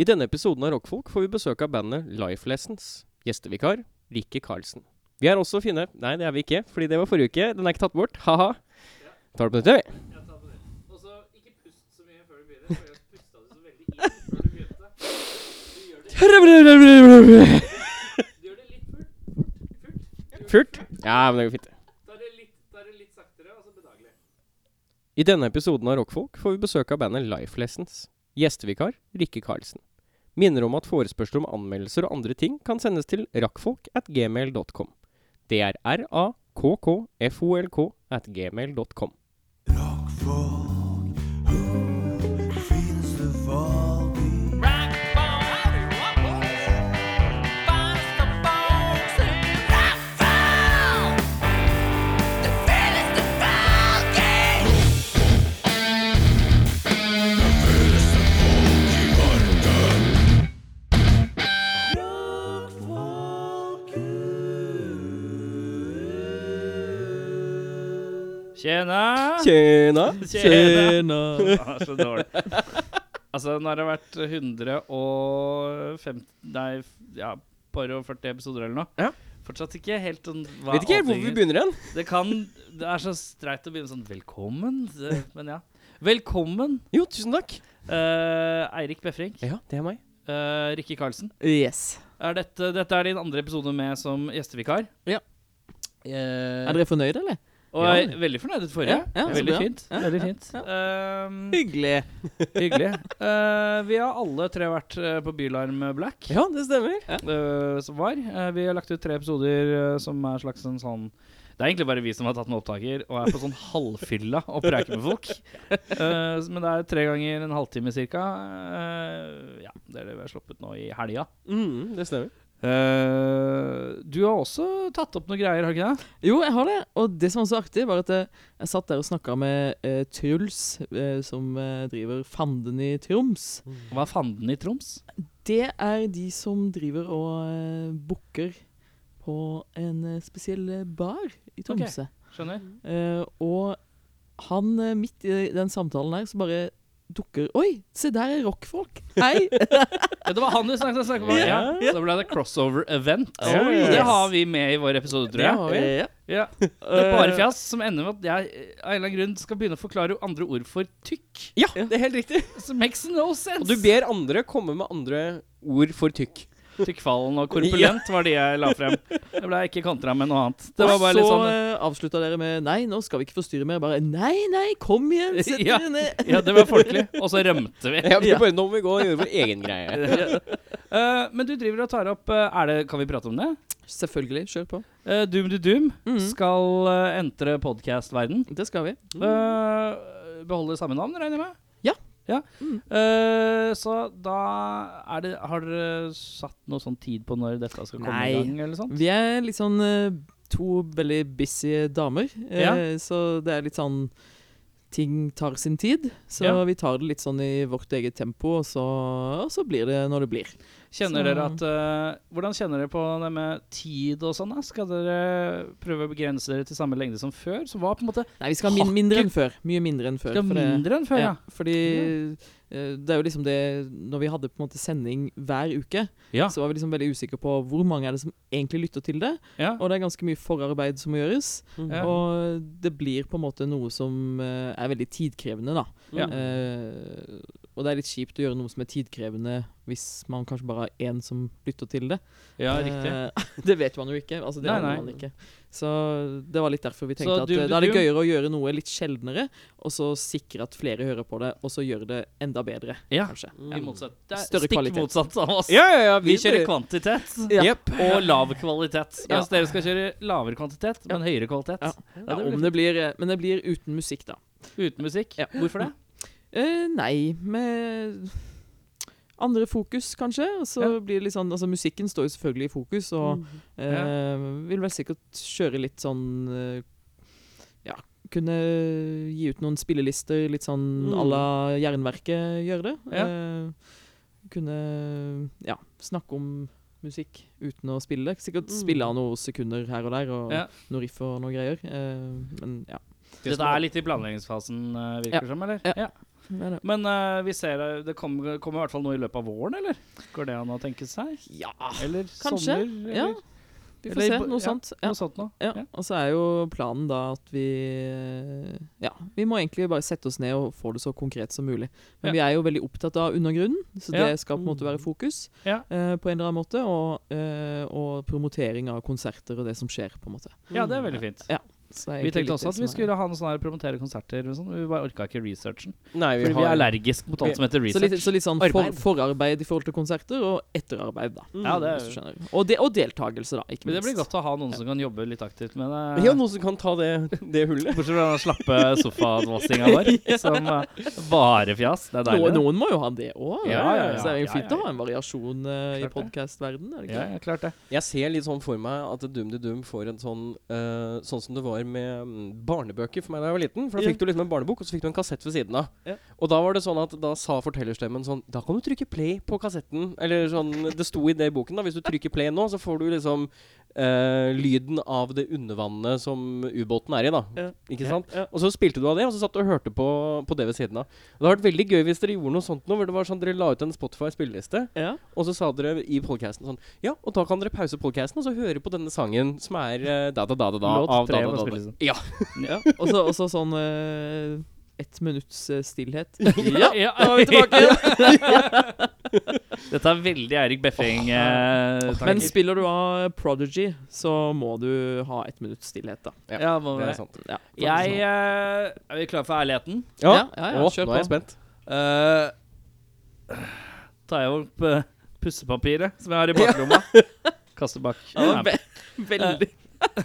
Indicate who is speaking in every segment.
Speaker 1: I denne episoden av Rockfolk får vi besøk av bandet Life Lessons. Gjestevikar Rikke Karlsen. Vi er også å finne Nei, det er vi ikke, fordi det var forrige uke. Den er ikke tatt bort. Ha-ha. Tar det på nytt, vi.
Speaker 2: Og så ikke pust så mye før du begynner, for jeg pusta det så veldig inn før du begynte. Du gjør det, du gjør det litt furt, furt, furt.
Speaker 1: Furt. Ja, men det går fint.
Speaker 2: Da er det litt, da er det litt saktere, og så bedagelig.
Speaker 1: I denne episoden av Rockfolk får vi besøk av bandet Life Lessons. Gjestevikar Rikke Karlsen. Minner om at forespørsler om anmeldelser og andre ting kan sendes til rakkfolk at gmail.com. Det er r-a-k-k-f-o-l-k at gmail.com.
Speaker 2: Tjena! Ah,
Speaker 1: Tjena!
Speaker 2: Så dårlig. Altså, nå har det vært 150 Nei, ja, bare over 40 episoder eller noe.
Speaker 1: Ja.
Speaker 2: Fortsatt ikke helt sånn hva
Speaker 1: Vet ikke helt hvor
Speaker 2: allting
Speaker 1: vi
Speaker 2: er.
Speaker 1: begynner hen.
Speaker 2: Det kan Det er så streit å begynne sånn Velkommen. Det- Men ja. Velkommen,
Speaker 1: Jo, tusen takk.
Speaker 2: eh, Eirik Befring.
Speaker 1: Ja, det er meg.
Speaker 2: Eh, Rikke Karlsen.
Speaker 3: Yes.
Speaker 2: Er dette, dette er din andre episode med som gjestevikar.
Speaker 3: Ja.
Speaker 2: Eh,
Speaker 3: Er dere fornøyd, eller?
Speaker 2: og
Speaker 1: Ja.
Speaker 2: jeg er veldig fornøyd med forrige.
Speaker 3: Ja, ja, så
Speaker 2: veldig
Speaker 3: bra.
Speaker 2: fint.
Speaker 3: Ja,
Speaker 2: veldig
Speaker 3: ja,
Speaker 2: fint.
Speaker 3: ja.
Speaker 2: Eh,
Speaker 3: Hyggelig.
Speaker 2: hyggelig. Eh, vi har alle tre vært eh, på Bylarm Black.
Speaker 1: Ja, det stemmer.
Speaker 2: eh, som var. Eh, vi har lagt ut tre episoder eh, som er slags en sånn Det er egentlig bare vi som har tatt med opptaker og er på sånn halvfylla og preiker med folk. Eh, s- men det er tre ganger en halvtime cirka. Eh, ja, det er det vi har sluppet nå i helga.
Speaker 1: Mm, det stemmer.
Speaker 2: Eh, du har også tatt opp noen greier, har du ikke det?
Speaker 3: Jo, jeg har det. Og det som var så artig, var at eh, jeg satt der og snakka med eh, Truls, eh, som eh, driver Fanden i Troms.
Speaker 2: Hva er fanden i Troms?
Speaker 3: Det er de som driver og eh, booker på en eh, spesiell eh, bar i Tromsø.
Speaker 2: Skjønner?
Speaker 3: Eh, og han, eh, midt i den samtalen her, så bare dukker Oi, se der er rockfolk! Hei!
Speaker 2: Ja, det var han du snakket, snakket om. Ja,
Speaker 3: Ja.
Speaker 2: Da ble det crossover event.
Speaker 3: Oh,
Speaker 2: Det
Speaker 3: yes.
Speaker 2: har vi med i vår episode, tror jeg.
Speaker 3: Ja,
Speaker 2: Ja. Det er bare fjas som ender med at jeg eh, av en eller annen grunn skal begynne å forklare andre ord for tykk.
Speaker 1: Ja, det er helt riktig.
Speaker 2: Som makes no sense.
Speaker 1: Og du ber andre komme med andre ord for tykk.
Speaker 2: Tykkfallen og korpulent var de jeg la frem. Det ble ikke kontra med noe annet. Det var
Speaker 3: og
Speaker 2: bare
Speaker 3: så
Speaker 2: litt sånn
Speaker 3: eh, avslutta dere med Nei, nå skal vi ikke forstyrre mer. Bare Nei, nei, kom igjen! Sett
Speaker 2: Ja.
Speaker 3: dere ned!
Speaker 2: Ja, det var folkelig. Og så rømte vi.
Speaker 1: Ja, vi
Speaker 3: Ja.
Speaker 1: bare, nå må vi gå og gjøre vår egen greie.
Speaker 2: Eh, men du driver og tar opp eh, er det, Kan vi prate om det?
Speaker 3: Selvfølgelig. Kjør på.
Speaker 2: Eh, Doom to Doom
Speaker 3: Mhm.
Speaker 2: skal eh, entre podkast-verden.
Speaker 3: Det skal vi.
Speaker 2: Eh, beholder samme navn, regner jeg med?
Speaker 3: Mm. Ja.
Speaker 2: ja.
Speaker 3: Mm.
Speaker 2: Eh, så da er det Har dere satt noe sånn tid på når dette skal komme
Speaker 3: Nei.
Speaker 2: i gang? eller sånt?
Speaker 3: Vi er litt sånn eh, to veldig busy damer, eh,
Speaker 2: Ja.
Speaker 3: så det er litt sånn Ting tar sin tid, så
Speaker 2: Ja.
Speaker 3: vi tar det litt sånn i vårt eget tempo, og så, og så blir det når det blir.
Speaker 2: Kjenner
Speaker 3: Så-
Speaker 2: dere at eh, Hvordan kjenner dere på det med tid og sånn? da? Skal dere prøve å begrense dere til samme lengde som før? Som var på en måte
Speaker 3: Nei, vi skal ha min, mindre enn før. Mye mindre enn før.
Speaker 2: skal
Speaker 3: for det-
Speaker 2: mindre enn før, ja.
Speaker 3: Ja, fordi eh, det er jo liksom det Når vi hadde på en måte sending hver uke,
Speaker 2: Ja.
Speaker 3: så var vi liksom veldig usikre på hvor mange er det som egentlig lytter til det.
Speaker 2: ja.
Speaker 3: Og det er ganske mye forarbeid som må gjøres.
Speaker 2: Ja.
Speaker 3: Og det blir på en måte noe som eh, er veldig tidkrevende, da.
Speaker 2: Ja.
Speaker 3: Eh, og det er litt kjipt å gjøre noe som er tidkrevende hvis man kanskje bare har én som lytter til det.
Speaker 2: ja, riktig.
Speaker 3: Eh, det vet man jo ikke. Altså, det
Speaker 2: Nei,
Speaker 3: aner
Speaker 2: nei.
Speaker 3: Man ikke. Så det var litt derfor vi tenkte
Speaker 2: Så
Speaker 3: at
Speaker 2: du-
Speaker 3: eh, da er det
Speaker 2: du-
Speaker 3: gøyere å gjøre noe litt sjeldnere, og så sikre at flere hører på det, og så gjøre det enda bedre,
Speaker 2: Ja.
Speaker 3: kanskje.
Speaker 2: I motsatt. Det er
Speaker 3: Større
Speaker 2: stikk
Speaker 3: kvalitet.
Speaker 2: motsatt av oss.
Speaker 1: Ja, ja, ja.
Speaker 2: Vi kjører
Speaker 1: bare-
Speaker 2: kvantitet
Speaker 3: Ja.
Speaker 1: Jepp.
Speaker 2: og lav kvalitet.
Speaker 3: Ja.
Speaker 2: Mens dere skal kjøre lavere kvantitet, men høyere kvalitet.
Speaker 3: Ja.
Speaker 2: Ja, det blir
Speaker 3: om det blir, eh, men det blir uten musikk, da.
Speaker 2: Uten musikk.
Speaker 3: Ja.
Speaker 2: Hvorfor det?
Speaker 3: Eh, nei, med andre fokus, kanskje. Og så
Speaker 2: Ja.
Speaker 3: blir det litt sånn Altså, musikken står jo selvfølgelig i fokus, og eh, vil vel sikkert kjøre litt sånn eh, Ja, kunne gi ut noen spillelister litt sånn à
Speaker 1: Mm.
Speaker 3: la Jernverket gjør det.
Speaker 2: Ja.
Speaker 3: Eh, kunne ja, snakke om musikk uten å spille det. Sikkert
Speaker 1: Mm.
Speaker 3: spille av noen sekunder her og der, og
Speaker 2: Ja.
Speaker 3: noe riff og noe greier. Eh, men ja.
Speaker 2: Dette er litt i planleggingsfasen, eh, virker det som? eller?
Speaker 3: Ja. Det er det.
Speaker 2: Men eh, vi ser eh, det kommer, kommer i hvert fall noe i løpet av våren, eller? Går det an å tenke seg?
Speaker 3: Ja,
Speaker 2: Eller
Speaker 3: Kanskje,
Speaker 2: sommer? Eller
Speaker 3: ja. vi får
Speaker 2: Eller-
Speaker 3: se. Noe
Speaker 2: ja,
Speaker 3: sånt. Ja.
Speaker 2: noe sånt noe?
Speaker 3: Ja, og så er jo planen da at vi eh, Ja, vi må egentlig bare sette oss ned og få det så konkret som mulig.
Speaker 2: Ja.
Speaker 3: Men vi er jo veldig opptatt av undergrunnen, så det
Speaker 2: Ja.
Speaker 3: skal på en måte være fokus.
Speaker 2: Ja.
Speaker 3: eh, på en eller annen måte, og, eh, og promotering av konserter og det som skjer, på en måte.
Speaker 2: ja, det er veldig fint.
Speaker 3: Så det er
Speaker 2: Vi
Speaker 3: egentlig
Speaker 2: tenkte
Speaker 3: litt
Speaker 2: også at
Speaker 3: sånn, det
Speaker 2: vi
Speaker 3: som er-
Speaker 2: skulle ha noen sånne her promotere konserter. Og sånn. Vi bare orka ikke researchen.
Speaker 1: Nei, vi
Speaker 2: Fordi vi er
Speaker 1: har
Speaker 2: allergisk mot
Speaker 1: Vi-
Speaker 2: alt som heter
Speaker 3: så litt,
Speaker 2: research.
Speaker 3: så litt sånn for,
Speaker 1: Arbeid.
Speaker 3: forarbeid i forhold til konserter, og etterarbeid, da.
Speaker 1: Mm.
Speaker 2: Ja, det
Speaker 3: Hvis du
Speaker 2: er,
Speaker 3: skjønner. Og, de, og deltakelse, da, ikke
Speaker 2: men det
Speaker 3: minst.
Speaker 2: blir godt å ha noen som kan jobbe litt aktivt med det.
Speaker 1: Ja, noen som kan ta det, det hullet.
Speaker 2: Bortsett fra den slappe sofadvassinga vår, som eh, bare fjas. Det er deilig.
Speaker 3: noen, noen må jo ha det òg.
Speaker 2: Ja, ja, ja.
Speaker 3: Så det er jo
Speaker 2: Ja,
Speaker 3: fint
Speaker 2: ja,
Speaker 3: å
Speaker 2: ja.
Speaker 3: ha en variasjon eh,
Speaker 2: Klart
Speaker 3: i
Speaker 2: det.
Speaker 3: podkastverdenen, er det
Speaker 2: det.
Speaker 3: ikke?
Speaker 2: Ja,
Speaker 3: det?
Speaker 2: ja, klart det.
Speaker 1: Jeg ser litt sånn for meg at Dum de Dum får en sånn eh, Sånn som det var med mm, barnebøker for meg da jeg var liten. For da
Speaker 3: Ja.
Speaker 1: fikk du liksom en barnebok, og så fikk du en kassett ved siden av.
Speaker 3: Ja.
Speaker 1: Og da var det sånn at da sa fortellerstemmen sånn Da kan du trykke play på kassetten. Eller sånn Det sto i det i boken, da. Hvis du trykker play nå, så får du liksom eh, lyden av det undervannet som ubåten er i, da.
Speaker 3: Ja.
Speaker 1: Ikke
Speaker 2: Ja.
Speaker 1: sant? Og så spilte du av det, og så satt du og hørte på, på det ved siden av. Det hadde vært veldig gøy hvis dere gjorde noe sånt nå, hvor det var sånn dere la ut en Spotify-spilleliste.
Speaker 3: Ja.
Speaker 1: Og så sa dere i podcasten sånn Ja, og da kan dere pause podcasten og så høre på denne sangen som er eh, da da da da da
Speaker 2: Låt
Speaker 1: av
Speaker 2: tre
Speaker 1: da da
Speaker 2: må
Speaker 1: da da.
Speaker 2: spilles inn.
Speaker 1: Ja.
Speaker 2: Ja.
Speaker 3: Og så- og så sånn uh, ett minutts eh, stillhet.
Speaker 2: Ja, da var vi tilbake Dette er veldig Eirik Beffing. eh, tanker.
Speaker 3: Men spiller du av Prodigy, så må du ha ett minutts stillhet, da.
Speaker 1: Ja,
Speaker 2: ja, må
Speaker 1: Det
Speaker 2: vi-
Speaker 1: er sant.
Speaker 3: Ja,
Speaker 2: Jeg eh, Er vi klare for ærligheten?
Speaker 1: Ja,
Speaker 3: Ja, ja, ja,
Speaker 1: Å,
Speaker 3: kjør
Speaker 1: nå er jeg
Speaker 3: på.
Speaker 1: spent.
Speaker 2: Eh, tar jeg opp eh, pussepapiret som jeg har i baklomma. Kaster bak.
Speaker 3: Ja,
Speaker 2: Nei,
Speaker 3: ve veldig
Speaker 2: eh,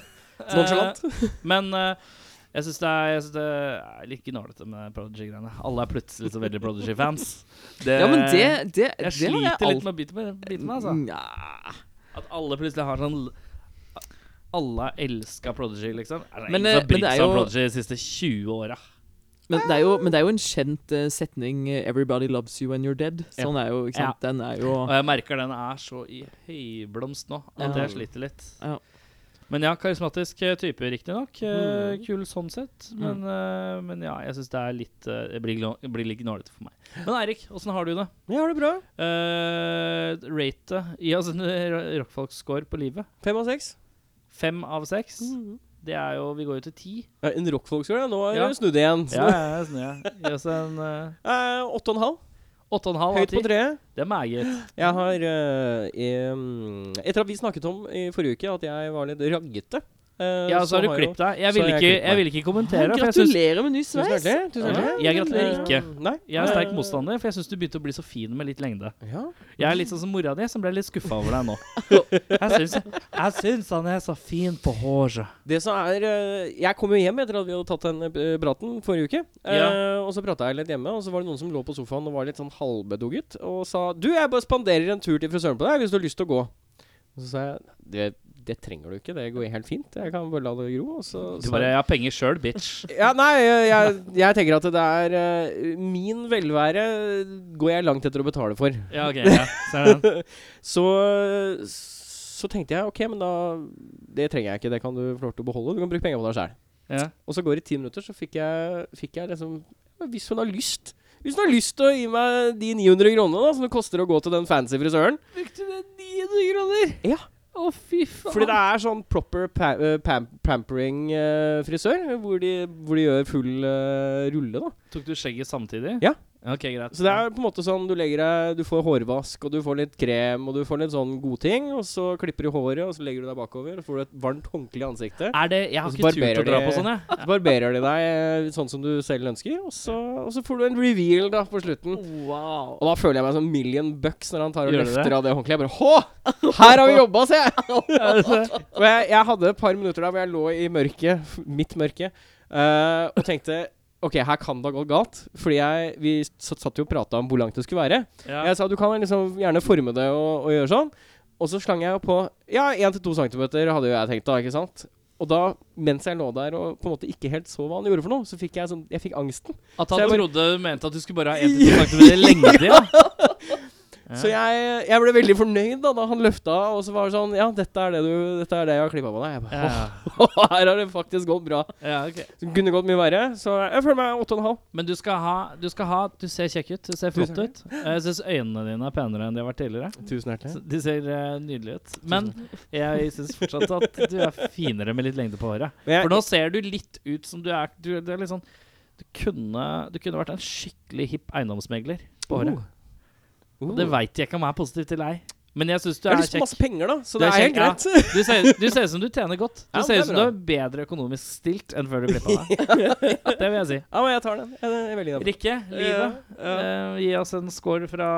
Speaker 1: Nonchalant.
Speaker 2: Men eh, jeg syns det er, jeg synes det er litt gnålete med Prodigy-greiene. Alle er plutselig så veldig Prodigy-fans. Det-
Speaker 3: Ja, men det, det, det
Speaker 2: Eh, Jeg
Speaker 3: har
Speaker 2: sliter
Speaker 3: alt-
Speaker 2: litt med å bite meg, bite meg altså.
Speaker 3: Nja.
Speaker 2: At alle plutselig har sånn Alle elska Prodigy, liksom. Er det
Speaker 3: Men,
Speaker 2: ingen som
Speaker 3: eh,
Speaker 2: har
Speaker 3: men
Speaker 2: brydd
Speaker 3: det er
Speaker 2: seg om
Speaker 3: jo-
Speaker 2: Prodigy de siste 20 åra?
Speaker 3: Men det, er jo, men det er jo en kjent eh, setning eh, 'Everybody loves you when you're dead'.
Speaker 2: Ja.
Speaker 3: Sånn er jo, ikke sant. Den er jo
Speaker 2: Og jeg merker den er så i høyblomst nå at
Speaker 3: Ja.
Speaker 2: jeg sliter litt.
Speaker 3: Ja.
Speaker 2: Men ja, karismatisk eh, type, riktignok. Mm.
Speaker 3: Mm.
Speaker 2: Kul sånn sett. Men, eh, men ja, jeg syns det er litt eh, Det blir, glå- det blir litt gnålete for meg. Men Eirik, åssen har du det?
Speaker 1: Jeg har det bra.
Speaker 2: Uh, rate Gi oss en eh, rockfolk-score på livet.
Speaker 1: Fem av seks.
Speaker 2: Fem av seks.
Speaker 3: Mm.
Speaker 2: Det er jo Vi går jo til ti.
Speaker 1: Ja, En rockfolkskole. ja. Nå er
Speaker 2: Ja.
Speaker 1: det snudd igjen. Så
Speaker 2: Ja, ja, ja, sånn, ja. Gi oss en eh,
Speaker 1: eh, åtte og en halv.
Speaker 2: åtte og en halv av
Speaker 1: Høyt
Speaker 2: ti.
Speaker 1: på treet.
Speaker 2: Det er meget.
Speaker 1: Jeg har eh, em, Etter at vi snakket om i forrige uke at jeg var litt raggete eh,
Speaker 2: Ja, så har du
Speaker 1: jeg jo-
Speaker 2: klippet deg. Jeg
Speaker 1: så har
Speaker 2: ville
Speaker 1: jeg
Speaker 2: ikke,
Speaker 1: klippet meg.
Speaker 2: jeg vil ikke kommentere. for jeg synes-
Speaker 3: Gratulerer med ny
Speaker 1: Tusen
Speaker 3: sveis!
Speaker 1: hjertelig. Tusen
Speaker 2: Ja.
Speaker 1: hjertelig.
Speaker 2: Jeg gratulerer ikke.
Speaker 1: Nei.
Speaker 2: Jeg er sterk
Speaker 1: Eh,
Speaker 2: motstander, for jeg syns du begynte å bli så fin med litt lengde.
Speaker 1: Ja.
Speaker 2: Jeg er litt sånn som mora di, som ble litt skuffa over deg nå. Jeg syns, jeg syns han er så fin på håret.
Speaker 1: Det som er eh, Jeg kom jo hjem etter at vi hadde tatt den eh, praten forrige uke. Eh, og så prata jeg litt hjemme, og så var det noen som lå på sofaen og var litt sånn halvbedugget og sa 'Du, jeg bare spanderer en tur til frisøren på deg hvis du har lyst til å gå'. Og så sa jeg det, 'Det trenger du ikke. Det går helt fint. Jeg kan bare la det gro.' Og så,
Speaker 2: Du
Speaker 1: så
Speaker 2: bare 'Jeg har penger sjøl, bitch'.
Speaker 1: ja, nei, jeg, jeg, jeg tenker at det er eh, Min velvære går jeg langt etter å betale for.
Speaker 2: Ja, ok, ja. Ser den.
Speaker 1: Så, så tenkte jeg ok, men da Det trenger jeg ikke. Det kan du få lov til å beholde. Du kan bruke penga på deg sjæl.
Speaker 2: Ja.
Speaker 1: Og så går det ti minutter, så fikk jeg, fikk jeg liksom ja, Hvis hun har lyst Hvis hun har lyst til å gi meg de 900 kronene da, som det koster å gå til den fancy frisøren
Speaker 2: Brukte du 900 kroner?
Speaker 1: Ja.
Speaker 2: Å, fy faen.
Speaker 1: Fordi det er sånn proper pa eh, pam pampering-frisør, hvor, de- hvor de gjør full eh, rulle, da.
Speaker 2: Tok du skjegget samtidig?
Speaker 1: Ja.
Speaker 2: Ok, greit.
Speaker 1: Så det er på en måte sånn du legger deg Du får hårvask, og du får litt krem, og du får litt sånn godting, og så klipper du håret, og så legger du deg bakover, og får du et varmt håndkle i ansiktet.
Speaker 2: Er det Jeg har
Speaker 1: Og så
Speaker 2: ikke turt
Speaker 1: barberer
Speaker 2: å dra
Speaker 1: de-
Speaker 2: på sånn, jeg.
Speaker 1: Så barberer de deg eh, sånn som du selv ønsker, og så, og så får du en reveal da på slutten.
Speaker 3: Wow.
Speaker 1: Og da føler jeg meg som million bucks når han tar og
Speaker 2: Gjør du
Speaker 1: løfter
Speaker 2: det?
Speaker 1: av det håndkleet. Jeg bare Hå! Her har vi jobba, se! og jeg, jeg hadde et par minutter der hvor jeg lå i mørket, mitt mørke, eh, og tenkte OK, her kan det ha gått galt. Fordi jeg, vi s- satt jo og prata om hvor langt det skulle være.
Speaker 2: Ja.
Speaker 1: Jeg sa du kan liksom gjerne forme det og, og gjøre sånn. Og så slang jeg jo på Ja, 1-2 cm hadde jo jeg tenkt da, ikke sant? Og da, mens jeg lå der og på en måte ikke helt så hva han gjorde for noe, så fikk jeg sånn Jeg fikk angsten.
Speaker 2: At
Speaker 1: Så
Speaker 2: han
Speaker 1: jeg bare-
Speaker 2: trodde du mente at du skulle bare ha 1-2 cm lengde, ja.
Speaker 1: Så jeg, jeg ble veldig fornøyd da, da han løfta, og så var det sånn Ja, dette er det, du, dette er det jeg har klippa på deg. Jeg bare,
Speaker 2: ja.
Speaker 1: «Åh, Her har det faktisk gått bra.
Speaker 2: ja, ok.
Speaker 1: Det kunne gått mye verre, så jeg føler meg 8,5.
Speaker 2: Men du skal ha Du, skal ha, du ser kjekk ut. Du ser
Speaker 1: Tusen
Speaker 2: flott ut. Eh, Jeg syns øynene dine er penere enn de har vært tidligere.
Speaker 1: Tusen
Speaker 2: Så
Speaker 1: hjertelig.
Speaker 2: De ser eh, nydelige ut. Men jeg syns fortsatt at du er finere med litt lengde på håret.
Speaker 1: Men jeg,
Speaker 2: For nå ser du litt ut som du er Du, du er litt sånn du kunne, du kunne vært en skikkelig hipp eiendomsmegler på håret.
Speaker 1: Oh.
Speaker 2: Og Det veit jeg ikke om jeg er positiv til ei. Men jeg syns du
Speaker 1: Jeg har
Speaker 2: er
Speaker 1: lyst på
Speaker 2: kjekk.
Speaker 1: masse penger, da, så
Speaker 2: Du
Speaker 1: det
Speaker 2: er
Speaker 1: er helt
Speaker 2: kjekk,
Speaker 1: greit.
Speaker 2: Du ser, du ser ut som du tjener godt. Du
Speaker 1: Ja, det
Speaker 2: ser
Speaker 1: er
Speaker 2: ut som du
Speaker 1: bra.
Speaker 2: er bedre økonomisk stilt enn før du klippa deg. Det vil jeg si.
Speaker 1: Ja, men jeg tar den. Jeg er veldig enig.
Speaker 2: Rikke, livet.
Speaker 3: Ja,
Speaker 2: eh, gi oss en score fra,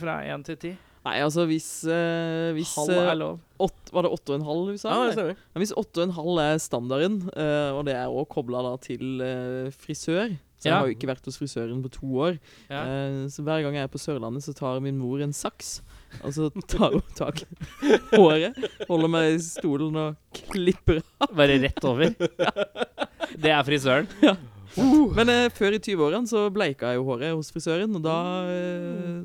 Speaker 2: fra 1 til 10.
Speaker 3: Nei, altså hvis, eh, hvis
Speaker 2: Halv
Speaker 3: eh,
Speaker 2: er lov.
Speaker 3: åt, Var det 8,5 du sa?
Speaker 1: Ja, det
Speaker 3: eller?
Speaker 1: stemmer.
Speaker 3: Men hvis 8,5 er standarden, eh, og det er også kobla da til eh, frisør Så jeg
Speaker 2: Ja.
Speaker 3: har jo ikke vært hos frisøren på to år.
Speaker 2: Ja.
Speaker 3: Eh, så hver gang jeg er på Sørlandet, så tar min mor en saks. Og så tar hun tak i håret, holder meg i stolen og klipper av.
Speaker 2: Bare rett over. Det er frisøren. Uh.
Speaker 3: Men eh, før i 20-årene så bleika jeg jo håret hos frisøren, og da eh,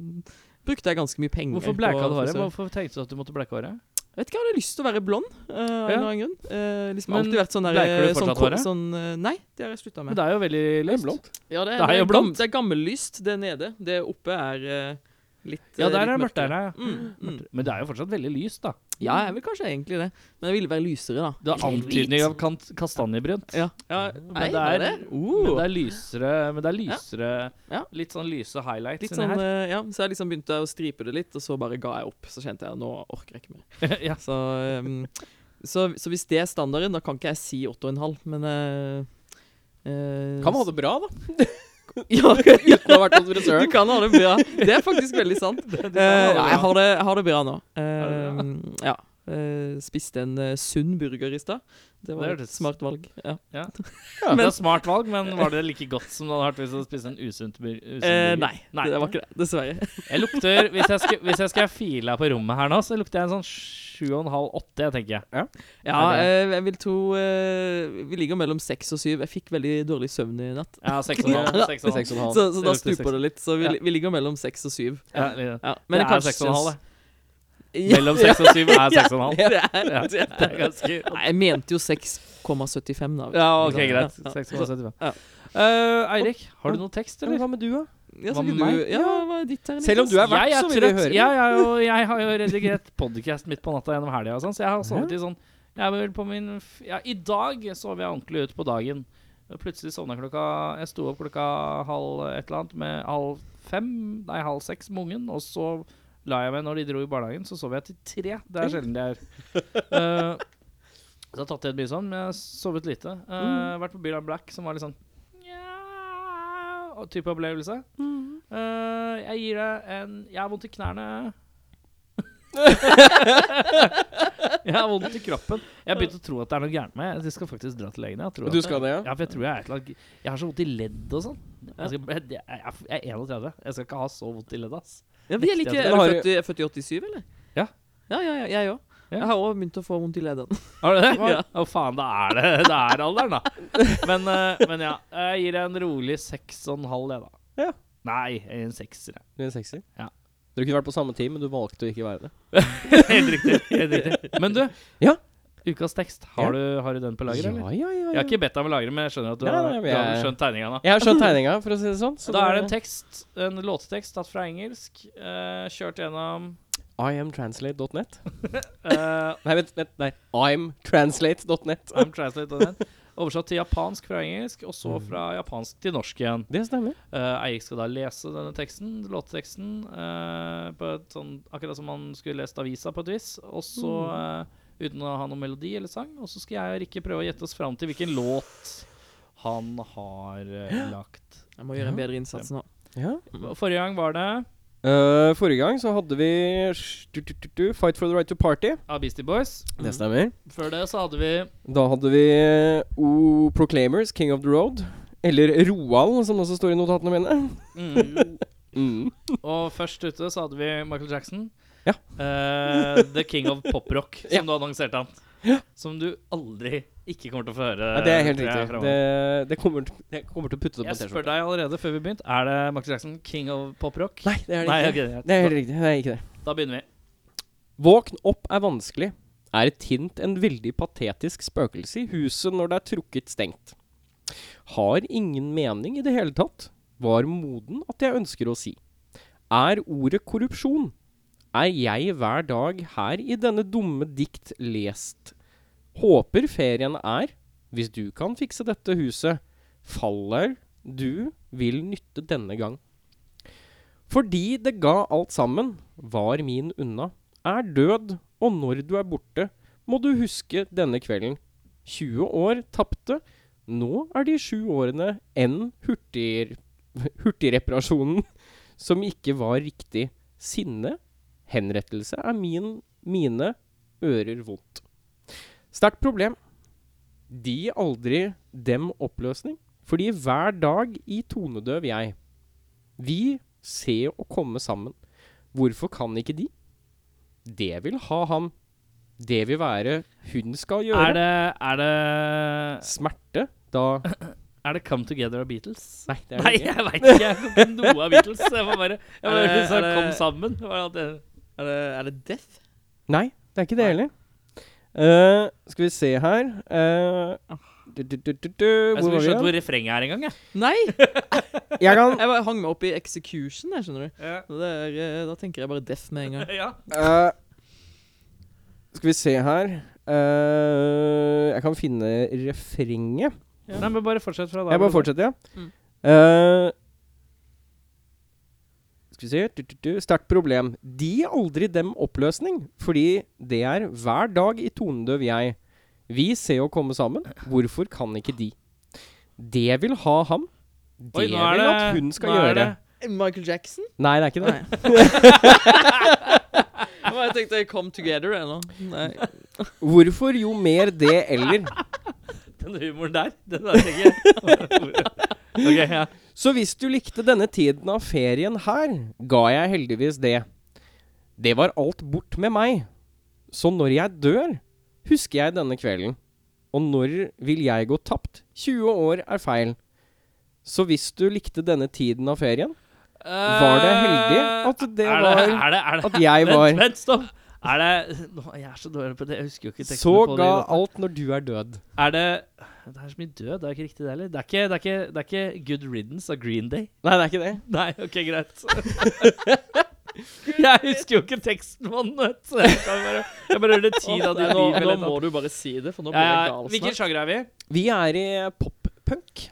Speaker 3: brukte jeg ganske mye penger.
Speaker 2: Hvorfor
Speaker 3: på
Speaker 2: bleika du håret?
Speaker 3: frisør.
Speaker 2: Hvorfor tenkte du at du måtte bleike håret?
Speaker 3: Jeg vet ikke, jeg hadde lyst til å være blond. eh, av en
Speaker 2: Ja.
Speaker 3: eller annen grunn. Eh, liksom
Speaker 2: Men
Speaker 3: alltid vært sånn der
Speaker 2: bleiker du
Speaker 3: eh, sånn,
Speaker 2: fortsatt
Speaker 3: ko-
Speaker 2: håret?
Speaker 3: Sånn, eh, nei, det har jeg slutta
Speaker 2: Men
Speaker 3: med.
Speaker 2: det er jo veldig
Speaker 1: Det er
Speaker 2: lyst.
Speaker 1: blondt.
Speaker 3: Ja, det,
Speaker 2: det er jo
Speaker 3: gam-
Speaker 2: blondt.
Speaker 3: Det er gammellyst, det nede. Det oppe er eh, litt
Speaker 2: Ja,
Speaker 3: eh,
Speaker 2: der
Speaker 3: litt
Speaker 2: er det
Speaker 3: mørkere.
Speaker 2: mørtere.
Speaker 3: Mm, mm.
Speaker 2: Men det er jo fortsatt veldig lyst, da.
Speaker 3: Ja, jeg vil kanskje egentlig det. Men jeg ville være lysere, da.
Speaker 2: Det er
Speaker 3: Eller hvit.
Speaker 2: antydning av kant- kastanjebrunt.
Speaker 3: Ja.
Speaker 2: Men
Speaker 3: Nei,
Speaker 2: det
Speaker 3: var
Speaker 2: er,
Speaker 3: det?
Speaker 2: men
Speaker 3: Uh.
Speaker 2: det er lysere, men det er lysere
Speaker 3: Ja.
Speaker 2: Litt sånn lyse highlights
Speaker 3: Litt
Speaker 2: inni
Speaker 3: sånn, eh, ja, så jeg liksom begynte jeg å stripe det litt, og så bare ga jeg opp. Så kjente jeg nå orker jeg ikke mer.
Speaker 2: her. ja.
Speaker 3: Så, ehm, så, så hvis det er standarden, da kan ikke jeg si 8,5, men eh, eh,
Speaker 1: Kan man ha det bra, da?
Speaker 3: Ja,
Speaker 1: Uten å ha vært hos
Speaker 3: du
Speaker 1: frisøren.
Speaker 3: kan ha det bra. Det er faktisk veldig sant.
Speaker 2: kan ha det
Speaker 3: Eh,
Speaker 2: bra.
Speaker 3: ja, jeg, har det, jeg har det bra nå.
Speaker 2: det
Speaker 3: Eh, ja. Eh, spiste en eh, sunn burger i stad. Det var
Speaker 2: Det
Speaker 3: et
Speaker 2: hørtes-
Speaker 3: smart valg. Ja.
Speaker 2: Det er et smart valg, men var det like godt som det hadde vært hvis du hadde spist en usunt bur- usunn burger?
Speaker 3: Eh, nei, det var ikke det. Dessverre.
Speaker 2: Jeg lukter, hvis jeg, skal, hvis jeg skal file på rommet her nå, så lukter jeg en sånn 7,5-8, tenker jeg.
Speaker 3: Ja,
Speaker 2: Er
Speaker 3: eh, jeg vil tro eh, Vi ligger mellom seks og syv. Jeg fikk veldig dårlig søvn i natt.
Speaker 2: Ja, 6,5.
Speaker 3: Ja.
Speaker 2: 6,5.
Speaker 3: Så,
Speaker 2: Det
Speaker 3: så da
Speaker 2: lukter seks.
Speaker 3: stuper det litt. Så vi,
Speaker 2: Ja.
Speaker 3: vi ligger mellom seks og syv.
Speaker 2: Ja, litt.
Speaker 3: Ja,
Speaker 2: Men det er
Speaker 3: kanskje-
Speaker 2: 6,5, det.
Speaker 3: Ja,
Speaker 2: Mellom 6 og 7 er 6,5.
Speaker 3: det er,
Speaker 2: Ja,
Speaker 3: det
Speaker 2: Det er
Speaker 3: er.
Speaker 2: ganske
Speaker 3: Nei, jeg mente jo 6,75, da.
Speaker 2: Ja, ok,
Speaker 3: Ja.
Speaker 2: greit.
Speaker 3: Ja.
Speaker 2: 6,75.
Speaker 3: Ja.
Speaker 2: Eh, Eirik, har du noe tekst,
Speaker 1: Men
Speaker 2: eller?
Speaker 1: Hva med du, da?
Speaker 3: Ja, så
Speaker 2: Hva med
Speaker 3: vil du,
Speaker 2: meg?
Speaker 3: ja, hva er ditt her?
Speaker 1: Selv om du er
Speaker 2: jeg
Speaker 1: vert,
Speaker 2: er
Speaker 1: så vil jeg
Speaker 2: trøtt.
Speaker 1: høre.
Speaker 2: Jeg, er jo, jeg har jo redigert podkast midt på natta gjennom helga, og sånn, så jeg har sovet i sånn jeg var vel på min, f- ja, I dag sov jeg ordentlig ut på dagen. Og Plutselig sovna klokka Jeg sto opp klokka halv et eller annet med halv fem, nei, halv seks med ungen, og så la jeg meg når de dro i barnehagen. Så sov jeg til tre. Det er sjelden det er. Eh, så jeg har tatt i et mye sånn, men jeg har sovet lite. Eh,
Speaker 1: Mm.
Speaker 2: Vært på Bill Black, som var litt sånn Nja og type opplevelse. Eh, jeg gir det en Jeg har vondt i knærne. jeg har vondt i kroppen. Jeg har begynt å tro at det er noe gærent med meg. Jeg skal faktisk dra til legen. Jeg, tror
Speaker 1: Du
Speaker 2: at-
Speaker 1: skal det, ja?
Speaker 2: ja, for jeg tror jeg er et eller annet Jeg har så vondt i ledd og sånn. Jeg, skal, jeg, jeg, er- jeg er 31. Jeg skal ikke ha så vondt i ledd, ass.
Speaker 3: Ja, vi er like,
Speaker 2: Riktig,
Speaker 3: er
Speaker 1: men
Speaker 3: du
Speaker 1: har
Speaker 3: født, i- er født i 87, eller?
Speaker 2: Ja.
Speaker 3: Ja, ja, ja jeg òg.
Speaker 2: Ja.
Speaker 3: Jeg har òg begynt å få vondt i ledden.
Speaker 2: Har du det?
Speaker 3: Ja.
Speaker 2: Å faen, da er det Det er alderen, da. Men, eh, men ja. Jeg gir deg en rolig 6,5, jeg, da.
Speaker 1: Ja.
Speaker 2: Nei, en sekser. jeg.
Speaker 1: Du er en sekser?
Speaker 2: Ja.
Speaker 1: Dere kunne vært på samme team, men du valgte å ikke være det.
Speaker 2: Helt riktig. helt riktig Men du,
Speaker 1: Ja.
Speaker 2: ukas tekst. Har, du, har du den på lager, eller?
Speaker 1: ja, ja, ja,
Speaker 2: Jeg
Speaker 1: ja.
Speaker 2: har ikke bedt deg om å lagre, men jeg skjønner at du,
Speaker 1: Nei,
Speaker 2: har,
Speaker 1: nei, men
Speaker 2: du har
Speaker 1: jeg-
Speaker 2: skjønt tegninga nå.
Speaker 1: Jeg har skjønt tegninga, for å si det sånn.
Speaker 2: Så da er det en tekst, en låtetekst tatt fra engelsk, eh, kjørt gjennom
Speaker 1: Iamtranslate.net.
Speaker 2: eh,
Speaker 1: Nei, vent, vent. Nei. Imtranslate.net.
Speaker 2: I'm translated.net. Oversatt til japansk fra engelsk, og så
Speaker 1: Mm.
Speaker 2: fra japansk til norsk igjen.
Speaker 1: Det stemmer.
Speaker 2: Eh, Eirik skal da lese denne teksten, låtteksten, eh, på et sånn, akkurat som han skulle lest avisa på et vis. Og så
Speaker 1: Mm.
Speaker 2: eh, uten å ha noen melodi eller sang. Og så skal jeg og Rikke prøve å gjette oss fram til hvilken låt han har eh, lagt.
Speaker 3: Jeg må gjøre en bedre innsats nå.
Speaker 1: Ja.
Speaker 2: Forrige gang var det
Speaker 1: Eh, forrige gang så hadde vi sh- du, du, du, du, Fight for the right to party.
Speaker 2: av Beastie Boys.
Speaker 1: Det stemmer.
Speaker 2: Før det så hadde vi
Speaker 1: Da hadde vi eh, O Proclaimers, King of the Road. Eller Roald, som også står i notatene mine.
Speaker 2: mm,
Speaker 1: Mm.
Speaker 2: Og først ute så hadde vi Michael Jackson.
Speaker 1: Ja.
Speaker 2: Eh, the King of Poprock, som
Speaker 1: Ja.
Speaker 2: du annonserte han. Som du aldri ikke kommer til å få høre.
Speaker 1: Ja, det er helt
Speaker 2: tror jeg,
Speaker 1: riktig.
Speaker 2: fremover.
Speaker 1: Det, det kommer, til- jeg kommer til å putte det på
Speaker 2: Jeg spør
Speaker 1: T-skjorta.
Speaker 2: deg allerede før vi begynte. Er det Michael Jackson, king of poprock?
Speaker 1: Nei, det er det
Speaker 2: Nei,
Speaker 1: ikke.
Speaker 2: ok, greit.
Speaker 1: Det er helt riktig. Det er ikke det.
Speaker 2: Da, da begynner vi.
Speaker 1: Våkn opp er vanskelig. Er et hint en veldig patetisk spøkelse i huset når det er trukket stengt. Har ingen mening i det hele tatt. Var moden at jeg ønsker å si. Er ordet korrupsjon? Er jeg hver dag her i denne dumme dikt lest? Håper ferien er, hvis du kan fikse dette huset, faller du vil nytte denne gang. Fordi det ga alt sammen, var min unna er død, og når du er borte, må du huske denne kvelden. 20 år tapte, nå er de sju årene enn hurtig, hurtigreparasjonen som ikke var riktig. Sinne, henrettelse, er min, mine ører vondt. Sterkt problem. De aldri dem oppløsning, fordi hver dag i tonedøv jeg. Vi se å komme sammen. Hvorfor kan ikke de? Det vil ha ham. Det vil være hun skal gjøre.
Speaker 2: Er det, er det
Speaker 1: Smerte? Da
Speaker 2: Er det Come Together av Beatles?
Speaker 1: Nei, det er
Speaker 2: Nei,
Speaker 1: det ikke.
Speaker 2: jeg veit ikke. Jeg kom ikke noe av Beatles. Jeg var bare jeg var
Speaker 3: Er det-
Speaker 2: liksom,
Speaker 3: er det-
Speaker 2: Kom sammen. Var det at det,
Speaker 3: Er det, er det Death?
Speaker 1: Nei, det er ikke det heller. Eh, skal vi se her Eh, du, du, du, du, du.
Speaker 2: jeg
Speaker 1: Hvor
Speaker 2: skulle
Speaker 1: var
Speaker 2: ikke skjønt
Speaker 1: vi?
Speaker 2: hvor refrenget er engang. jeg.
Speaker 3: Nei!
Speaker 1: igjen? Jeg kan
Speaker 3: Jeg bare hang meg opp i execution, jeg, skjønner du.
Speaker 2: Ja.
Speaker 3: Og Det er, eh, da tenker jeg bare Death med en gang.
Speaker 2: Ja.
Speaker 1: Eh, Skal vi se her Eh, Jeg kan finne refrenget.
Speaker 2: Nei, men bare fortsett fra da.
Speaker 1: Jeg bare fortsetter, ja.
Speaker 3: Mm.
Speaker 1: Eh, skal vi se du, du, du. Sterkt problem. De aldri dem oppløsning, fordi det er hver dag i tonedøv jeg. Vi ser å komme sammen. Hvorfor kan ikke de? Det vil ha ham. Det
Speaker 2: Oi, nå er
Speaker 1: vil
Speaker 2: det
Speaker 1: at hun skal
Speaker 2: nå er
Speaker 1: gjøre.
Speaker 2: det-
Speaker 3: Michael Jackson?
Speaker 1: Nei, det er ikke det.
Speaker 3: Nei. jeg tenkte Come Together jeg nå. Nei.
Speaker 1: Hvorfor jo mer det eller?
Speaker 2: Den humoren der, den der tenker jeg. Ok, ja.
Speaker 1: Så hvis du likte denne tiden av ferien her, ga jeg heldigvis det. Det var alt bort med meg. Så når jeg dør, husker jeg denne kvelden. Og når vil jeg gå tapt? 20 år er feil. Så hvis du likte denne tiden av ferien, var det heldig at det
Speaker 2: Eh, er
Speaker 1: var
Speaker 2: det, er det, er det,
Speaker 1: At jeg
Speaker 2: Vent,
Speaker 1: var
Speaker 2: vent, stopp! Er det nå, Jeg er så dårlig på det, jeg husker jo ikke teksten
Speaker 1: Så
Speaker 2: på
Speaker 1: ga
Speaker 2: det.
Speaker 1: alt når du er død.
Speaker 2: Er det Det er så mye død, det er ikke riktig det heller. Det er ikke, det er ikke, det er ikke Good Riddance av Green Day.
Speaker 1: Nei, det er ikke det.
Speaker 2: Nei, ok, greit. jeg husker jo ikke teksten på den, vet du. Jeg kan bare- Jeg bare hører det ti av de
Speaker 3: nå,
Speaker 2: liv
Speaker 3: nå
Speaker 2: eller
Speaker 3: må
Speaker 2: noe.
Speaker 3: du bare si det, for nå blir jeg
Speaker 2: Ja,
Speaker 1: altså.
Speaker 3: gal
Speaker 2: Hvilken
Speaker 3: snart.
Speaker 2: sjanger er vi i?
Speaker 1: Vi er i pop-punk.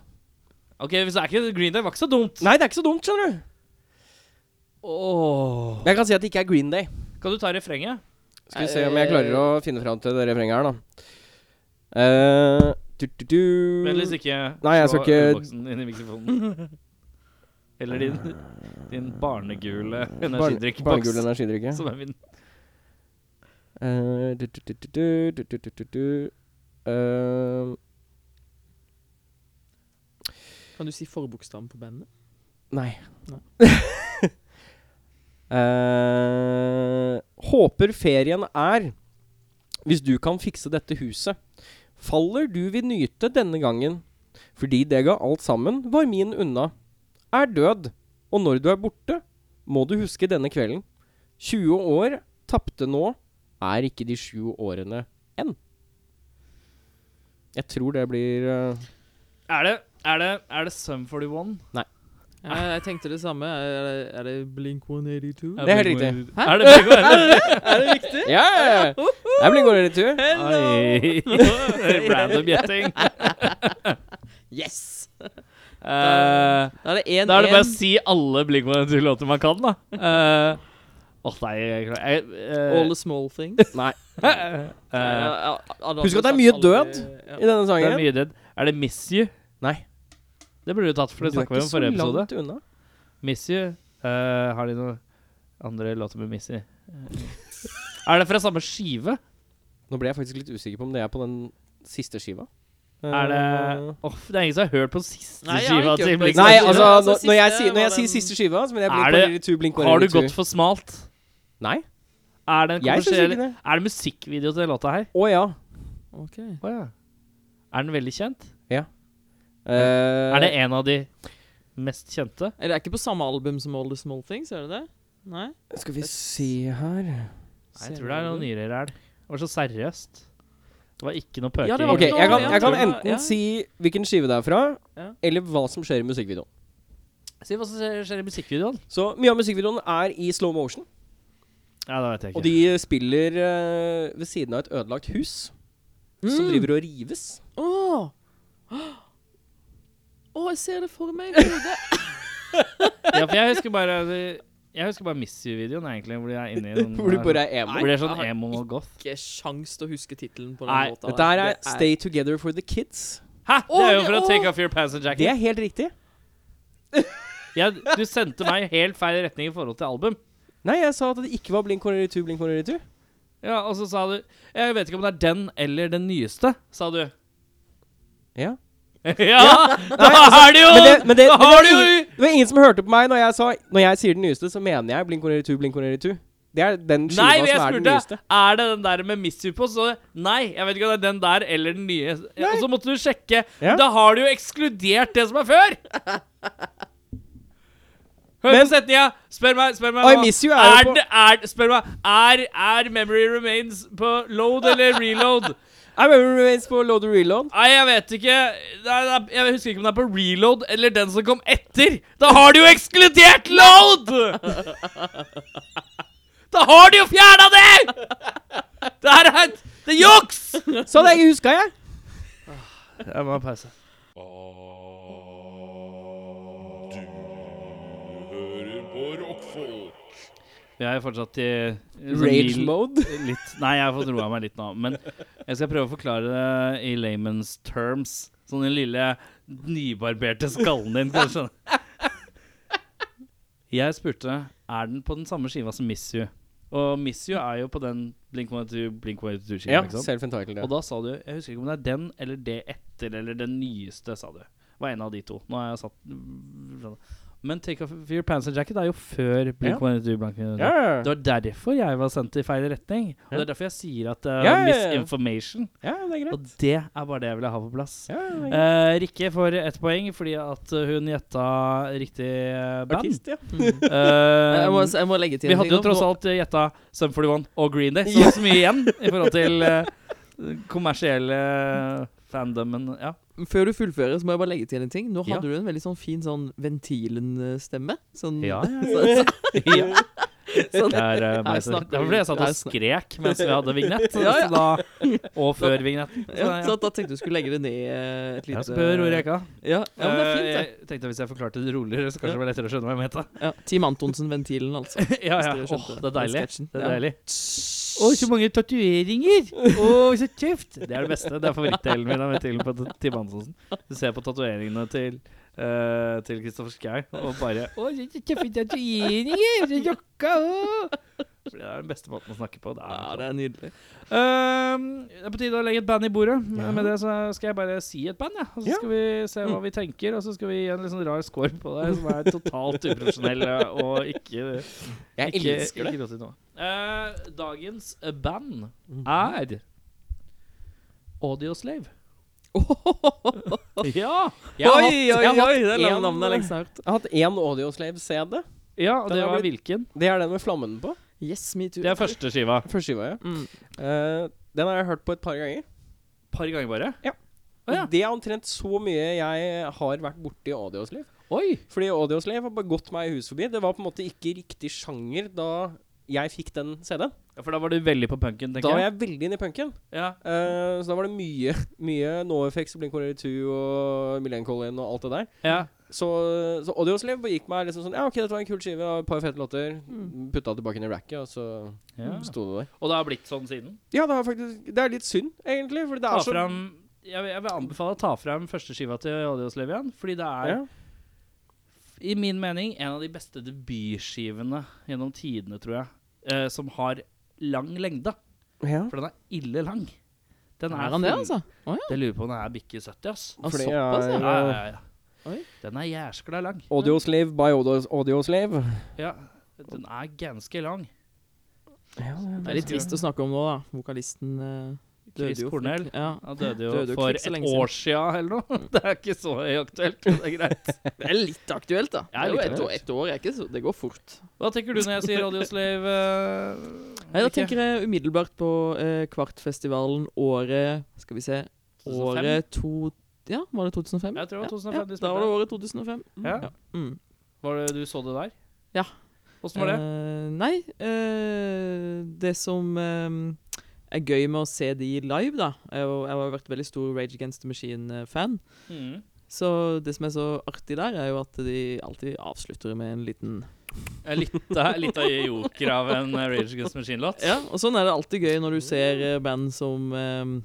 Speaker 2: Ok, hvis det er ikke Green Day, var ikke så dumt.
Speaker 1: Nei, det er ikke så dumt, skjønner du.
Speaker 2: Åh.
Speaker 1: Jeg kan si at det ikke er Green Day.
Speaker 2: Kan du ta refrenget?
Speaker 1: Skal vi se om jeg klarer å finne fram til det refrenget her, da. Eh, du, du, du.
Speaker 2: Vennligst ikke
Speaker 1: Nei, jeg skal
Speaker 2: slå
Speaker 1: ikke-
Speaker 2: ølboksen inn i mikrofonen. Eller din, din barnegule
Speaker 1: Barn-
Speaker 2: energidrikkboks.
Speaker 1: Barnegul energidrikk. ja.
Speaker 2: Som er min.
Speaker 1: Eh, du, du, du, du, du, du, du, du, du. Eh,
Speaker 3: Kan du si forbokstaven på bandet?
Speaker 1: Nei.
Speaker 3: Nei.
Speaker 1: Eh, håper ferien er Hvis du kan fikse dette huset. Faller du vil nyte denne gangen. Fordi det ga alt sammen, var min unna. Er død. Og når du er borte, må du huske denne kvelden. 20 år tapte nå er ikke de sju årene enn. Jeg tror det blir eh,
Speaker 2: Er det, er det, er det Sum 41?
Speaker 3: Jeg, jeg tenkte det samme. Er det, er det Blink 182?
Speaker 1: Det er helt riktig.
Speaker 2: Hæ? Er det Big One?
Speaker 3: er det riktig?
Speaker 1: Ja! Yeah! Det blir en god retur.
Speaker 2: Oi. Random gjetting.
Speaker 3: Yes!
Speaker 2: Eh,
Speaker 3: Da er det 1-1.
Speaker 2: da er det bare å si alle Big One-låter man kan, da. Eh, Åh, nei jeg, jeg, eh,
Speaker 3: All the small things.
Speaker 1: Nei.
Speaker 2: eh, eh,
Speaker 1: Husk
Speaker 3: Husk
Speaker 1: at det er mye død i denne
Speaker 2: Det er
Speaker 1: sangen.
Speaker 2: mye død. Er det Miss You?
Speaker 1: Nei.
Speaker 2: Det burde du tatt, for det snakket vi om i forrige episode.
Speaker 1: Du er ikke så langt unna.
Speaker 2: Miss You. eh, har de noen andre låter med Miss You? Eh, er det fra samme skive?
Speaker 1: Nå ble jeg faktisk litt usikker på om det er på den siste skiva.
Speaker 2: Er det
Speaker 1: Eh,
Speaker 2: Åh, Det er ingen som har hørt på den siste
Speaker 3: Nei, jeg har
Speaker 2: skiva
Speaker 3: ikke
Speaker 2: til
Speaker 3: hørt på
Speaker 2: Blink.
Speaker 3: den
Speaker 1: Nei,
Speaker 3: siste
Speaker 1: altså,
Speaker 3: skiva.
Speaker 1: når,
Speaker 3: Altså,
Speaker 1: når jeg
Speaker 3: siste
Speaker 1: sier, når jeg
Speaker 3: var
Speaker 1: sier
Speaker 3: den-
Speaker 1: siste skiva, så mener jeg
Speaker 2: Er
Speaker 1: blink
Speaker 2: det-
Speaker 1: one eighty two, blink one
Speaker 2: Har du
Speaker 1: eighty two.
Speaker 2: gått for smalt?
Speaker 1: Nei,
Speaker 2: Er det en
Speaker 1: jeg syns
Speaker 2: kommersiell
Speaker 1: ikke det.
Speaker 2: Er det musikkvideo til den låta her?
Speaker 1: Å ja.
Speaker 3: Ok.
Speaker 2: Å ja. Er den veldig kjent?
Speaker 1: Eh,
Speaker 2: Er det en av de mest kjente?
Speaker 3: Eh, Det er ikke på samme album som All the Small Things, er det det? Nei?
Speaker 1: Skal vi se her
Speaker 2: Nei, jeg tror det er noe nyere ræl. Det var så seriøst. Det var ikke noe pøking.
Speaker 3: Ja, det var
Speaker 1: Ok, jeg kan, jeg kan
Speaker 3: Ja,
Speaker 1: enten
Speaker 3: ja.
Speaker 1: si hvilken skive det er fra,
Speaker 3: Ja.
Speaker 1: eller hva som skjer i musikkvideoen.
Speaker 2: Si hva som skjer i musikkvideoen.
Speaker 1: Så mye av musikkvideoen er i slow motion,
Speaker 2: Ja, det vet jeg ikke.
Speaker 1: og de spiller eh, ved siden av et ødelagt hus som
Speaker 3: Mm.
Speaker 1: driver og rives.
Speaker 3: Å! Å, Mm. jeg ser det for meg i hodet.
Speaker 2: ja, for jeg husker bare Jeg husker bare Miss You-videoen, egentlig, hvor de er inne i sånn
Speaker 1: Hvor det bare er emo.
Speaker 2: Hvor det er sånn
Speaker 3: Nei,
Speaker 2: emo og goth.
Speaker 3: Ikke sjans til å huske tittelen på den
Speaker 2: Nei,
Speaker 3: låta.
Speaker 1: Dette her er
Speaker 3: Det
Speaker 1: Stay Together for the Kids.
Speaker 2: Hæ! Det er jo
Speaker 3: Å,
Speaker 2: for å
Speaker 3: å.
Speaker 2: take off your pants and
Speaker 1: Det
Speaker 2: jacket.
Speaker 1: er helt riktig.
Speaker 2: Ja, du sendte meg helt feil retning i forhold til album.
Speaker 1: Nei, jeg sa at det ikke var Blink 182, Blink 182.
Speaker 2: Ja, Og så sa du Jeg vet ikke om det er den eller den nyeste, sa du.
Speaker 1: Ja.
Speaker 2: ja! Da er det jo
Speaker 1: altså, Men det, men det, men
Speaker 2: Da
Speaker 1: det,
Speaker 2: har
Speaker 1: var
Speaker 2: du jo
Speaker 1: ingen, det var ingen som hørte på meg når jeg sa Når jeg sier den nyeste, så mener jeg Blink 182, Blink 182. Det er den skiva
Speaker 2: Nei, men jeg
Speaker 1: som er den nyeste.
Speaker 2: spurte Er det den der med Miss You på? Så nei, jeg vet ikke om det er den der eller den nye.
Speaker 1: Nei.
Speaker 2: Og så måtte du sjekke.
Speaker 1: Ja.
Speaker 2: Da har du jo ekskludert det som er før! Hør på
Speaker 1: Men-
Speaker 2: setninga! Spør meg, spør meg
Speaker 1: I
Speaker 2: nå.
Speaker 1: Miss You er
Speaker 2: er
Speaker 1: jo på-
Speaker 2: det, er, Spør meg er, er Memory Remains på load eller reload?
Speaker 1: I remember Remains på Load and Reload.
Speaker 2: Nei, jeg vet ikke. Nei, nei, jeg husker ikke om det er på reload eller den som kom etter. Da har du jo ekskludert load! Da har du jo fjerna det! Det her er et Det er juks!
Speaker 1: Så Sånn, det huska jeg.
Speaker 2: Jeg må ha pause. Jeg er fortsatt i i sånn
Speaker 1: Rage
Speaker 2: mild-
Speaker 1: mode.
Speaker 2: Litt. Nei, jeg har fått roa meg litt nå. Men jeg skal prøve å forklare det i layman's terms. Sånn den lille nybarberte skallen din, kan du skjønne. Jeg spurte er den på den samme skiva som Miss You. Og Miss You er jo på den Blink-182, Blink-182-skiva.
Speaker 1: Ja,
Speaker 2: ikke sant?
Speaker 1: self-entitled. Ja.
Speaker 2: Og da sa du Jeg husker ikke om det er den eller det etter eller den nyeste, sa du. Det var en av de to. Nå har jeg satt Men Take Off Your Pants and Jacket er jo før Blink 182 Blank.
Speaker 1: Ja, ja,
Speaker 2: Det var derfor jeg var sendt i feil retning. Og det er derfor jeg sier at det er
Speaker 1: Ja, ja, ja.
Speaker 2: misinformation.
Speaker 1: ja, det er greit.
Speaker 2: Og det er bare det jeg ville ha på plass.
Speaker 1: Ja, det er greit.
Speaker 2: Eh, Rikke får ett poeng fordi at hun gjetta riktig eh, band.
Speaker 1: Artist, ja.
Speaker 3: Mm.
Speaker 2: Eh,
Speaker 3: Jeg, må, jeg må legge til
Speaker 2: vi
Speaker 3: en
Speaker 2: hadde
Speaker 3: ting
Speaker 2: jo
Speaker 3: nå.
Speaker 2: tross
Speaker 3: Nå-
Speaker 2: alt eh, gjetta Sum 41 og Green Day, så det var så mye igjen i forhold til eh, kommersielle fandomen. Ja.
Speaker 3: Før du fullfører, så må jeg bare legge til en ting. Nå
Speaker 2: Ja.
Speaker 3: hadde du en veldig sånn fin sånn Ventilen-stemme. Sånn,
Speaker 2: ja.
Speaker 3: sånn,
Speaker 2: Der, eh,
Speaker 3: Her
Speaker 2: meg selv.
Speaker 3: snakker
Speaker 2: Derfor
Speaker 3: vi.
Speaker 2: ble jeg satt
Speaker 3: Her
Speaker 2: og skrek mens vi hadde vignett,
Speaker 3: Ja, ja.
Speaker 2: så da, og før vignetten. Så,
Speaker 3: ja,
Speaker 2: ja.
Speaker 3: så da tenkte du skulle legge det ned eh, et lite
Speaker 2: Jeg spør hvor jeg kan.
Speaker 3: Ja, ja, men det er fint,
Speaker 2: Eh, jeg tenkte Hvis jeg forklarte det roligere, så kanskje det var lettere å skjønne hva jeg mente.
Speaker 3: det. Ja, Team Antonsen-ventilen, altså.
Speaker 2: Ja, ja.
Speaker 3: Hvis dere
Speaker 2: Åh,
Speaker 3: skjønte
Speaker 2: det er deilig.
Speaker 3: den sketsjen.
Speaker 2: Det er
Speaker 3: Ja.
Speaker 2: deilig. Å, så mange tatoveringer! Å, så tøft! Det er det beste. Det er favorittdelen min av ventilen på t- Tim Hansensen. Du ser på tatoveringene til eh, Til Kristoffer Schau og bare Å, så tøffe tatoveringer! Så jokka! å!» Fordi det er den beste måten å snakke på. Det er
Speaker 3: Ja, det er nydelig.
Speaker 2: Ehm, det er på tide å legge et band i bordet.
Speaker 1: Ja.
Speaker 2: Med det så skal jeg bare si et band, ja. og så
Speaker 1: Ja. Mm.
Speaker 2: skal vi se hva vi tenker. Og så skal vi gi en litt sånn rar score på det, som er totalt uprofesjonell eh, og ikke
Speaker 1: Jeg
Speaker 2: ikke,
Speaker 1: elsker det.
Speaker 2: ikke råd til noe. Eh, dagens band
Speaker 1: Mhm.
Speaker 2: er Audioslave. ja!
Speaker 1: Jeg har hatt-
Speaker 3: oi,
Speaker 1: jeg har
Speaker 3: oi,
Speaker 1: hatt
Speaker 3: det er
Speaker 1: en-
Speaker 3: langt navnet jeg lengst har hørt.
Speaker 1: Jeg har hatt én Audioslave-CD.
Speaker 2: ja, og
Speaker 1: Den
Speaker 2: det
Speaker 1: har
Speaker 2: var
Speaker 1: blitt-
Speaker 2: hvilken?
Speaker 1: Det er den med flammen på.
Speaker 3: Yes, me too.
Speaker 2: Det er første skiva.
Speaker 1: Første skiva, ja.
Speaker 3: Mm.
Speaker 1: Eh, den har jeg hørt på et par ganger.
Speaker 2: Par ganger bare.
Speaker 1: Og
Speaker 2: Å, ja.
Speaker 1: Det er omtrent så mye jeg har vært borti Audioslave.
Speaker 2: Oi!
Speaker 1: Fordi Audioslave har bare gått meg hus forbi. Det var på en måte ikke riktig sjanger da jeg fikk den CD-en.
Speaker 2: Ja, For da var du veldig på punken,
Speaker 1: Da
Speaker 2: tenker
Speaker 1: var
Speaker 2: jeg.
Speaker 1: jeg veldig inne i punken.
Speaker 2: Ja.
Speaker 1: Eh, så da var det mye, mye NoFX, Blink-182 og Millennium Colin og alt det der.
Speaker 2: ja.
Speaker 1: Så, så Audioslave bare gikk meg liksom sånn Ja, OK, dette var en kul skive og et par fete låter.
Speaker 3: Mm.
Speaker 1: Putta tilbake inn i racket, og så
Speaker 2: ja.
Speaker 1: sto det der.
Speaker 2: Og det har blitt sånn siden.
Speaker 1: Ja, det er faktisk Det er litt synd, egentlig. Fordi det er
Speaker 2: Ta
Speaker 3: Altså,
Speaker 1: så
Speaker 2: fram, jeg, vil- jeg vil anbefale å ta fram første skiva til Audioslave igjen, fordi det er
Speaker 1: ja.
Speaker 2: i min mening en av de beste debutskivene gjennom tidene, tror jeg, eh, som har lang lengde.
Speaker 1: ja.
Speaker 2: For den er ille lang. Den
Speaker 3: Er han det,
Speaker 2: full-
Speaker 3: altså?
Speaker 2: Jeg lurer på om den er bikke 70, ass.
Speaker 3: Ah,
Speaker 1: Fordi
Speaker 3: såpass,
Speaker 1: jeg- eh,
Speaker 2: Ja,
Speaker 3: ja.
Speaker 2: ja, ja.
Speaker 3: Oi.
Speaker 2: Den er jæskla lang.
Speaker 1: Audioslave by Audio- Audioslave.
Speaker 2: Ja, den er ganske lang.
Speaker 1: Ja,
Speaker 3: Det er litt trist å snakke om nå, da. Vokalisten eh, Døde
Speaker 2: Chris
Speaker 3: jo for-
Speaker 2: Cornell.
Speaker 3: Ja.
Speaker 2: Han døde jo
Speaker 3: Døde jo ikke
Speaker 2: for
Speaker 3: så
Speaker 2: et
Speaker 3: lenge siden. Mm.
Speaker 2: år sia eller noe. Det er ikke så aktuelt, men det er greit.
Speaker 3: Det er litt aktuelt, da.
Speaker 2: Ja,
Speaker 3: det er jo
Speaker 2: litt
Speaker 3: ett år,
Speaker 2: aktuelt.
Speaker 3: ett år er ikke så, det går fort.
Speaker 2: Hva tenker du når jeg sier Radioslave? eh,
Speaker 3: Nei, Da
Speaker 2: Rikke?
Speaker 3: tenker jeg umiddelbart på eh, Kvartfestivalen året Skal vi se
Speaker 2: 2005?
Speaker 3: Året to Ja, var det 2005?
Speaker 2: Jeg tror det var 2005
Speaker 3: Ja,
Speaker 2: de
Speaker 3: ja,
Speaker 2: spilte.
Speaker 3: da var det året 2005. Mm,
Speaker 2: Ja.
Speaker 3: Mm.
Speaker 2: Var det du så det der?
Speaker 3: Ja.
Speaker 2: Åssen var det?
Speaker 3: Eh, nei, eh, det som eh, er gøy med å se de live, da Jeg, var- jeg har vært veldig stor Rage Against the Machine-fan.
Speaker 2: Mm.
Speaker 3: Så det som er så artig der, er jo at de alltid avslutter med en liten
Speaker 2: Eh, Litt, av- litt av joker av en eh, Rage Against the Machine-låt.
Speaker 3: Ja, og sånn er det alltid gøy når du ser eh, band som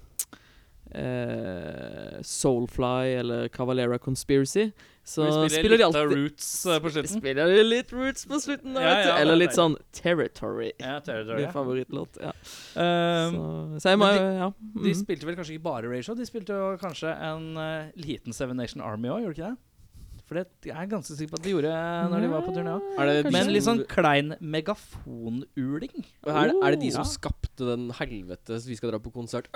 Speaker 3: eh, eh, Soulfly eller Cavalera Conspiracy. Så
Speaker 2: Vi
Speaker 3: spiller,
Speaker 2: spiller,
Speaker 3: de
Speaker 2: litt av
Speaker 3: alltid
Speaker 2: Roots eh, på slutten.
Speaker 3: Spiller de litt Roots på slutten, da,
Speaker 2: Ja,
Speaker 3: vet
Speaker 2: ja,
Speaker 3: du. Eller
Speaker 2: det er
Speaker 3: litt sånn Territory.
Speaker 2: Ja, Territory,
Speaker 3: Min
Speaker 2: ja.
Speaker 3: favorittlåt. Ja.
Speaker 2: Ehm,
Speaker 3: så, så jeg må
Speaker 2: men
Speaker 3: Ja.
Speaker 2: De
Speaker 3: Mm.
Speaker 2: spilte vel kanskje ikke bare Ratio, de spilte jo kanskje en eh, liten Seven Nation Army òg, gjorde de ikke det? For det jeg er jeg ganske sikker på at de gjorde eh, når de var på turné òg.
Speaker 1: Er det
Speaker 3: Mm. Kanskje.
Speaker 1: de
Speaker 2: Men
Speaker 1: som-
Speaker 2: litt sånn klein megafonuling.
Speaker 1: Og her, er det de som skapte den helvetes vi skal dra på konsert?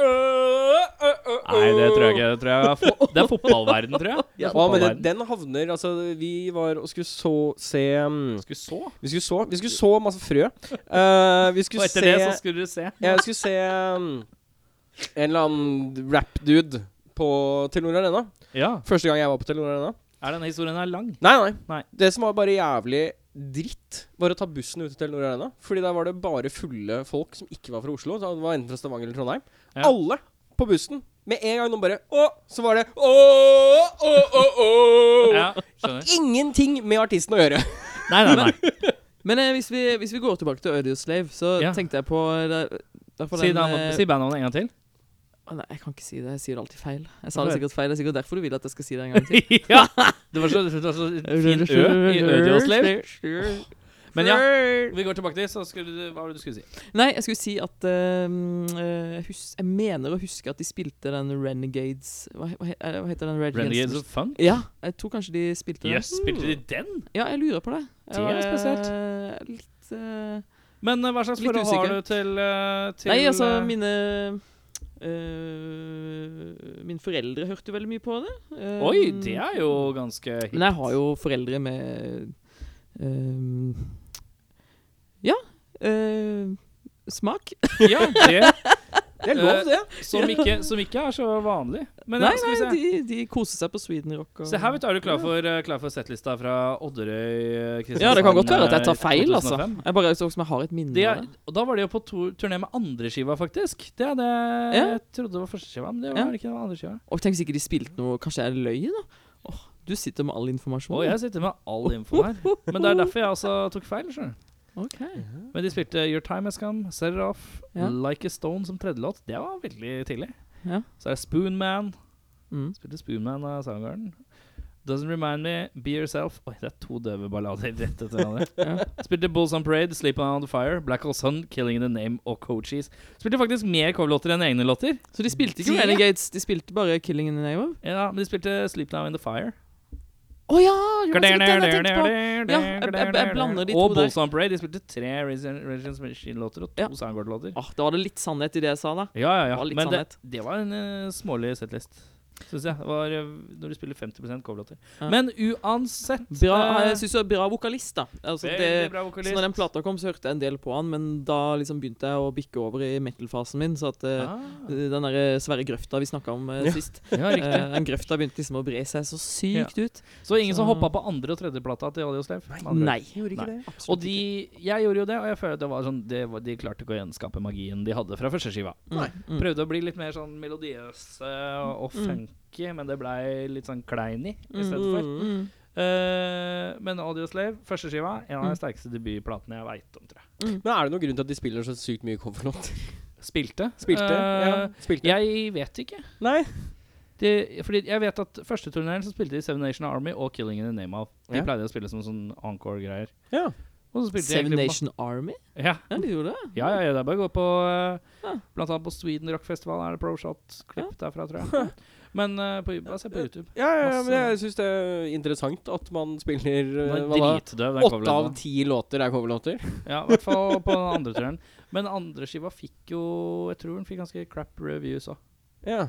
Speaker 1: Nei,
Speaker 2: ikke. Det, er fotballverden, tror jeg.
Speaker 3: Ja,
Speaker 1: Hva med det? Den havner Altså, vi var og skulle så se um,
Speaker 2: Skulle så.
Speaker 1: Vi skulle så, vi skulle så masse frø. Eh, vi
Speaker 2: Og
Speaker 1: skulle se
Speaker 2: etter det så skulle du se.
Speaker 1: Jeg skulle se um, en eller annen rap-dude på Telenor Arena.
Speaker 2: Ja.
Speaker 1: Første gang jeg var på Telenor Arena.
Speaker 2: Er denne historien her lang?
Speaker 1: Nei, nei,
Speaker 2: Nei.
Speaker 1: Det som var bare jævlig dritt, var å ta bussen ut til Telenor Arena. Fordi der var det bare fulle folk som ikke var fra Oslo. Så det var Enten fra Stavanger eller Trondheim.
Speaker 2: Ja.
Speaker 1: Alle på bussen. Med en gang noen bare Å! Så var det Å, å, å, å.
Speaker 2: Ja, skjønner.
Speaker 1: Ingenting med artisten å gjøre.
Speaker 2: Nei, nei, nei.
Speaker 3: Men eh, hvis, vi, hvis vi går tilbake til Audio Slave, så
Speaker 2: Ja.
Speaker 3: tenkte jeg på eh, derfor
Speaker 2: Si,
Speaker 3: den, eh,
Speaker 2: navnet- si bandnavnet en gang til.
Speaker 3: Å, Nei, jeg kan ikke si det. Jeg sier det alltid feil. Jeg sa det
Speaker 2: Hvorfor?
Speaker 3: sikkert feil. Det er sikkert derfor du vil at jeg skal si det en gang til.
Speaker 2: ja! Det var så, det var så fin Ø i Ødioslave. Men ja, vi går tilbake til så skulle du, Hva var det du skulle si?
Speaker 3: Nei, jeg skulle si at eh, mm, eh, jeg hus Jeg mener å huske at de spilte den Renegades Hva, he- hva, he- eh, hva heter den? Red
Speaker 2: Renegades
Speaker 3: Against
Speaker 2: of Fun?
Speaker 3: the Machine? Ja, jeg tror kanskje de spilte den.
Speaker 2: Jøss, spilte de den?
Speaker 3: Ja, jeg lurer på det. Jeg
Speaker 2: Det er
Speaker 3: var, eh,
Speaker 2: spesielt.
Speaker 3: Litt eh,
Speaker 2: Men eh, hva slags
Speaker 3: Litt
Speaker 2: forhold har du
Speaker 3: usikker.
Speaker 2: til, eh, til
Speaker 3: Nei, altså,
Speaker 2: eh,
Speaker 3: mine eh, Mine foreldre hørte jo veldig mye på det. Eh,
Speaker 2: Oi, det er jo ganske hit.
Speaker 3: Men jeg har jo foreldre med ehm, Ja eh, smak.
Speaker 2: Ja, det Eh,
Speaker 1: Det er lov, det.
Speaker 2: som ikke, som ikke er så vanlig. Men
Speaker 3: Eh, Nei,
Speaker 2: ja, skal
Speaker 3: nei,
Speaker 2: vi se.
Speaker 3: de, de koser seg på Sweden Rock. Og
Speaker 2: Se her, vet du, er du klar for, eh, klar for settlista fra Odderøy? eh,
Speaker 3: ja, det kan godt være at jeg
Speaker 2: Kristiansand,
Speaker 3: tar feil,
Speaker 2: eh,
Speaker 3: altså.
Speaker 2: 2005?
Speaker 3: Jeg bare så som jeg har et minne
Speaker 2: Det
Speaker 3: av
Speaker 2: er,
Speaker 3: det.
Speaker 2: og da var de jo på tur, turné med andre skiva, faktisk. Det er det
Speaker 3: Ja.
Speaker 2: jeg trodde var første skiva, men det var
Speaker 3: Ja.
Speaker 2: ikke den andre skiva.
Speaker 3: Og tenk hvis ikke de spilte noe Kanskje jeg løy, da? Åh, du sitter med all informasjon.
Speaker 2: Og jeg sitter med all info her. Men det er derfor jeg altså tok feil. skjønner du.
Speaker 3: Ok.
Speaker 2: Men de spilte Your Time Has Come, Seraph,
Speaker 3: Ja.
Speaker 2: Like a Stone som tredje låt. Det var veldig tidlig.
Speaker 3: Ja.
Speaker 2: Så er det Spoon Man.
Speaker 3: Mm.
Speaker 2: Spilte Spoon Man av Soundgarden. Doesn't Remind Me, Be Yourself Oi, det er to døve ballader rett etter hverandre.
Speaker 3: Ja.
Speaker 2: Spilte Bulls on Parade, Sleep On the Fire, Black Hole Sun, Killing in the Name og Coaches. Spilte faktisk mer coverlåter enn egne låter.
Speaker 3: Så de spilte ikke
Speaker 2: Det-
Speaker 3: Renegades, de spilte bare Killing in the Name of?
Speaker 2: Ja, men de spilte Sleep Now in the Fire.
Speaker 3: Å ja! Det var sikkert den jeg tenkte på. Ja, jeg- jeg- jeg blander de
Speaker 2: og
Speaker 3: to der.
Speaker 2: Bulls on Parade. De spilte tre Regents Machine-låter og to
Speaker 3: Ja.
Speaker 2: Soundgarden-låter.
Speaker 3: Åh, Ah, da var det litt sannhet i det jeg sa, da.
Speaker 2: Ja, ja, ja.
Speaker 3: Det var litt
Speaker 2: Men det,
Speaker 3: sannhet.
Speaker 2: det var en eh, smålig settlist, syns jeg. Det var eh, når du spiller 50 coverlåter.
Speaker 3: Ja.
Speaker 2: Men uansett
Speaker 3: Bra,
Speaker 2: eh,
Speaker 3: jeg syns du er bra vokalist, da. Altså,
Speaker 2: veldig
Speaker 3: det,
Speaker 2: bra vokalist.
Speaker 3: Så når den plata kom, så hørte jeg en del på han, men da liksom begynte jeg å bikke over i metal-fasen min. Så at eh,
Speaker 2: ah,
Speaker 3: den der svære grøfta vi snakka om eh,
Speaker 1: Ja.
Speaker 3: sist,
Speaker 2: Ja, riktig.
Speaker 3: eh, den grøfta begynte liksom å bre seg så sykt ut.
Speaker 2: Så ingen som
Speaker 3: så-
Speaker 2: hoppa på andre- og tredjeplata til Audio Slave? med andre ord.
Speaker 3: Eh, Nei.
Speaker 2: ikke
Speaker 3: Nei,
Speaker 2: Og
Speaker 3: absolutt
Speaker 2: de, jeg gjorde jo det, og jeg føler at det var sånn det var, De klarte ikke å gjenskape magien de hadde fra første skiva.
Speaker 3: ikke. Nei. Mm.
Speaker 2: Prøvde å bli litt mer sånn melodiøse og, og
Speaker 3: Mm.
Speaker 2: funky, men det blei litt sånn kleiny i
Speaker 3: Mm.
Speaker 2: stedet for.
Speaker 3: Mm.
Speaker 2: Eh, men Audio Slave, første skiva, en av
Speaker 3: Mm.
Speaker 2: de sterkeste debutplatene jeg veit om, tror jeg.
Speaker 1: Men er det noen grunn til at de spiller så sykt mye coverlåter?
Speaker 2: Spilte.
Speaker 1: Spilte? ja.
Speaker 2: Eh,
Speaker 1: Spilte?
Speaker 2: Jeg vet ikke.
Speaker 1: Nei.
Speaker 2: De, fordi jeg vet at første turneren så spilte de Seven Nation Army og Killing in the Name of. De
Speaker 1: Ja.
Speaker 2: pleide å spille som sånn encore-greier.
Speaker 1: Ja.
Speaker 2: Og så spilte jeg
Speaker 3: Seven
Speaker 2: egentlig
Speaker 3: Nation Army?
Speaker 2: ma- Ja,
Speaker 3: Ja, de gjorde det.
Speaker 2: ja, ja, ja, det er bare å gå på eh,
Speaker 3: Ja.
Speaker 2: Blant annet på Sweden Rock Festival er det ProShot-klipp derfra, tror jeg. Men eh, på, bare se på YouTube.
Speaker 1: Ja, ja, ja, men
Speaker 2: Masse-
Speaker 1: jeg syns det er interessant at man spiller
Speaker 2: Den
Speaker 1: eh,
Speaker 2: er
Speaker 1: hva da?
Speaker 2: dritdøv, den
Speaker 1: Åtte av
Speaker 2: coverlåten.
Speaker 1: ti låter er coverlåter.
Speaker 2: Ja, i hvert fall på den andre turen. Men den andre skiva fikk jo Jeg tror den fikk ganske crap reviews òg.
Speaker 1: Ja.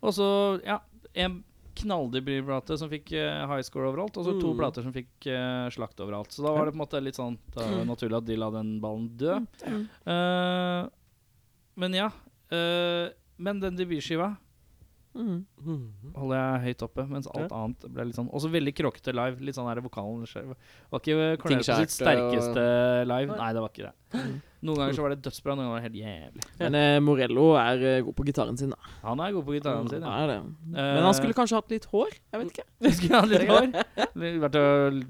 Speaker 2: Og så, ja En knalldyr plate som fikk eh, high score overalt, og så to
Speaker 1: Mm.
Speaker 2: plater som fikk eh, slakt overalt. Så da var det på en måte litt sånn Da var det naturlig at de la den ballen dø.
Speaker 3: Mm.
Speaker 2: Eh, men ja. eh, men den debutskiva
Speaker 3: Mm.
Speaker 1: Hmm.
Speaker 2: holder jeg høyt oppe, mens alt annet ble litt sånn Også veldig kråkete live. Litt sånn der vokalen skjev. Var ikke Cornelius på sitt
Speaker 1: Ting skjært,
Speaker 2: sterkeste live? Nei, det var ikke det. Noen ganger så var det dødsbra, noen ganger var det helt jævlig.
Speaker 3: Men eh, Morello er eh, god på gitaren sin. Da.
Speaker 2: Han er god på gitaren sin. Ja. Eh,
Speaker 3: er det. Men han skulle kanskje hatt litt hår. Jeg vet ikke.
Speaker 2: Skulle hatt litt hår. Litt- Vært og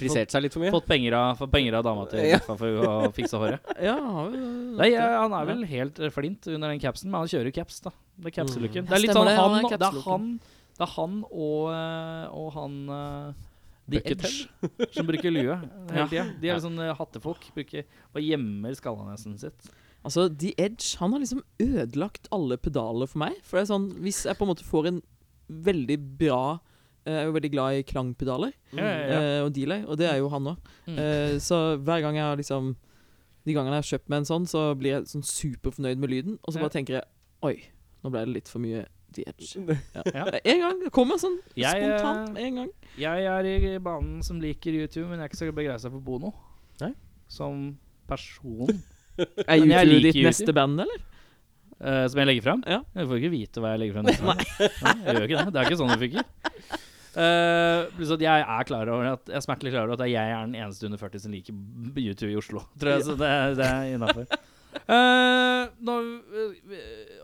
Speaker 1: Frisert seg litt for mye.
Speaker 2: fått penger av, fått penger av dama til
Speaker 1: Ja.
Speaker 2: Leffa for å fikse håret.
Speaker 3: Ja, har vi-
Speaker 2: Nei, eh, Han er vel helt eh, flint under den capsen, men han kjører jo caps, da. Det er caps-looken.
Speaker 3: Mm.
Speaker 2: Det er litt sånn
Speaker 3: Stemmer det,
Speaker 2: han,
Speaker 3: han er
Speaker 2: det er
Speaker 3: caps-looken.
Speaker 2: han, det er han og, eh, og han eh, The Edge,
Speaker 1: Buckethead?
Speaker 2: som bruker lue hele
Speaker 3: Ja.
Speaker 2: tida. De er litt sånn eh, hattefolk. Bruker, og gjemmer skallanesen sitt.
Speaker 3: Altså, The Edge han har liksom ødelagt alle pedaler for meg. For det er sånn, Hvis jeg på en måte får en veldig bra eh, Jeg er jo veldig glad i klangpedaler
Speaker 2: Ja, ja, ja.
Speaker 3: eh, og delay, og det er jo han òg.
Speaker 2: Mm.
Speaker 3: så hver gang jeg har liksom De gangene jeg har kjøpt meg en sånn, så blir jeg sånn superfornøyd med lyden, og så
Speaker 2: Ja.
Speaker 3: bare tenker jeg Oi, nå ble det litt for mye The Edge. Ja.
Speaker 2: Ja.
Speaker 3: Det er En gang. Det kommer sånn
Speaker 2: Jeg, eh,
Speaker 3: spontant med en gang.
Speaker 2: Jeg er i banen som liker YouTube, men jeg er ikke så begeistra for Bono.
Speaker 1: Nei.
Speaker 2: Som person.
Speaker 3: Er
Speaker 2: Men jeg
Speaker 3: YouTube
Speaker 2: liker
Speaker 3: ditt
Speaker 2: YouTube.
Speaker 3: neste band, eller?
Speaker 2: Eh, som jeg legger fram?
Speaker 3: Ja.
Speaker 2: Jeg får ikke vite hva jeg legger fram. neste gang. Nei, Jeg gjør ikke det. Det er ikke sånn det funker. Eh, pluss at jeg er klar over at Jeg er smertelig klar over at jeg er den eneste under 40 som liker b- YouTube i Oslo. Tror jeg, Så det, er- det er innafor. Eh,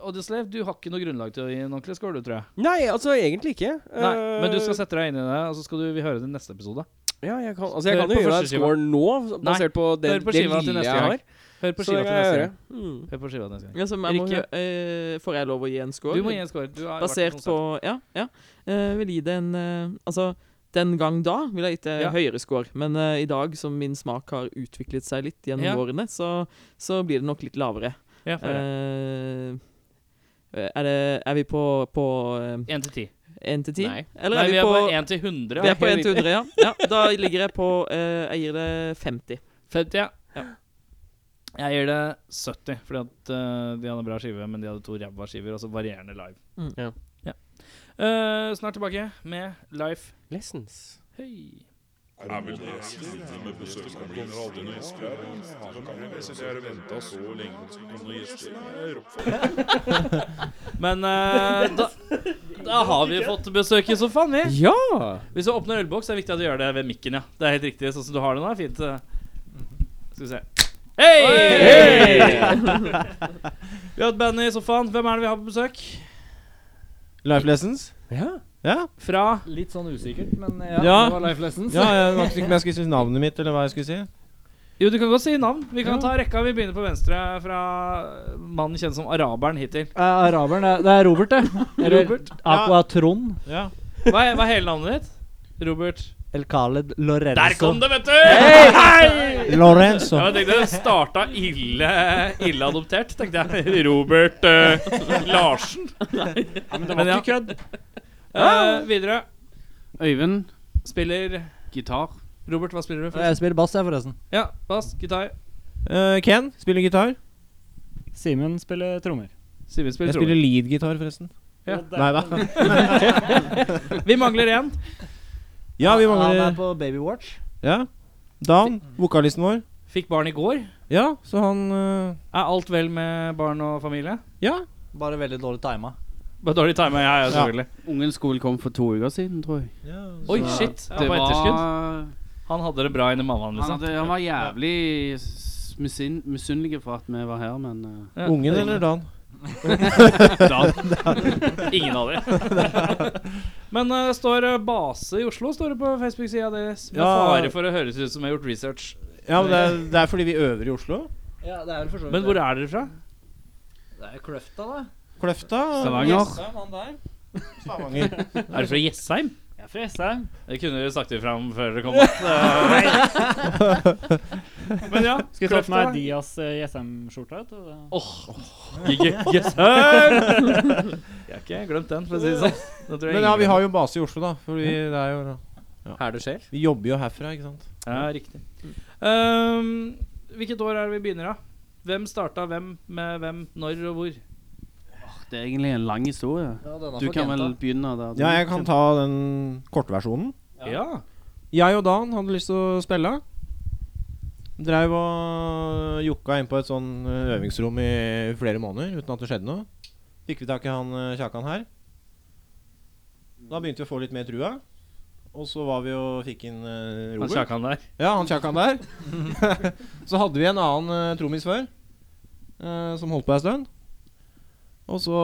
Speaker 2: Oddislave, du har ikke noe grunnlag til å gi en ordentlig score, du, tror jeg.
Speaker 1: Nei, altså egentlig ikke.
Speaker 2: Nei, men du skal
Speaker 1: Eh,
Speaker 2: sette deg inn i det, og så skal du, vi høre det i neste episode.
Speaker 1: Ja, jeg kan, altså, jeg
Speaker 2: Hør
Speaker 1: kan
Speaker 2: på
Speaker 1: jo gi deg
Speaker 2: første
Speaker 1: en
Speaker 2: skiva.
Speaker 1: score nå, basert på det,
Speaker 2: Hør på
Speaker 1: det
Speaker 2: skiva til
Speaker 1: lille
Speaker 2: neste
Speaker 1: jeg
Speaker 2: gang.
Speaker 1: har.
Speaker 2: Hør på
Speaker 1: Så
Speaker 2: skiva
Speaker 1: det
Speaker 2: til
Speaker 1: kan jeg
Speaker 2: neste
Speaker 1: gjøre.
Speaker 2: gang.
Speaker 3: Mm.
Speaker 2: Hør på skiva til neste gang.
Speaker 3: Ja, så jeg må
Speaker 2: Rikke?
Speaker 3: hø- eh, får jeg lov å gi en score?
Speaker 2: Du må gi en score. Du har vært på
Speaker 3: Basert
Speaker 2: konsert.
Speaker 3: på Ja. ja. Eh, vil gi det en eh, Altså, den gang da ville jeg gitt det
Speaker 2: Ja.
Speaker 3: høyere score, men eh, i dag som min smak har utviklet seg litt gjennom
Speaker 2: Ja.
Speaker 3: årene, så, så blir det nok litt lavere.
Speaker 2: Ja, får jeg.
Speaker 3: Eh, er, det, er vi på, på
Speaker 2: Én til ti.
Speaker 3: 1 til 10?
Speaker 1: Nei.
Speaker 3: Eller
Speaker 2: Nei,
Speaker 3: er vi, på,
Speaker 2: én til 100.
Speaker 3: vi er på
Speaker 2: Helt
Speaker 3: 1 til 100, ja. ja. Da ligger jeg på eh, Jeg gir det 50.
Speaker 2: 50, ja.
Speaker 3: Ja.
Speaker 2: Jeg gir det 70, fordi at eh, de hadde bra skive, men de hadde to ræva skiver, og så varierende live.
Speaker 3: Mm.
Speaker 1: Ja.
Speaker 2: Ja. Eh, snart tilbake med Life.
Speaker 1: Lessons.
Speaker 2: Hei. Men eh, da, da har vi fått besøk i sofaen, vi.
Speaker 1: Ja!
Speaker 2: Hvis du åpner ølboks, er det viktig at du gjør det ved mikken, ja. Det er helt riktig. Sånn som du har det nå, er fint. Skal vi se. Hei! vi har et band i sofaen. Hvem er det vi har på besøk?
Speaker 4: Life lessons?
Speaker 1: ja.
Speaker 4: Ja.
Speaker 2: Fra
Speaker 5: Litt sånn usikkert, men ja,
Speaker 4: Ja.
Speaker 5: det var life lessons.
Speaker 4: ja jeg var ikke sikker på om jeg skulle si navnet mitt, eller hva jeg skulle si.
Speaker 2: Jo, du kan godt si navn. Vi kan ta rekka. Vi begynner på venstre fra mannen kjent som araberen hittil.
Speaker 5: Eh, araberen, det er- det er Robert, det. Eller
Speaker 2: Robert.
Speaker 5: Aquatron.
Speaker 4: Ja.
Speaker 2: Hva er, hva er hele navnet ditt? Robert
Speaker 5: El Khaled Lorenzo.
Speaker 2: Der kom det, vet du! Hei!
Speaker 4: Lorenzo.
Speaker 2: Ja, jeg tenkte Det starta ille, ille adoptert, tenkte jeg. Robert eh, Larsen. men det var ikke kødd. Ah! videre.
Speaker 6: Øyvind,
Speaker 2: Spiller
Speaker 6: gitar.
Speaker 2: Robert, hva spiller du? for?
Speaker 5: Jeg spiller bass, jeg, forresten.
Speaker 2: Ja, bass, gitar.
Speaker 4: Eh, Ken spiller gitar.
Speaker 6: Simen spiller trommer.
Speaker 2: Simen
Speaker 4: Jeg
Speaker 2: spiller
Speaker 4: spiller
Speaker 2: trommer.
Speaker 4: lead-gitar, forresten.
Speaker 2: Ja.
Speaker 4: Nei da.
Speaker 2: Vi mangler én.
Speaker 4: Ja, vi
Speaker 5: Han er
Speaker 4: mangler
Speaker 5: på Babywatch.
Speaker 4: Ja. Dan, vokalisten vår.
Speaker 2: Fikk barn i går.
Speaker 4: Ja, så han eh,
Speaker 2: Er alt vel med barn og familie?
Speaker 4: Ja.
Speaker 5: Bare veldig dårlig tima.
Speaker 2: Bare dårlig timing, jeg, ja, selvfølgelig.
Speaker 6: Ungen skole kom for to uker siden, tror jeg.
Speaker 2: Oi,
Speaker 6: Så
Speaker 2: shit. Det var etterskudd. Han hadde det bra inni mammaen,
Speaker 6: Han,
Speaker 2: liksom.
Speaker 6: hadde, han var jævlig s- misunn- misunnelig for at vi var her, men eh,
Speaker 2: Ja.
Speaker 4: Ungen eller Dan?
Speaker 2: Ingen av dem. Men eh, står eh, Base i Oslo står det på Facebook-sida deres. Med
Speaker 4: Ja.
Speaker 2: fare for å høres ut som jeg har gjort research.
Speaker 4: Ja, men det er, det er fordi vi øver i Oslo.
Speaker 5: Ja, det er vel for så vidt
Speaker 2: Men hvor er dere fra?
Speaker 5: Det er Kløfta, da.
Speaker 4: Kløfta.
Speaker 6: Stavanger.
Speaker 4: Stavanger.
Speaker 2: Er dere fra Jessheim?
Speaker 6: Jeg frester.
Speaker 2: Det kunne dere sagt ifra om før dere kom. Opp. Men ja,
Speaker 7: Skal jeg ta på meg Dias eh, Jessheim-skjorta? vet du? Det-
Speaker 2: Yes, sir! Jeg har ikke glemt den, for å si det sånn. Den tror jeg
Speaker 4: Men ja,
Speaker 2: ingen
Speaker 4: vi
Speaker 2: glemmer.
Speaker 4: har jo base i Oslo, da. For vi, det er jo,
Speaker 1: Her det skjer.
Speaker 4: vi jobber jo herfra, ikke sant.
Speaker 2: Ja, Mm. riktig. Ehm, hvilket år er det vi begynner, da? Hvem starta hvem med hvem, når og hvor?
Speaker 6: Det er egentlig en lang historie.
Speaker 5: Ja, denne
Speaker 6: Du
Speaker 5: får
Speaker 6: kan vel
Speaker 5: jenta.
Speaker 6: begynne der. du-
Speaker 4: Ja, jeg kan ta den kortversjonen.
Speaker 2: Ja.
Speaker 4: Jeg og Dan hadde lyst til å spille. Dreiv og jokka inn på et sånn eh, øvingsrom i flere måneder uten at det skjedde noe. Fikk vi tak i han eh, Kjakan her. Da begynte vi å få litt mer trua. Og så var vi og fikk inn eh,
Speaker 2: Han
Speaker 4: Robert.
Speaker 2: Kjakan der.
Speaker 4: Ja, han Kjakan der. så hadde vi en annen eh, trommis før, eh, som holdt på ei stund. Og så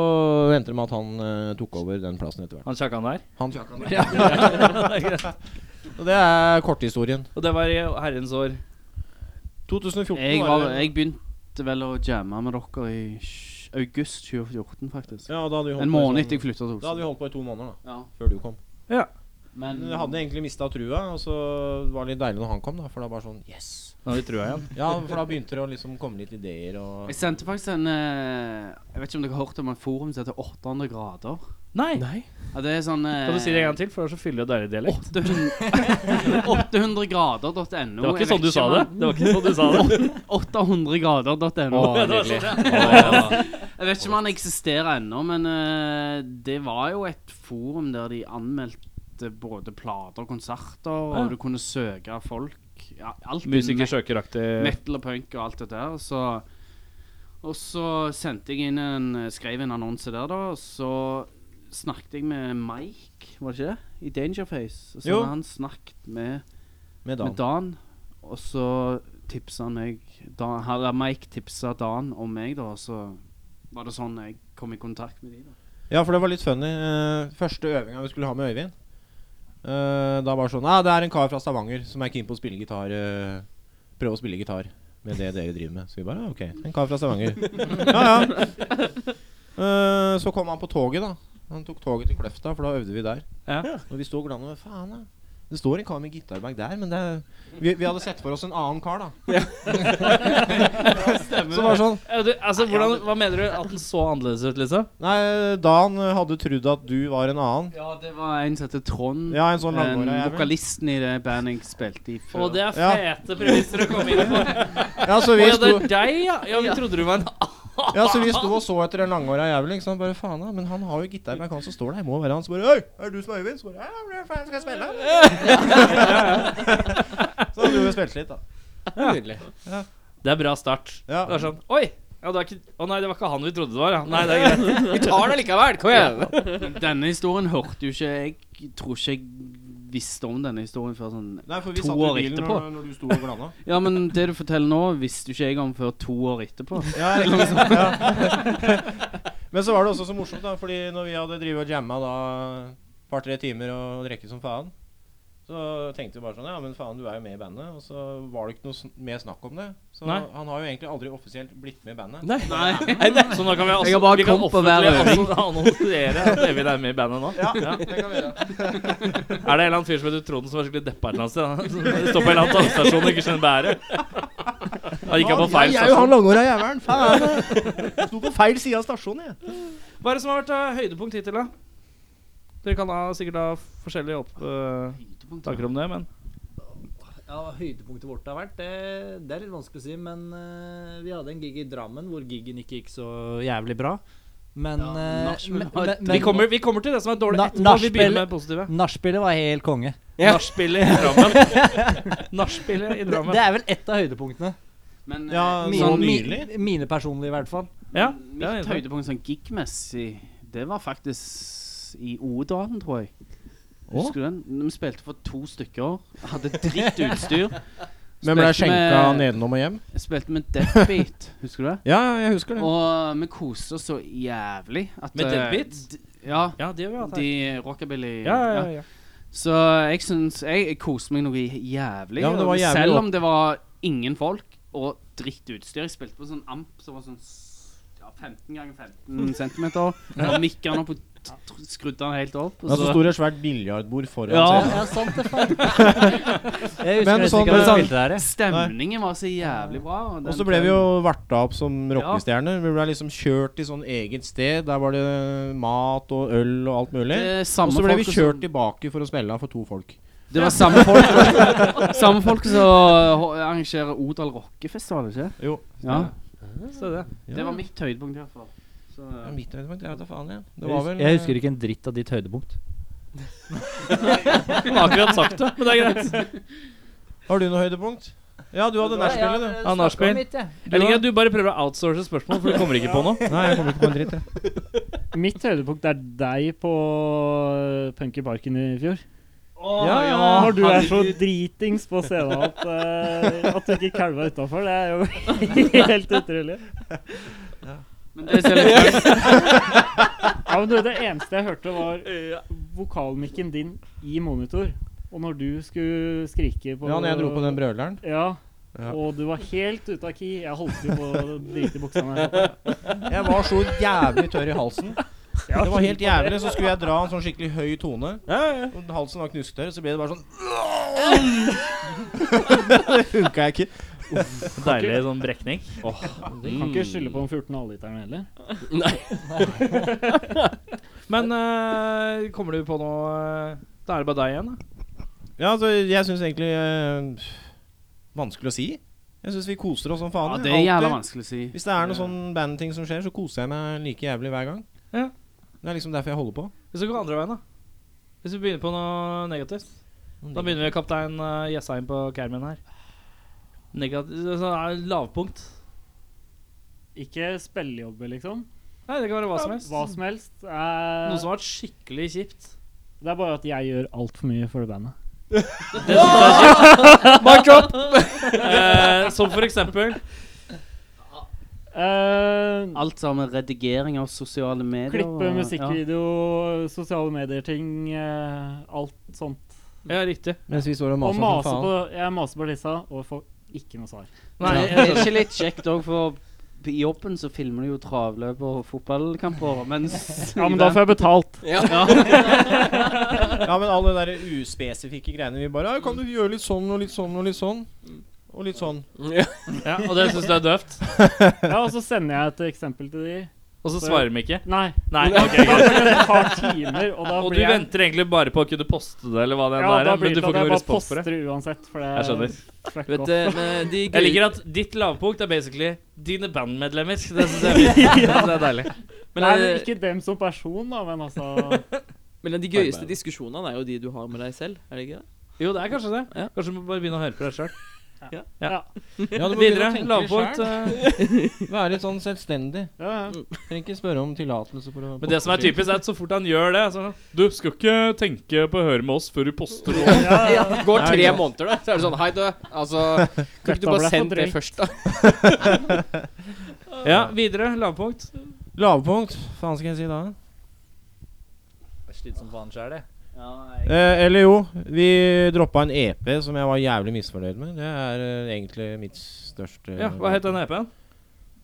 Speaker 4: endte det med at han eh, tok over den plassen etter hvert.
Speaker 2: Han Kjakan der.
Speaker 4: Han Kjakan der. Og det er korthistorien.
Speaker 2: Og det var i herrens år.
Speaker 4: 2014
Speaker 6: Jeg,
Speaker 4: var
Speaker 6: var,
Speaker 4: det-
Speaker 6: jeg begynte vel å jamme med dere i sj- august 2014, faktisk.
Speaker 4: Ja, da hadde vi holdt
Speaker 6: En
Speaker 4: på i
Speaker 6: måned
Speaker 4: sånn-
Speaker 6: etter jeg flytta til
Speaker 4: Da hadde vi
Speaker 6: Oslo.
Speaker 4: holdt på i to måneder, da.
Speaker 6: Ja,
Speaker 4: Før du kom.
Speaker 6: men
Speaker 4: Men vi hadde egentlig mista trua, og så var det litt deilig når han kom, da. For da bare sånn Yes!
Speaker 2: Nå har vi trua igjen.
Speaker 4: Ja, for da begynte det å liksom komme litt ideer og
Speaker 6: jeg sendte faktisk en eh, Jeg vet ikke om dere har hørt om en forum som heter 800 grader?
Speaker 2: Nei!
Speaker 6: Ja, det er sånn eh,
Speaker 2: Kan du si det en gang til, for det er så fyldig og deilig dialekt?
Speaker 6: 800 800grader.no.
Speaker 2: Det var ikke sånn du sa det. Det var ikke sånn du sa det.
Speaker 6: 800grader.no.
Speaker 2: Ja, det var sånn, ja.
Speaker 6: Jeg vet ikke om han eksisterer ennå, men eh, det var jo et forum der de anmeldte både plater og konserter,
Speaker 2: Ja.
Speaker 6: og du kunne søke folk. Ja, alt innen
Speaker 2: Musiker søker-aktig
Speaker 6: metal og punk og alt det der. Så, og så sendte jeg inn en skrev en annonse der, da. og Så snakket jeg med Mike, var det ikke det? I Dangerface. Og så
Speaker 4: Jo.
Speaker 6: hadde han snakket med,
Speaker 4: Med Dan.
Speaker 6: med Dan, og så tipsa han meg Dan, eller Mike tipsa Dan om meg, da. Og så var det sånn jeg kom i kontakt med de da.
Speaker 4: Ja, for det var litt funny. Eh, første øvinga vi skulle ha med Øyvind eh, Da var det sånn Ja, det er en kar fra Stavanger som er keen på å spille gitar. eh, prøve å spille gitar med det dere driver med. Så vi bare ja, OK. En kar fra Stavanger. Ja, ja. Eh, så kom han på toget, da. Han tok toget til Kløfta, for da øvde vi der.
Speaker 2: Ja.
Speaker 4: Og vi sto og glanna. Faen, da. Det står en kar med gitarbag der, men det er vi, vi hadde sett for oss en annen kar, da. Så det var sånn
Speaker 2: Ja, du, altså, hvordan, Hva mener du? At den så annerledes ut, liksom?
Speaker 4: Nei, Dan hadde trodd at du var en annen.
Speaker 6: Ja, det var en som heter Trond.
Speaker 4: Ja, en sånn
Speaker 6: en
Speaker 4: langhåra jævel.
Speaker 6: vokalisten i det bandet jeg spilte i før.
Speaker 2: Og det er
Speaker 4: Ja.
Speaker 2: fete premisser å komme inn på.
Speaker 4: Ja, så
Speaker 2: Å
Speaker 4: vi
Speaker 2: ja, det
Speaker 4: sto
Speaker 2: er deg, ja? Ja, vi trodde du var en
Speaker 4: Ja, så vi sto og så etter den langåra jævelen. Ikke sant? Bare faen, da. Men han har jo gitar, men han som står der, må være han. Så bare Øy, er det du som er Øyvind? Så bare Ja, men faen, skal jeg spille? så hadde vi jo spilt litt, da.
Speaker 1: Nydelig.
Speaker 2: Det er bra start.
Speaker 4: Ja.
Speaker 2: Det er sånn Oi! Ja, det er ikke, å nei, det var ikke han vi trodde det var. Ja. Nei, det er greit.
Speaker 1: Vi tar det likevel! Kom igjen!
Speaker 6: Denne historien hørte jo ikke Jeg tror ikke jeg visste om denne historien før sånn
Speaker 4: Nei, for
Speaker 6: To år etterpå.
Speaker 4: når, når du sto og glana.
Speaker 6: Ja, men det du forteller nå, visste jo ikke jeg om før to år etterpå.
Speaker 4: Ja, ikke sant? Ja. Men så var det også så morsomt, da, fordi når vi hadde drevet og jamma da et par-tre timer og drikke som faen, så tenkte vi bare sånn Ja, men faen, du er jo med i bandet. Og så var det ikke noe sn- mer snakk om det. Så
Speaker 2: Nei.
Speaker 4: han har jo egentlig aldri offisielt blitt med i bandet.
Speaker 6: Nei.
Speaker 2: Så nå kan vi også,
Speaker 6: Jeg har bare
Speaker 2: vi kan
Speaker 6: kommet på hver
Speaker 2: offentlig annonsere at Evil er med i bandet nå. Ja.
Speaker 4: Det kan vi gjøre.
Speaker 2: Er det en eller annen fyr som heter Trond som var skikkelig deppa et eller annet sted? da? Står på en eller annen tannstasjon og ikke skjønner bæret. Han gikk han på feil
Speaker 4: Jeg er jo
Speaker 2: stasjon.
Speaker 4: han langhåra jævelen. Faen. Jeg Sto på feil side av stasjonen, jeg.
Speaker 2: Hva er det som har vært eh, høydepunkt hittil, da? Dere kan ha, sikkert ha forskjellige opp, eh, tanker om det, men
Speaker 5: Ja, hva høydepunktet vårt har vært, det, det er litt vanskelig å si, men eh, vi hadde en gig i Drammen hvor gigen ikke gikk så jævlig bra. Men
Speaker 6: Ja,
Speaker 5: eh,
Speaker 6: nachspiel
Speaker 5: men-
Speaker 6: var
Speaker 5: men-
Speaker 6: dritt.
Speaker 2: vi
Speaker 5: men-
Speaker 2: kommer, vi kommer til det som er dårlig
Speaker 5: Na-
Speaker 2: etterpå. Vi begynner
Speaker 5: nachspiel-
Speaker 2: med det positive.
Speaker 5: Nachspielet var helt konge.
Speaker 2: Nachspielet i Drammen. Nachspielet i
Speaker 5: Det,
Speaker 2: Drammen.
Speaker 5: det er vel ett av høydepunktene.
Speaker 6: Men eh,
Speaker 4: Ja,
Speaker 6: mi-
Speaker 4: nå
Speaker 5: Sånn, mi-
Speaker 4: nylig?
Speaker 5: mine personlige, i hvert fall.
Speaker 2: Ja, det er
Speaker 6: mitt
Speaker 2: helt sant.
Speaker 6: høydepunkt sånn gigmessig, det var faktisk i Odalen, tror jeg. Husker du den? Vi spilte for to stykker. Hadde dritt utstyr.
Speaker 4: Men ble
Speaker 6: Spilte
Speaker 4: skjenka
Speaker 6: med-
Speaker 4: nedenom og hjem?
Speaker 6: Spilte med Deadbeat, husker du det?
Speaker 4: Ja, jeg husker det.
Speaker 6: Og vi koste oss så jævlig at
Speaker 2: Med
Speaker 6: eh,
Speaker 2: Deadbeat?
Speaker 6: d- Ja.
Speaker 2: Ja, det har vi hatt her.
Speaker 6: De rockabilly
Speaker 2: Ja, ja, ja.
Speaker 6: Så jeg syns Jeg, jeg koste meg noe jævlig.
Speaker 4: Ja, men det var jævlig
Speaker 6: selv
Speaker 4: opp-
Speaker 6: om det var ingen folk og drittutstyr. Jeg spilte på sånn amp som var sånn s- ja, 15 ganger 15 centimeter. Og mikken opp og t- t- skrudde den helt opp.
Speaker 4: Ja,
Speaker 6: Og
Speaker 4: så
Speaker 6: så,
Speaker 4: står det et Altså, svært biljardbord foran
Speaker 6: Ja.
Speaker 4: scenen.
Speaker 5: Ja, sant det, faen. Jeg husker
Speaker 4: Men
Speaker 5: nesten
Speaker 4: sånn-
Speaker 5: ikke at jeg
Speaker 4: sånn-
Speaker 5: spilte der, jeg.
Speaker 6: stemningen var så jævlig bra. den
Speaker 4: Og så ble vi jo varta opp som
Speaker 6: Ja.
Speaker 4: rockestjerner. Vi ble liksom kjørt til sånn eget sted. Der var det mat og øl og alt mulig.
Speaker 6: Det er samme
Speaker 4: Og så ble vi
Speaker 6: folk
Speaker 4: kjørt
Speaker 6: som-
Speaker 4: tilbake for å spille for to folk.
Speaker 6: Det var samme folk Samme folk som ho- arrangerer Odal rockefestival, ikke
Speaker 4: Jo.
Speaker 6: Ja.
Speaker 2: Se det.
Speaker 6: Det var mitt høydepunkt, i hvert fall. Så,
Speaker 4: Ja, mitt høydepunkt, jeg vet da faen, jeg. Det
Speaker 5: Jeg
Speaker 4: var
Speaker 5: hus-
Speaker 4: vel eh,
Speaker 5: Jeg husker ikke en dritt av ditt høydepunkt.
Speaker 2: Han har akkurat sagt det, men det er greit.
Speaker 4: Har du noe høydepunkt? Ja, du hadde nachspielet, du.
Speaker 2: Ja, nachspiel. Jeg liker at du bare prøver å outsource spørsmål, for du kommer ikke på noe.
Speaker 4: Nei, jeg kommer ikke på en dritt, jeg.
Speaker 7: Mitt høydepunkt er deg på øh, Punk i Parken i fjor.
Speaker 4: Ja, ja.
Speaker 7: Når du er så dritings på scenen at, øh, at du ikke kalva utafor. Det er jo helt utrolig.
Speaker 6: Men det ser litt
Speaker 7: Ja, men du, Det eneste jeg hørte, var øh, vokalmikken din i monitor. Og når du skulle skrike på
Speaker 4: Ja, når jeg dro på den brøleren.
Speaker 7: Ja,
Speaker 4: Ja.
Speaker 7: og du var helt ute av key. Jeg holdt jo på å drite i buksa. når jeg satt der.
Speaker 4: Jeg var så jævlig tørr i halsen.
Speaker 7: Ja,
Speaker 4: Det var helt jævlig. Så skulle jeg dra en sånn skikkelig høy tone. Og halsen var knusktørr, så ble det bare sånn Det funka ikke.
Speaker 2: Deilig sånn brekning.
Speaker 4: Mm.
Speaker 7: Kan ikke skylde på den 14 halvliteren heller.
Speaker 2: Men eh, kommer du på noe eh, Da er det bare deg igjen, da.
Speaker 4: Ja, altså, jeg syns egentlig eh, Vanskelig å si. Jeg syns vi koser oss som faen.
Speaker 6: Ja,
Speaker 4: jeg.
Speaker 6: det er jævla
Speaker 4: Alltid.
Speaker 6: vanskelig å si.
Speaker 4: Hvis det er noe sånn bandting som skjer, så koser jeg meg like jævlig hver gang.
Speaker 2: Ja.
Speaker 4: Det er liksom derfor jeg holder på.
Speaker 2: Hvis vi går andre veien, da. Hvis vi begynner på noe negativt. Da begynner vi med kaptein eh, Jessheim på Kermin her. Negativ, sånn, eh, lavpunkt.
Speaker 7: Ikke spillejobber, liksom.
Speaker 2: Nei, det kan være hva som helst.
Speaker 7: Hva som helst. Eh,
Speaker 2: Noe som har vært skikkelig kjipt.
Speaker 7: Det er bare at jeg gjør altfor mye for det bandet.
Speaker 2: Eh, som for eksempel
Speaker 7: Eh,
Speaker 6: Alt sammen redigering av sosiale medier.
Speaker 7: klippe
Speaker 6: og- ja.
Speaker 7: musikkvideo, sosiale medier-ting, eh, alt sånt.
Speaker 2: Ja, riktig.
Speaker 4: Mens vi står og
Speaker 7: Og
Speaker 4: maser som
Speaker 7: mase
Speaker 4: faen.
Speaker 7: på, jeg maser på disse og får ikke noe svar.
Speaker 2: Nei,
Speaker 6: Men det er ikke litt kjekt òg, for i jobben så filmer du jo travløp og fotballkamper, mens
Speaker 7: Ja, men da får jeg betalt.
Speaker 4: Ja, men alle de der uspesifikke greiene vi bare «Ja, Kan du gjøre litt sånn og litt sånn og litt sånn? Og litt sånn.
Speaker 2: ja, Og det syns du er døvt?
Speaker 7: Ja, Og så sender jeg et eksempel til de.
Speaker 2: Og så svarer de ikke?
Speaker 7: Nei.
Speaker 2: Nei. ok,
Speaker 7: Da
Speaker 2: greit.
Speaker 7: blir det et par timer, og da
Speaker 2: Og du
Speaker 7: blir jeg
Speaker 2: venter egentlig bare på å kunne poste det, eller hva det
Speaker 7: ja,
Speaker 2: enn er,
Speaker 7: da
Speaker 2: men
Speaker 7: blir
Speaker 2: du
Speaker 7: det
Speaker 2: får
Speaker 7: at
Speaker 2: ikke noe
Speaker 7: jeg bare
Speaker 2: respons for det.
Speaker 7: poster uansett. For det
Speaker 2: Jeg skjønner.
Speaker 7: Fuck
Speaker 3: Vet
Speaker 7: off.
Speaker 3: du, men eh, de
Speaker 2: Jeg liker
Speaker 3: gøy,
Speaker 2: at ditt lavpunkt er basically dine bandmedlemmer. Det syns jeg er fint. Det synes jeg er deilig.
Speaker 3: men,
Speaker 7: Nei,
Speaker 3: eh,
Speaker 7: men ikke dem som person, da, men altså
Speaker 3: men eh, de gøyeste diskusjonene er jo de du har med deg selv, er det ikke det?
Speaker 2: Jo, det er kanskje det.
Speaker 3: Ja.
Speaker 2: Kanskje du må bare begynne å høre på deg sjøl.
Speaker 7: Ja.
Speaker 4: Ja, du må
Speaker 2: Videre.
Speaker 4: begynne å tenke
Speaker 2: Lavpunkt.
Speaker 4: selv.
Speaker 2: eh,
Speaker 4: Være litt sånn selvstendig.
Speaker 7: ja. ja.
Speaker 4: Trenger ikke spørre om tillatelse for å
Speaker 2: Men det som er typisk, er at så fort han gjør det så Du skal ikke tenke på å høre med oss før du poster noe.
Speaker 1: Ja, går tre måneder, da. Så er det sånn Hei, du. Altså, kan ikke du
Speaker 7: Dette ble
Speaker 1: bare
Speaker 7: for
Speaker 1: sende det
Speaker 7: drøyt.
Speaker 1: først, da?
Speaker 2: Ja, videre. Lavpunkt.
Speaker 4: Lavpunkt. Faen skal jeg si da?
Speaker 5: Slitsom faen sjæl, jeg.
Speaker 4: Eh, eller jo, vi droppa en EP som jeg var jævlig misfornøyd med. Det er eh, egentlig mitt største
Speaker 2: Ja, Hva het den EP-en?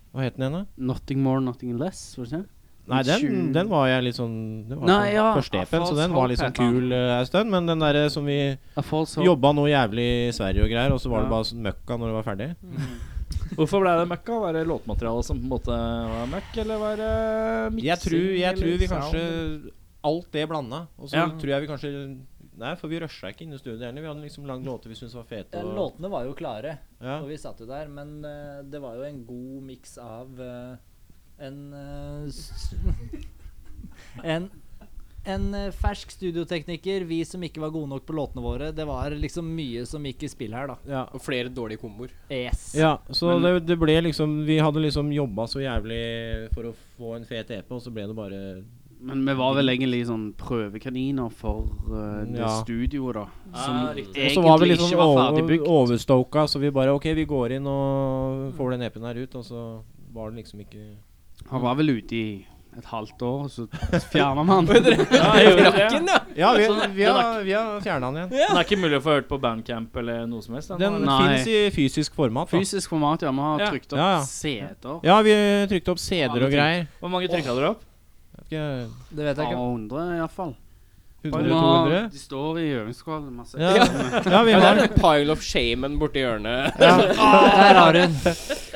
Speaker 4: Hva het den igjen, da?
Speaker 6: Nothing more, nothing less, var det ikke?
Speaker 4: Nei, den, den var jeg litt sånn Det var
Speaker 6: Nei,
Speaker 4: sånn
Speaker 6: ja,
Speaker 4: første EP-en, så
Speaker 6: False
Speaker 4: den var
Speaker 6: Hope
Speaker 4: litt sånn
Speaker 6: het den.
Speaker 4: kul eh, en stund. Men den derre som vi
Speaker 6: A false hope.
Speaker 4: jobba noe jævlig i Sverige og greier, og så var det
Speaker 2: Ja.
Speaker 4: bare sånn møkka når det var ferdig.
Speaker 2: Hvorfor ble det møkka? Var det låtmaterialet som på en måte var møkk, eller var det miksing?
Speaker 4: Jeg tror, jeg
Speaker 2: eller
Speaker 4: tror vi
Speaker 2: sound,
Speaker 4: kanskje
Speaker 2: eller?
Speaker 4: Alt det blanda. Og så
Speaker 2: Ja.
Speaker 4: tror jeg vi kanskje Nei, for vi rusha ikke inn i studio heller. Vi hadde liksom lagd låter vi syntes var fete. Og,
Speaker 5: Låtene var jo klare,
Speaker 4: ja.
Speaker 5: og vi satt jo der, men eh, det var jo en god miks av eh, en eh, s- En en eh, fersk studiotekniker, vi som ikke var gode nok på låtene våre. Det var liksom mye som gikk i spill her, da.
Speaker 4: Ja.
Speaker 1: Og flere dårlige komboer.
Speaker 5: Yes.
Speaker 4: ja, så det, det ble liksom Vi hadde liksom jobba så jævlig for å få en fet EP, og så ble det bare
Speaker 6: Men vi var vel egentlig sånn prøvekaniner for eh, det
Speaker 4: Ja.
Speaker 6: studioet, da. Som
Speaker 4: Og så var vi
Speaker 6: egentlig
Speaker 4: liksom
Speaker 6: ikke var
Speaker 4: over,
Speaker 6: ferdigbygd.
Speaker 4: overstoka, så vi bare OK, vi går E inn og får den EP-en her ut, og så var den liksom ikke
Speaker 6: Han var vel ute i et halvt år, og så fjerner man den.
Speaker 2: Ja, jeg gjorde det.
Speaker 3: Rakken, ja!
Speaker 4: Ja, vi,
Speaker 2: Sånn,
Speaker 4: vi har, vi har fjerna den igjen.
Speaker 2: Den er ikke mulig å få hørt på Bandcamp eller noe som helst.
Speaker 4: Den
Speaker 6: Nei.
Speaker 4: finnes i fysisk format. Da.
Speaker 6: Fysisk format, ja. Vi har
Speaker 2: Ja.
Speaker 6: trykt opp
Speaker 4: Ja, ja.
Speaker 6: CD-er.
Speaker 4: Ja, vi trykte opp CD-er og greier.
Speaker 2: Hvor mange trykka dere opp?
Speaker 4: Vet ikke,
Speaker 5: Det vet jeg
Speaker 6: Par
Speaker 5: ikke.
Speaker 6: hundre, iallfall.
Speaker 4: 100-200?
Speaker 6: De står i øvingslokalet masse.
Speaker 4: Ja. ja, vi
Speaker 1: Ja, det
Speaker 4: har
Speaker 1: er en pile of shamen borti hjørnet.
Speaker 5: Der har hun.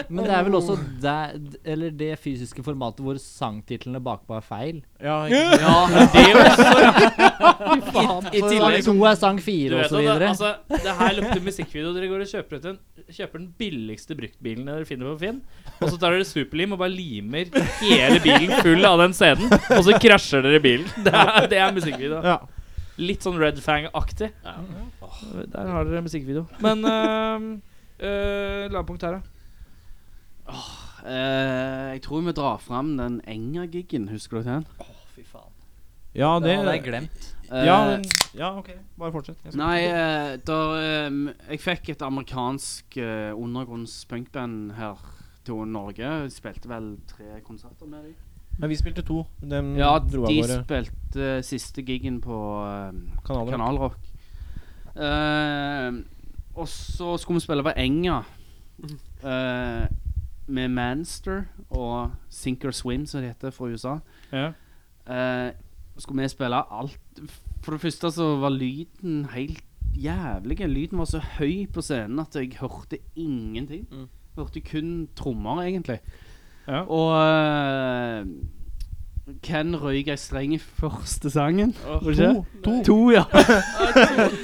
Speaker 5: Men det er vel også der, eller det fysiske formatet hvor sangtitlene bakpå er feil.
Speaker 4: ja, ikke sant.
Speaker 5: I tillegg to er
Speaker 2: liksom-
Speaker 5: sang
Speaker 2: Du
Speaker 5: fire
Speaker 2: vet at
Speaker 5: og så
Speaker 2: det,
Speaker 5: videre.
Speaker 2: altså, det her lukter musikkvideo. Dere går og kjøper, ut en, kjøper den billigste bruktbilen dere finner på Finn. Og så tar dere superlim og bare limer hele bilen full av den CD-en. Og så krasjer dere bilen. Det er, det er musikkvideo.
Speaker 4: Ja.
Speaker 2: Litt sånn Red Fang-aktig. Der har dere musikkvideo. Men uh, lavpunkt her, da.
Speaker 6: Eh, jeg tror vi drar fram den Enger-giggen, husker du den?
Speaker 5: Fy faen.
Speaker 4: ja, det
Speaker 5: Det hadde jeg glemt.
Speaker 6: Eh,
Speaker 4: ja, men- ja, OK. Bare fortsett. Jeg skal-
Speaker 6: Nei, eh, der, eh, jeg fikk et amerikansk eh, undergrunns-punkband her til Norge. Jeg Spilte vel tre konserter med dem.
Speaker 4: Men vi spilte to. Dem
Speaker 6: Ja,
Speaker 4: dro av
Speaker 6: de
Speaker 4: gårde.
Speaker 6: spilte eh, siste gigen på eh,
Speaker 4: Kanaler.
Speaker 6: Kanalrock. Eh, og så skulle vi spille på Enga eh, med Manster og Sink or Swim, som det heter fra USA.
Speaker 2: Ja.
Speaker 6: Eh, skulle vi spille alt For det første så var lyden helt jævlig. Lyden var så høy på scenen at jeg hørte ingenting.
Speaker 3: Mm.
Speaker 6: Hørte kun trommer, egentlig.
Speaker 2: Ja.
Speaker 6: Og eh, Ken røyk ei streng i første sangen. Var det ikke? To. to, ja.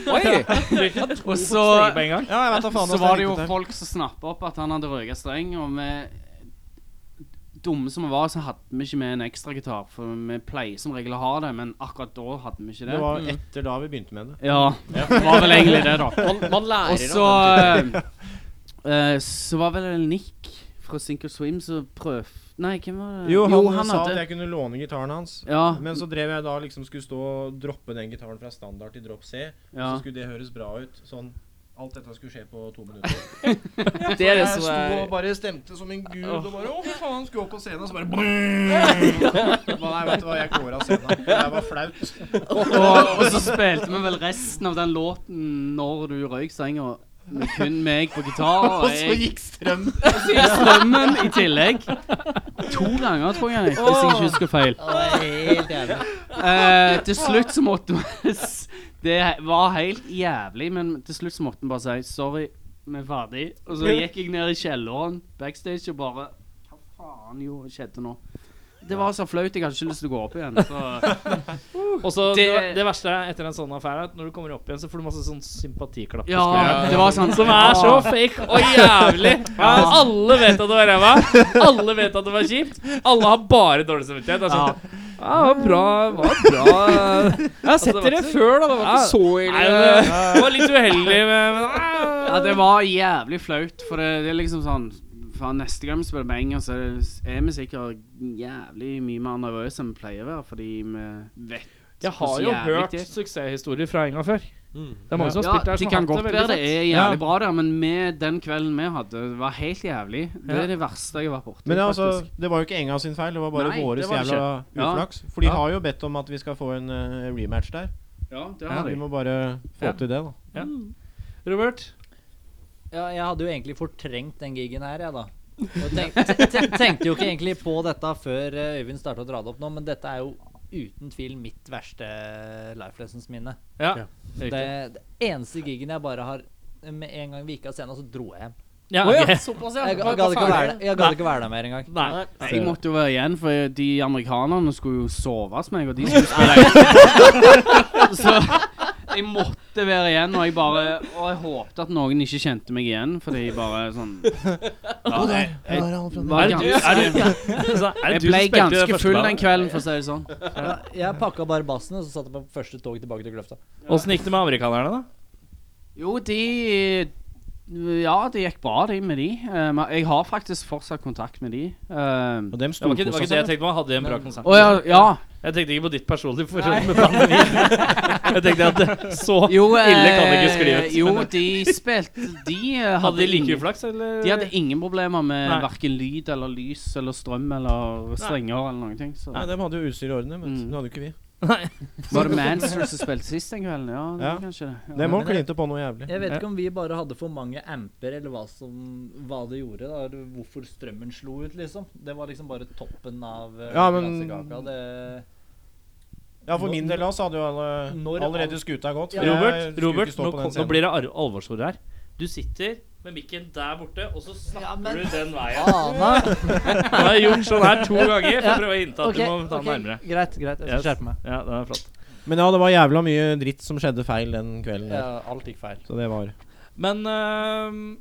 Speaker 6: Og så,
Speaker 2: Strenger på en gang.
Speaker 4: Ja, jeg vet da faen.
Speaker 6: så
Speaker 4: hvordan
Speaker 6: var
Speaker 4: jeg
Speaker 6: det jo
Speaker 4: tenkte
Speaker 6: folk som snappa opp at han hadde røyka streng, og vi Dumme som vi var, så hadde vi ikke med en ekstragitar, for vi pleier som regel å ha det, men akkurat da hadde vi ikke
Speaker 4: det var etter da vi begynte med det.
Speaker 6: Ja, det var vel egentlig det, da.
Speaker 1: Man, man lærer
Speaker 6: Og så
Speaker 1: av
Speaker 6: eh, eh, Så var vel Nick fra Sink or Swim som prøv... Nei, hvem var det?
Speaker 4: Jo, han, sa at jeg kunne låne gitaren hans.
Speaker 6: Ja,
Speaker 4: Men så drev jeg da liksom skulle stå og droppe den gitaren fra standard til drop C.
Speaker 6: ja.
Speaker 4: Så skulle det høres bra ut. Sånn Alt dette skulle skje på to minutter.
Speaker 1: det er det
Speaker 4: jeg
Speaker 1: som
Speaker 4: sto
Speaker 1: er
Speaker 4: og bare stemte som en gud og bare Å, fy faen, skulle opp på scenen, og så bare Bare, Nei, vet du hva, jeg går av scenen. Det her var flaut.
Speaker 6: og, og så spilte vi vel resten av den låten når du røyk senga. Med kun meg på gitar. Og,
Speaker 4: Så
Speaker 6: jeg
Speaker 4: gikk strøm.
Speaker 6: gikk strømmen i tillegg. To ganger, tror jeg, hvis jeg ikke husker feil.
Speaker 5: Helt jævlig.
Speaker 6: Eh, til slutt så måtte vi s- Det he- var helt jævlig, men til slutt så måtte vi bare si sorry, vi er ferdig. Og så gikk jeg ned i kjelleren backstage og bare Hva faen jo skjedde nå? Det var så flaut, jeg hadde ikke lyst til å gå opp igjen. Så
Speaker 2: Og så det,
Speaker 6: Det-
Speaker 2: det verste etter en sånn affære er at når du kommer opp igjen, så får du masse sånn sympatiklapp. på skulderen.
Speaker 6: ja, det var sånn.
Speaker 2: Som er så fake og jævlig. Ja,
Speaker 6: Ah.
Speaker 2: alle vet at det var ræva. Alle vet at det var kjipt. Alle har bare dårlig samvittighet. Det er
Speaker 6: Ah.
Speaker 2: sånn, ja, det var bra, det var bra.
Speaker 1: Jeg har sett
Speaker 2: Altså, det var
Speaker 1: dere
Speaker 2: ikke så-
Speaker 1: før, da. Det var ikke så
Speaker 2: Nei,
Speaker 1: ille.
Speaker 2: det det var litt uheldig, men ah.
Speaker 6: Ja, det var jævlig flaut, for det, det er liksom sånn Faen, neste gang vi spiller med engelsk, så er det- er vi sikkert jævlig mye mer nervøse enn vi pleier å være, fordi vi vet
Speaker 2: Jeg har jo
Speaker 6: hvordan jævlig
Speaker 2: hørt
Speaker 6: det er.
Speaker 2: suksesshistorier fra Enga før.
Speaker 1: Mm.
Speaker 2: Det er mange som har
Speaker 6: Ja,
Speaker 2: spilt der
Speaker 6: det
Speaker 2: som
Speaker 6: kan
Speaker 2: har
Speaker 6: godt
Speaker 2: hatt det
Speaker 6: være
Speaker 2: veldig
Speaker 6: det
Speaker 2: fett.
Speaker 6: er jævlig bra der, men med den kvelden vi hadde, det var helt jævlig. Det
Speaker 2: Ja.
Speaker 6: er det verste jeg har vært borti.
Speaker 4: Men det, altså,
Speaker 6: faktisk.
Speaker 4: det var jo ikke Enga sin feil, det var bare
Speaker 6: Nei,
Speaker 4: våres
Speaker 6: det var det
Speaker 4: jævla
Speaker 6: Ja.
Speaker 4: uflaks. For de
Speaker 2: Ja.
Speaker 4: har jo bedt om at vi skal få en eh, rematch der.
Speaker 6: Ja, det
Speaker 4: Ja,
Speaker 6: har
Speaker 4: vi
Speaker 6: jeg.
Speaker 4: må bare få
Speaker 2: Ja.
Speaker 4: til det, da.
Speaker 2: Robert?
Speaker 5: Ja, jeg hadde jo egentlig fortrengt den gigen her, jeg, da. Og tenk, te- te- tenkte jo ikke egentlig på dette før eh, Øyvind starta å dra det opp nå, men dette er jo uten tvil mitt verste eh, life lessons-minne.
Speaker 2: Ja.
Speaker 5: Det,
Speaker 2: Riktig.
Speaker 5: det eneste gigen jeg bare har Med en gang vi gikk av scenen, så dro jeg hjem.
Speaker 2: Ja,
Speaker 1: Å
Speaker 2: ok.
Speaker 1: ja, såpass, ja.
Speaker 5: Jeg
Speaker 1: Det
Speaker 5: ga-
Speaker 1: var
Speaker 5: gadd ikke å være
Speaker 1: ferdig.
Speaker 5: der- jeg gadd ikke å være der mer engang.
Speaker 2: Nei.
Speaker 6: Jeg måtte jo være igjen, for de amerikanerne skulle jo sove hos meg, og de skulle spille Så jeg måtte være igjen, og jeg bare Og jeg håpte at noen ikke kjente meg igjen, fordi jeg bare sånn ja, jeg, var
Speaker 2: Er det du, er
Speaker 6: ganske,
Speaker 2: det, Altså, er det
Speaker 6: jeg
Speaker 2: du som spilte
Speaker 6: ble
Speaker 2: i det
Speaker 6: ganske
Speaker 2: første
Speaker 6: full
Speaker 2: bandet?
Speaker 6: den kvelden, for å si det sånn.
Speaker 5: Ja, jeg pakka bare bassen, og så satte jeg meg på første tog tilbake til Kløfta.
Speaker 2: Åssen gikk det med amerikanerne, da?
Speaker 6: Jo, de Ja, det gikk bra, de med de. Eh, men jeg har faktisk fortsatt kontakt med de. Eh,
Speaker 4: Og dem sto
Speaker 2: Det var ikke det,
Speaker 4: på
Speaker 2: var ikke
Speaker 4: seg
Speaker 2: det jeg
Speaker 4: selv.
Speaker 2: tenkte på. Hadde de en bra konsert?
Speaker 6: Å ja, ja.
Speaker 2: Jeg tenkte ikke på ditt personlige forhold med pandemien. Jeg tenkte at det- så
Speaker 6: Jo,
Speaker 2: ille kan det ikke skli
Speaker 6: eh,
Speaker 2: ut.
Speaker 6: Jo, de spilte De eh,
Speaker 2: Hadde de
Speaker 6: ingen-
Speaker 2: like uflaks, eller?
Speaker 6: De hadde ingen problemer med
Speaker 2: Nei.
Speaker 6: hverken lyd eller lys eller strøm eller strenger eller noen ting. Så.
Speaker 4: Nei, dem hadde jo utstyr i orden, men
Speaker 6: Mm.
Speaker 4: det hadde jo ikke vi.
Speaker 6: Var det Manster som spilte sist den kvelden? Ja, det var
Speaker 4: Ja.
Speaker 6: kanskje det. Ja.
Speaker 4: Dem òg klinte på noe jævlig.
Speaker 5: Jeg vet ikke om vi bare hadde for mange amper, eller hva, som, hva det gjorde. Da. eller Hvorfor strømmen slo ut, liksom. Det var liksom bare toppen av eh,
Speaker 4: Ja, men-
Speaker 5: kransekaka. Det
Speaker 4: Ja, for min del da, så hadde jo alle
Speaker 5: Når
Speaker 4: allerede
Speaker 5: all-
Speaker 4: skuta gått.
Speaker 5: Ja.
Speaker 4: for jeg
Speaker 2: Robert,
Speaker 4: skulle
Speaker 2: Robert
Speaker 4: ikke stå
Speaker 2: nå,
Speaker 4: på den
Speaker 2: kom- nå
Speaker 4: scenen.
Speaker 2: blir det ar- alvorsord her. Du sitter med mikken der borte, og så snakker
Speaker 5: Ja, men-
Speaker 2: du den veien.
Speaker 5: Ana!
Speaker 2: Han har gjort sånn her to ganger for å prøve å hinte at
Speaker 5: Ok,
Speaker 2: du må ta den
Speaker 5: ok,
Speaker 2: nærmere.
Speaker 5: Greit, greit. Jeg skal
Speaker 2: Yes.
Speaker 5: skjerpe meg.
Speaker 2: Ja, det er flott.
Speaker 4: Men ja, det var jævla mye dritt som skjedde feil den kvelden.
Speaker 5: Ja,
Speaker 4: der.
Speaker 5: alt gikk feil.
Speaker 4: Så det var
Speaker 2: Men øhm,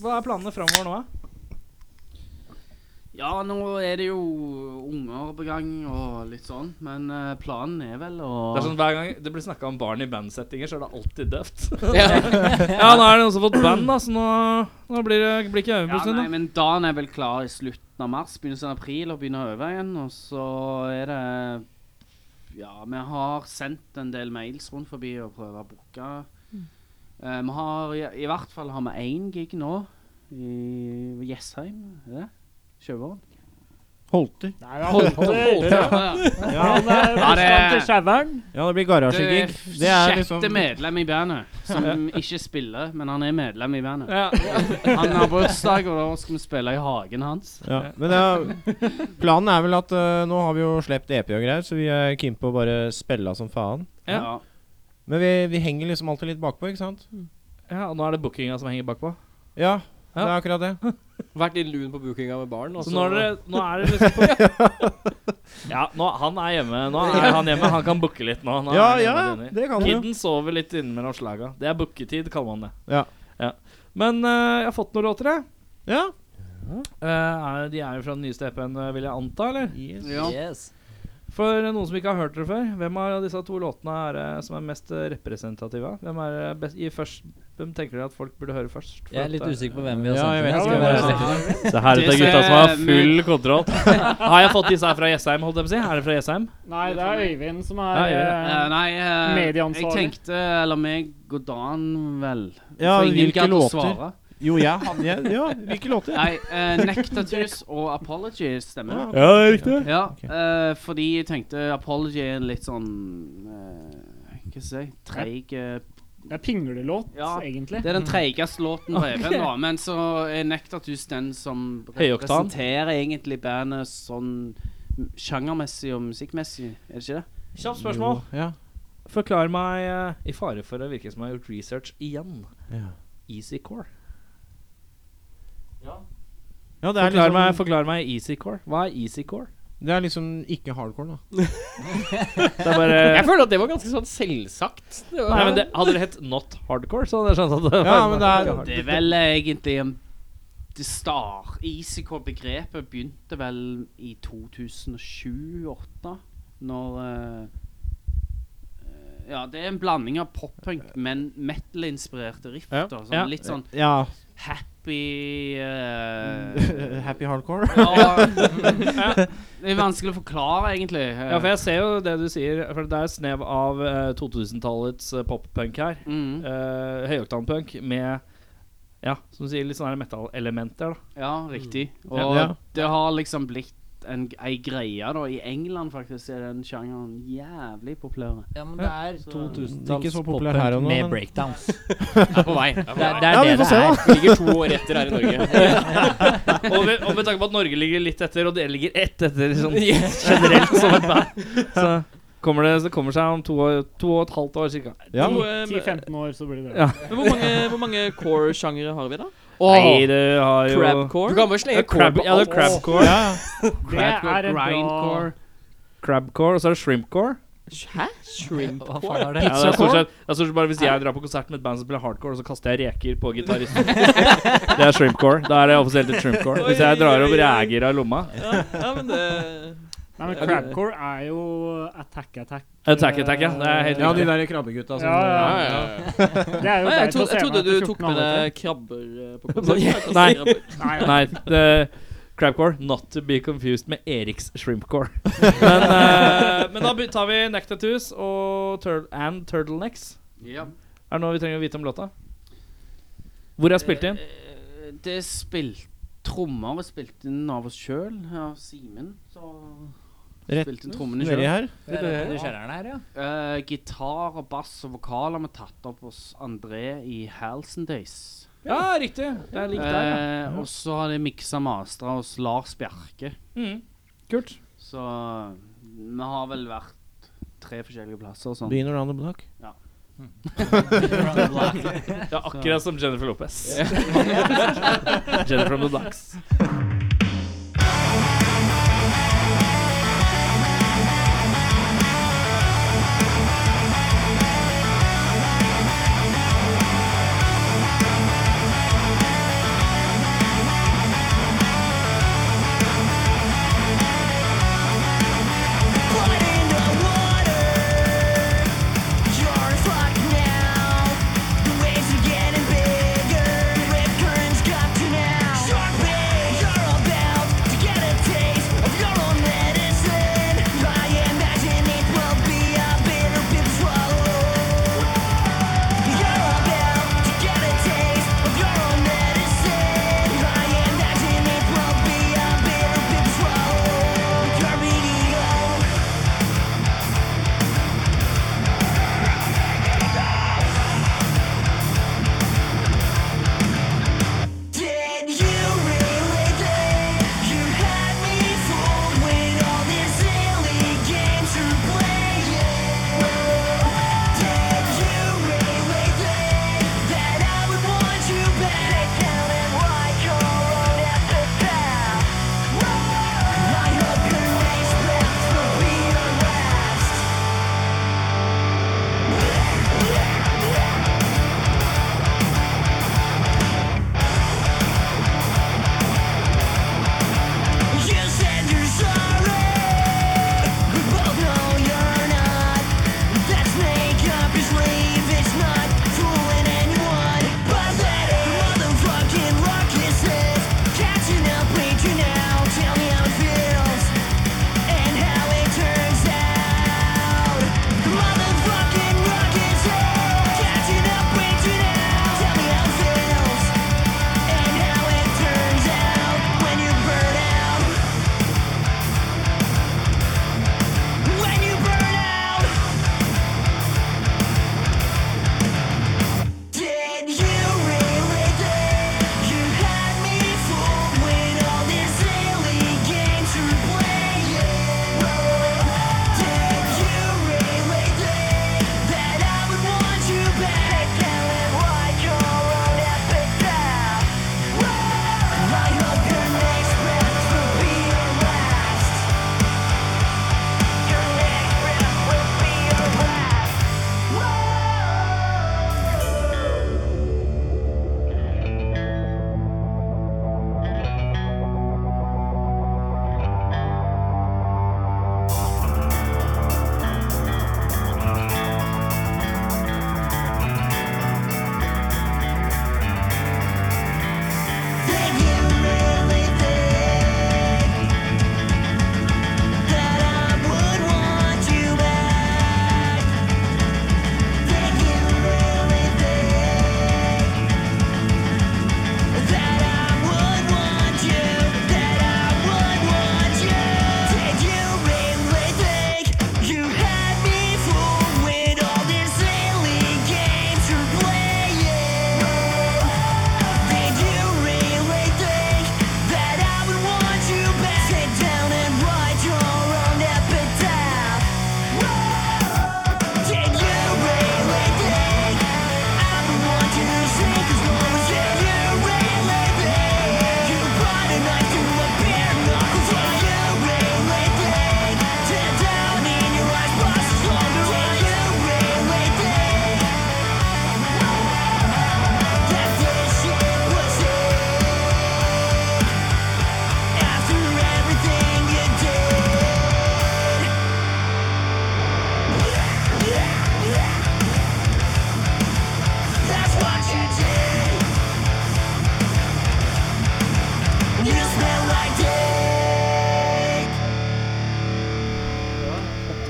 Speaker 2: hva er planene framover nå, da?
Speaker 6: Ja, nå er det jo unger på gang og litt sånn, men eh, planen er vel å
Speaker 2: Det er sånn Hver gang det blir snakka om barn i bandsettinger, så er det alltid døvt.
Speaker 6: ja,
Speaker 2: ja, nå er det noen som har fått band, da, så nå, nå blir det blir ikke øving på en
Speaker 6: nei,
Speaker 2: stund. da.
Speaker 6: men dagen er vel klar i slutten av mars, begynnelsen av april, og begynner å øve igjen. Og så er det Ja, vi har sendt en del mails rundt forbi og prøver å booke.
Speaker 2: Mm.
Speaker 6: Eh, vi har i, I hvert fall har vi én gig nå i Jessheim. Er det? Sjøvåren?
Speaker 4: Holter.
Speaker 7: Holter! Han er førstemann til skjæveren.
Speaker 4: Ja, det blir
Speaker 6: Du er
Speaker 4: garasjegig. Det er liksom
Speaker 6: sjette medlem i bandet, som ikke spiller, men han er medlem i bandet.
Speaker 2: Ja.
Speaker 6: Han har bursdag, og da skal vi spille i hagen hans.
Speaker 4: ja. Men det er, planen er vel at øh, nå har vi jo sluppet EP og greier, så vi er keen på å bare spille som faen.
Speaker 2: Ja.
Speaker 4: Men vi, vi henger liksom alltid litt bakpå, ikke sant?
Speaker 2: ja, og nå er det bookinga som henger bakpå.
Speaker 4: Ja, det er
Speaker 2: Ja.
Speaker 4: akkurat det.
Speaker 1: Vært litt lun på bookinga med altså. baren. og
Speaker 2: Så nå er det, nå er det liksom på Ja, nå, han er hjemme. Nå er han hjemme. Han kan booke litt nå. nå er
Speaker 4: Ja,
Speaker 2: han
Speaker 4: ja,
Speaker 2: hjemme, Denny.
Speaker 4: det kan du.
Speaker 2: Kidden sover litt innimellom slaga. Det er booketid, kaller man det.
Speaker 4: Ja.
Speaker 2: Men eh, jeg har fått noen låter, jeg.
Speaker 4: Ja.
Speaker 2: Eh, er, de er jo fra den nyeste EP-en, eh, vil jeg anta, eller?
Speaker 6: Ja.
Speaker 5: Yes.
Speaker 2: For eh, noen som ikke har hørt det før, hvem av disse to låtene er eh, som er mest eh, representative? Hvem er eh, best, i først, hvem tenker dere at folk burde høre først? For
Speaker 5: Jeg
Speaker 2: at
Speaker 5: er
Speaker 2: eh,
Speaker 5: litt
Speaker 2: det
Speaker 5: usikker på hvem vi har
Speaker 4: Ja, jeg vet
Speaker 5: sendt.
Speaker 4: ikke hvem det
Speaker 5: den.
Speaker 4: er.
Speaker 2: Se her
Speaker 6: ut av gutta som har full
Speaker 2: kontroll. Har jeg fått disse her fra Jessheim, holdt jeg på å si? Er det fra Jessheim?
Speaker 7: Nei, det er Øyvind som
Speaker 2: Ja,
Speaker 7: er
Speaker 6: Eh,
Speaker 7: eh,
Speaker 6: nei, eh, jeg
Speaker 7: Medieansvarlig.
Speaker 6: tenkte Eller meg, god dagen, vel.
Speaker 4: ja
Speaker 6: For ingen
Speaker 4: hvilke
Speaker 6: gadd å
Speaker 4: låter?
Speaker 6: svare.
Speaker 4: Jo, jeg hadde jeg- Ja, hvilke låter?
Speaker 6: Nei, uh, Nektatus og Apology stemmer.
Speaker 4: Ja.
Speaker 2: Ja, det er riktig.
Speaker 6: Ja,
Speaker 4: Ok.
Speaker 6: eh, fordi jeg tenkte Apology er en litt sånn eh, Hva skal jeg si Treig eh,
Speaker 7: Det er pinglelåt,
Speaker 6: Ja.
Speaker 7: egentlig.
Speaker 6: Det er den treigeste låten på EP-en, da. Men så er Nektartus den som
Speaker 2: Høyoktan.
Speaker 6: representerer egentlig bandet sånn sjangermessig og musikkmessig, er det ikke det?
Speaker 2: Kjapt spørsmål.
Speaker 4: Jo, Ja.
Speaker 2: Forklar meg, eh, i fare for å virke som jeg har gjort research igjen,
Speaker 4: Ja.
Speaker 2: Easy Core.
Speaker 4: Ja, det er
Speaker 2: Forklar,
Speaker 4: liksom,
Speaker 2: meg, forklar meg Easy Core. Hva er Easy Core?
Speaker 4: Det er liksom ikke hardcore, da.
Speaker 2: Det er bare
Speaker 1: Jeg føler at det var ganske sånn selvsagt. Det var,
Speaker 2: Nei, men det, Hadde det hett Not Hardcore, så hadde jeg skjønt at det
Speaker 4: Ja, men det er-
Speaker 6: Det er vel eh, egentlig en det star Easycore-begrepet begynte vel i 2007-2008, når eh, eh, Ja, det er en blanding av poppunk, men metal-inspirerte riff.
Speaker 4: Ja.
Speaker 6: Da, sånn,
Speaker 2: Ja.
Speaker 6: Litt sånn
Speaker 4: Ja.
Speaker 6: happy eh,
Speaker 4: Happy hardcore.
Speaker 6: Ja, det er vanskelig å forklare, egentlig. Eh,
Speaker 2: Ja, for jeg ser jo det du sier. For det er et snev av eh, 2000-tallets eh, poppunk her.
Speaker 6: mm,
Speaker 2: Uh, Høyoktanpunk med Ja, som du sier, litt sånne her metal-elementer. da
Speaker 6: ja, riktig.
Speaker 2: Mm.
Speaker 6: Og
Speaker 4: Ja, ja.
Speaker 6: det har liksom blitt en, ei greie, da. I England, faktisk, er den sjangeren jævlig populær.
Speaker 5: Ja, men det er
Speaker 4: Det er ikke
Speaker 5: 2000-talls
Speaker 4: så populær her og nå,
Speaker 5: poppunk med
Speaker 4: men-
Speaker 5: breakdowns.
Speaker 1: er på vei.
Speaker 5: Det, er- det er
Speaker 4: Ja, vi
Speaker 5: det
Speaker 4: får
Speaker 5: det
Speaker 4: se,
Speaker 5: er.
Speaker 4: da.
Speaker 1: Ligger to år etter her i Norge.
Speaker 2: Og med, og med tanke på at Norge ligger litt etter, og dere ligger ett etter sånn generelt som et band, så kommer det så kommer det seg om to, år, to og et halvt år cirka.
Speaker 4: Ja.
Speaker 3: Hvor, eh,
Speaker 7: 10-15 år, så blir det
Speaker 2: Ja.
Speaker 7: det.
Speaker 3: men hvor mange, hvor mange core-sjangere har vi, da?
Speaker 2: Nei, du har jo
Speaker 1: Du
Speaker 3: Crabcore?
Speaker 1: kan bare
Speaker 2: Ja,
Speaker 1: slenge
Speaker 2: crab, oh,
Speaker 1: på
Speaker 2: ja, det er
Speaker 1: alt.
Speaker 2: crabcore.
Speaker 7: Det er et bra
Speaker 6: grindcore.
Speaker 2: Crabcore, og så er det shrimpcore.
Speaker 3: Hæ? Shrimp?
Speaker 5: Hva faen er det?
Speaker 2: Ja, det er stort sett det er stort sett bare Hvis jeg drar på konsert med et band som spiller hardcore, så kaster jeg reker på gitaristen. Det er shrimpcore. Da er det offisielt et shrimpcore. Hvis jeg drar opp reker av lomma
Speaker 3: Ja, ja, men det
Speaker 7: Nei, men Crabcore er jo Attack Attack.
Speaker 2: Attack Attack, ja. Det er helt
Speaker 4: Ja, de
Speaker 2: riktig.
Speaker 4: der krabbegutta som
Speaker 7: Ja, ja.
Speaker 1: Ja, ja, ja.
Speaker 7: Det er
Speaker 3: Nei,
Speaker 7: jo
Speaker 3: jeg,
Speaker 7: der på
Speaker 3: trodde, jeg
Speaker 7: scenen
Speaker 3: trodde du
Speaker 7: etter
Speaker 3: tok
Speaker 7: 14
Speaker 3: med
Speaker 7: år,
Speaker 3: deg krabber eh, på konsert.
Speaker 2: Nei.
Speaker 3: Krabber.
Speaker 7: vet du. Nei,
Speaker 2: Nei, det, Crabcore, not to be confused med Eriks shrimpcore. men, eh, men da by- tar vi Neck Tattoos og tur and Turtlenecks.
Speaker 6: Ja.
Speaker 2: Er det noe vi trenger å vite om låta? Hvor er spilt inn?
Speaker 6: Eh, Det er spilt Trommer er spilt inn av oss sjøl, av Simen. Så
Speaker 4: Rett
Speaker 6: spilte inn trommene
Speaker 4: Nedi
Speaker 6: sjøl.
Speaker 4: her.
Speaker 5: Det er det kjelleren her, ja.
Speaker 6: Eh, gitar, og bass og vokaler har vi tatt opp hos André i Halson Days.
Speaker 2: Ja, riktig. Det er link der, ja.
Speaker 6: Eh, og så har de miksa mastra hos Lars Bjerke.
Speaker 2: Mm. Kult.
Speaker 6: Så vi har vel vært tre forskjellige plasser og sånn.
Speaker 4: Begynner around the block.
Speaker 2: Det er akkurat som Jennifer Lopez. Jennifer from the Ducks.
Speaker 8: Sharpie, you're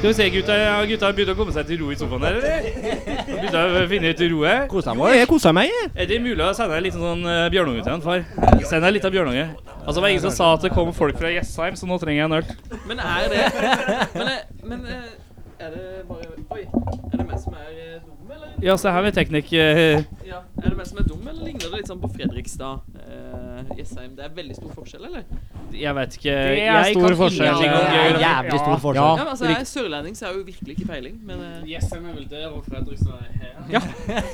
Speaker 2: Skal vi se, gutta, har gutta begynt å komme seg til ro i sofaen her, eller? Har Gutta å finne ut ro her?
Speaker 4: Kosa meg. Jeg kosa meg, jeg.
Speaker 2: Er det mulig å sende en liten sånn eh, bjørnunge til han, far? Send deg litt av bjørnunge. Altså, det var ingen som sa at det kom folk fra Jessheim, så nå trenger jeg en øl.
Speaker 3: Men er det Men, er, men eh, er det bare Oi. Er det meg som er eh, dum, eller?
Speaker 2: Ja, se her med teknikk. eh,
Speaker 3: Ja. Er det meg som er dum, eller ligner det litt sånn på Fredrikstad? Eh, Jessheim. Det er veldig stor forskjell, eller?
Speaker 2: Jeg vet ikke.
Speaker 7: Det er
Speaker 2: Jeg
Speaker 7: stor
Speaker 2: kan
Speaker 7: forskjell.
Speaker 2: ingenting om
Speaker 7: Det er
Speaker 2: geografi.
Speaker 5: Jævlig stor forskjell.
Speaker 4: Ah,
Speaker 3: Ja, men altså, Jeg er sørlending, så jeg har jo virkelig ikke peiling, men eh,
Speaker 6: Jessheim er vel der, og Fredrikstad er her.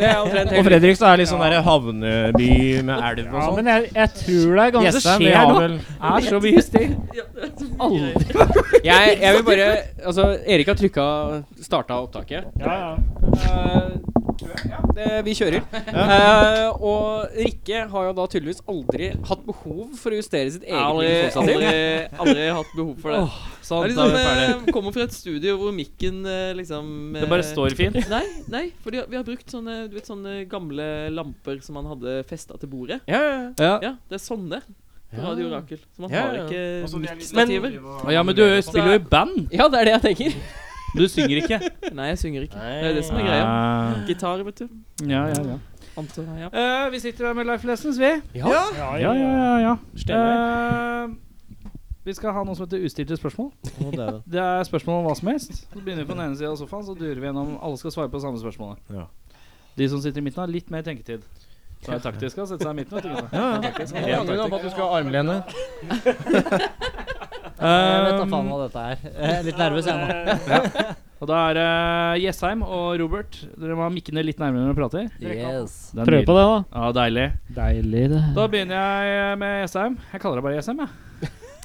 Speaker 3: det er omtrent
Speaker 4: Og Fredrikstad er litt sånn der havneby med elv og
Speaker 7: Ja,
Speaker 4: sånn.
Speaker 7: men jeg, jeg tror det er ganske
Speaker 4: Jessheim, vi
Speaker 7: skjer
Speaker 4: har
Speaker 7: noe.
Speaker 4: vel
Speaker 2: er så mye steg.
Speaker 1: Jeg, jeg vil bare Altså, Erik har trykka starta opptaket.
Speaker 7: Ja, ja.
Speaker 1: Eh, det, vi kjører. Eh, og Rikke har jo da tydeligvis aldri hatt behov for å justere sitt eget
Speaker 3: Aldri,
Speaker 1: mikrofonstativ.
Speaker 3: aldri, aldri hatt behov for det.
Speaker 2: Sånn, da er
Speaker 3: Jeg liksom,
Speaker 2: vi ferdig.
Speaker 3: eh, kommer fra et studio hvor mikken eh, liksom
Speaker 2: Det bare
Speaker 3: eh,
Speaker 2: står fint.
Speaker 3: Nei, nei, for de har, vi har brukt sånne, du vet, sånne gamle lamper som man hadde festa til bordet.
Speaker 1: Ja, ja, ja.
Speaker 3: Ja, det er sånne på Radio Rakel. Så man
Speaker 1: Ja,
Speaker 3: har
Speaker 1: ja.
Speaker 3: ikke
Speaker 1: litt
Speaker 3: miksstativer.
Speaker 2: Å Ja, men du spiller jo i band.
Speaker 1: ja, det er det jeg tenker.
Speaker 2: Du synger ikke.
Speaker 3: Nei, jeg synger ikke. Det er det som er greia.
Speaker 2: Ah.
Speaker 3: Gitar, vet du.
Speaker 2: Ja, ja, ja.
Speaker 3: Antar jeg. Ja.
Speaker 2: Eh, vi sitter her med Life Lessons, vi.
Speaker 7: Ja,
Speaker 2: Ja, ja, ja, ja.
Speaker 4: Stemmer.
Speaker 2: Eh, vi skal ha noe som heter ustilte spørsmål.
Speaker 4: Å, dæven.
Speaker 2: Det er spørsmål om hva som helst. Så begynner vi på den ene siden av sofaen, så durer vi gjennom. Alle skal svare på det samme spørsmålet.
Speaker 4: Ja.
Speaker 2: De som sitter i midten, har litt mer tenketid. Så er det taktisk å sette seg i midten. Vet du, gutta.
Speaker 4: Ja, ja.
Speaker 2: Helt
Speaker 4: Jeg angrer da på at du skal ha armlene.
Speaker 5: Jeg vet da
Speaker 2: Um,
Speaker 5: faen hva dette er. Jeg er litt nervøs, jeg nå.
Speaker 2: Eh, og da er det Jessheim og Robert. Dere må ha mikkene litt nærmere når dere prater.
Speaker 5: Yes.
Speaker 2: Det er
Speaker 7: Prøv på det, da.
Speaker 2: Ja, deilig.
Speaker 7: Deilig, det.
Speaker 2: Da begynner jeg med Jessheim. Jeg kaller deg bare Jessheim, jeg.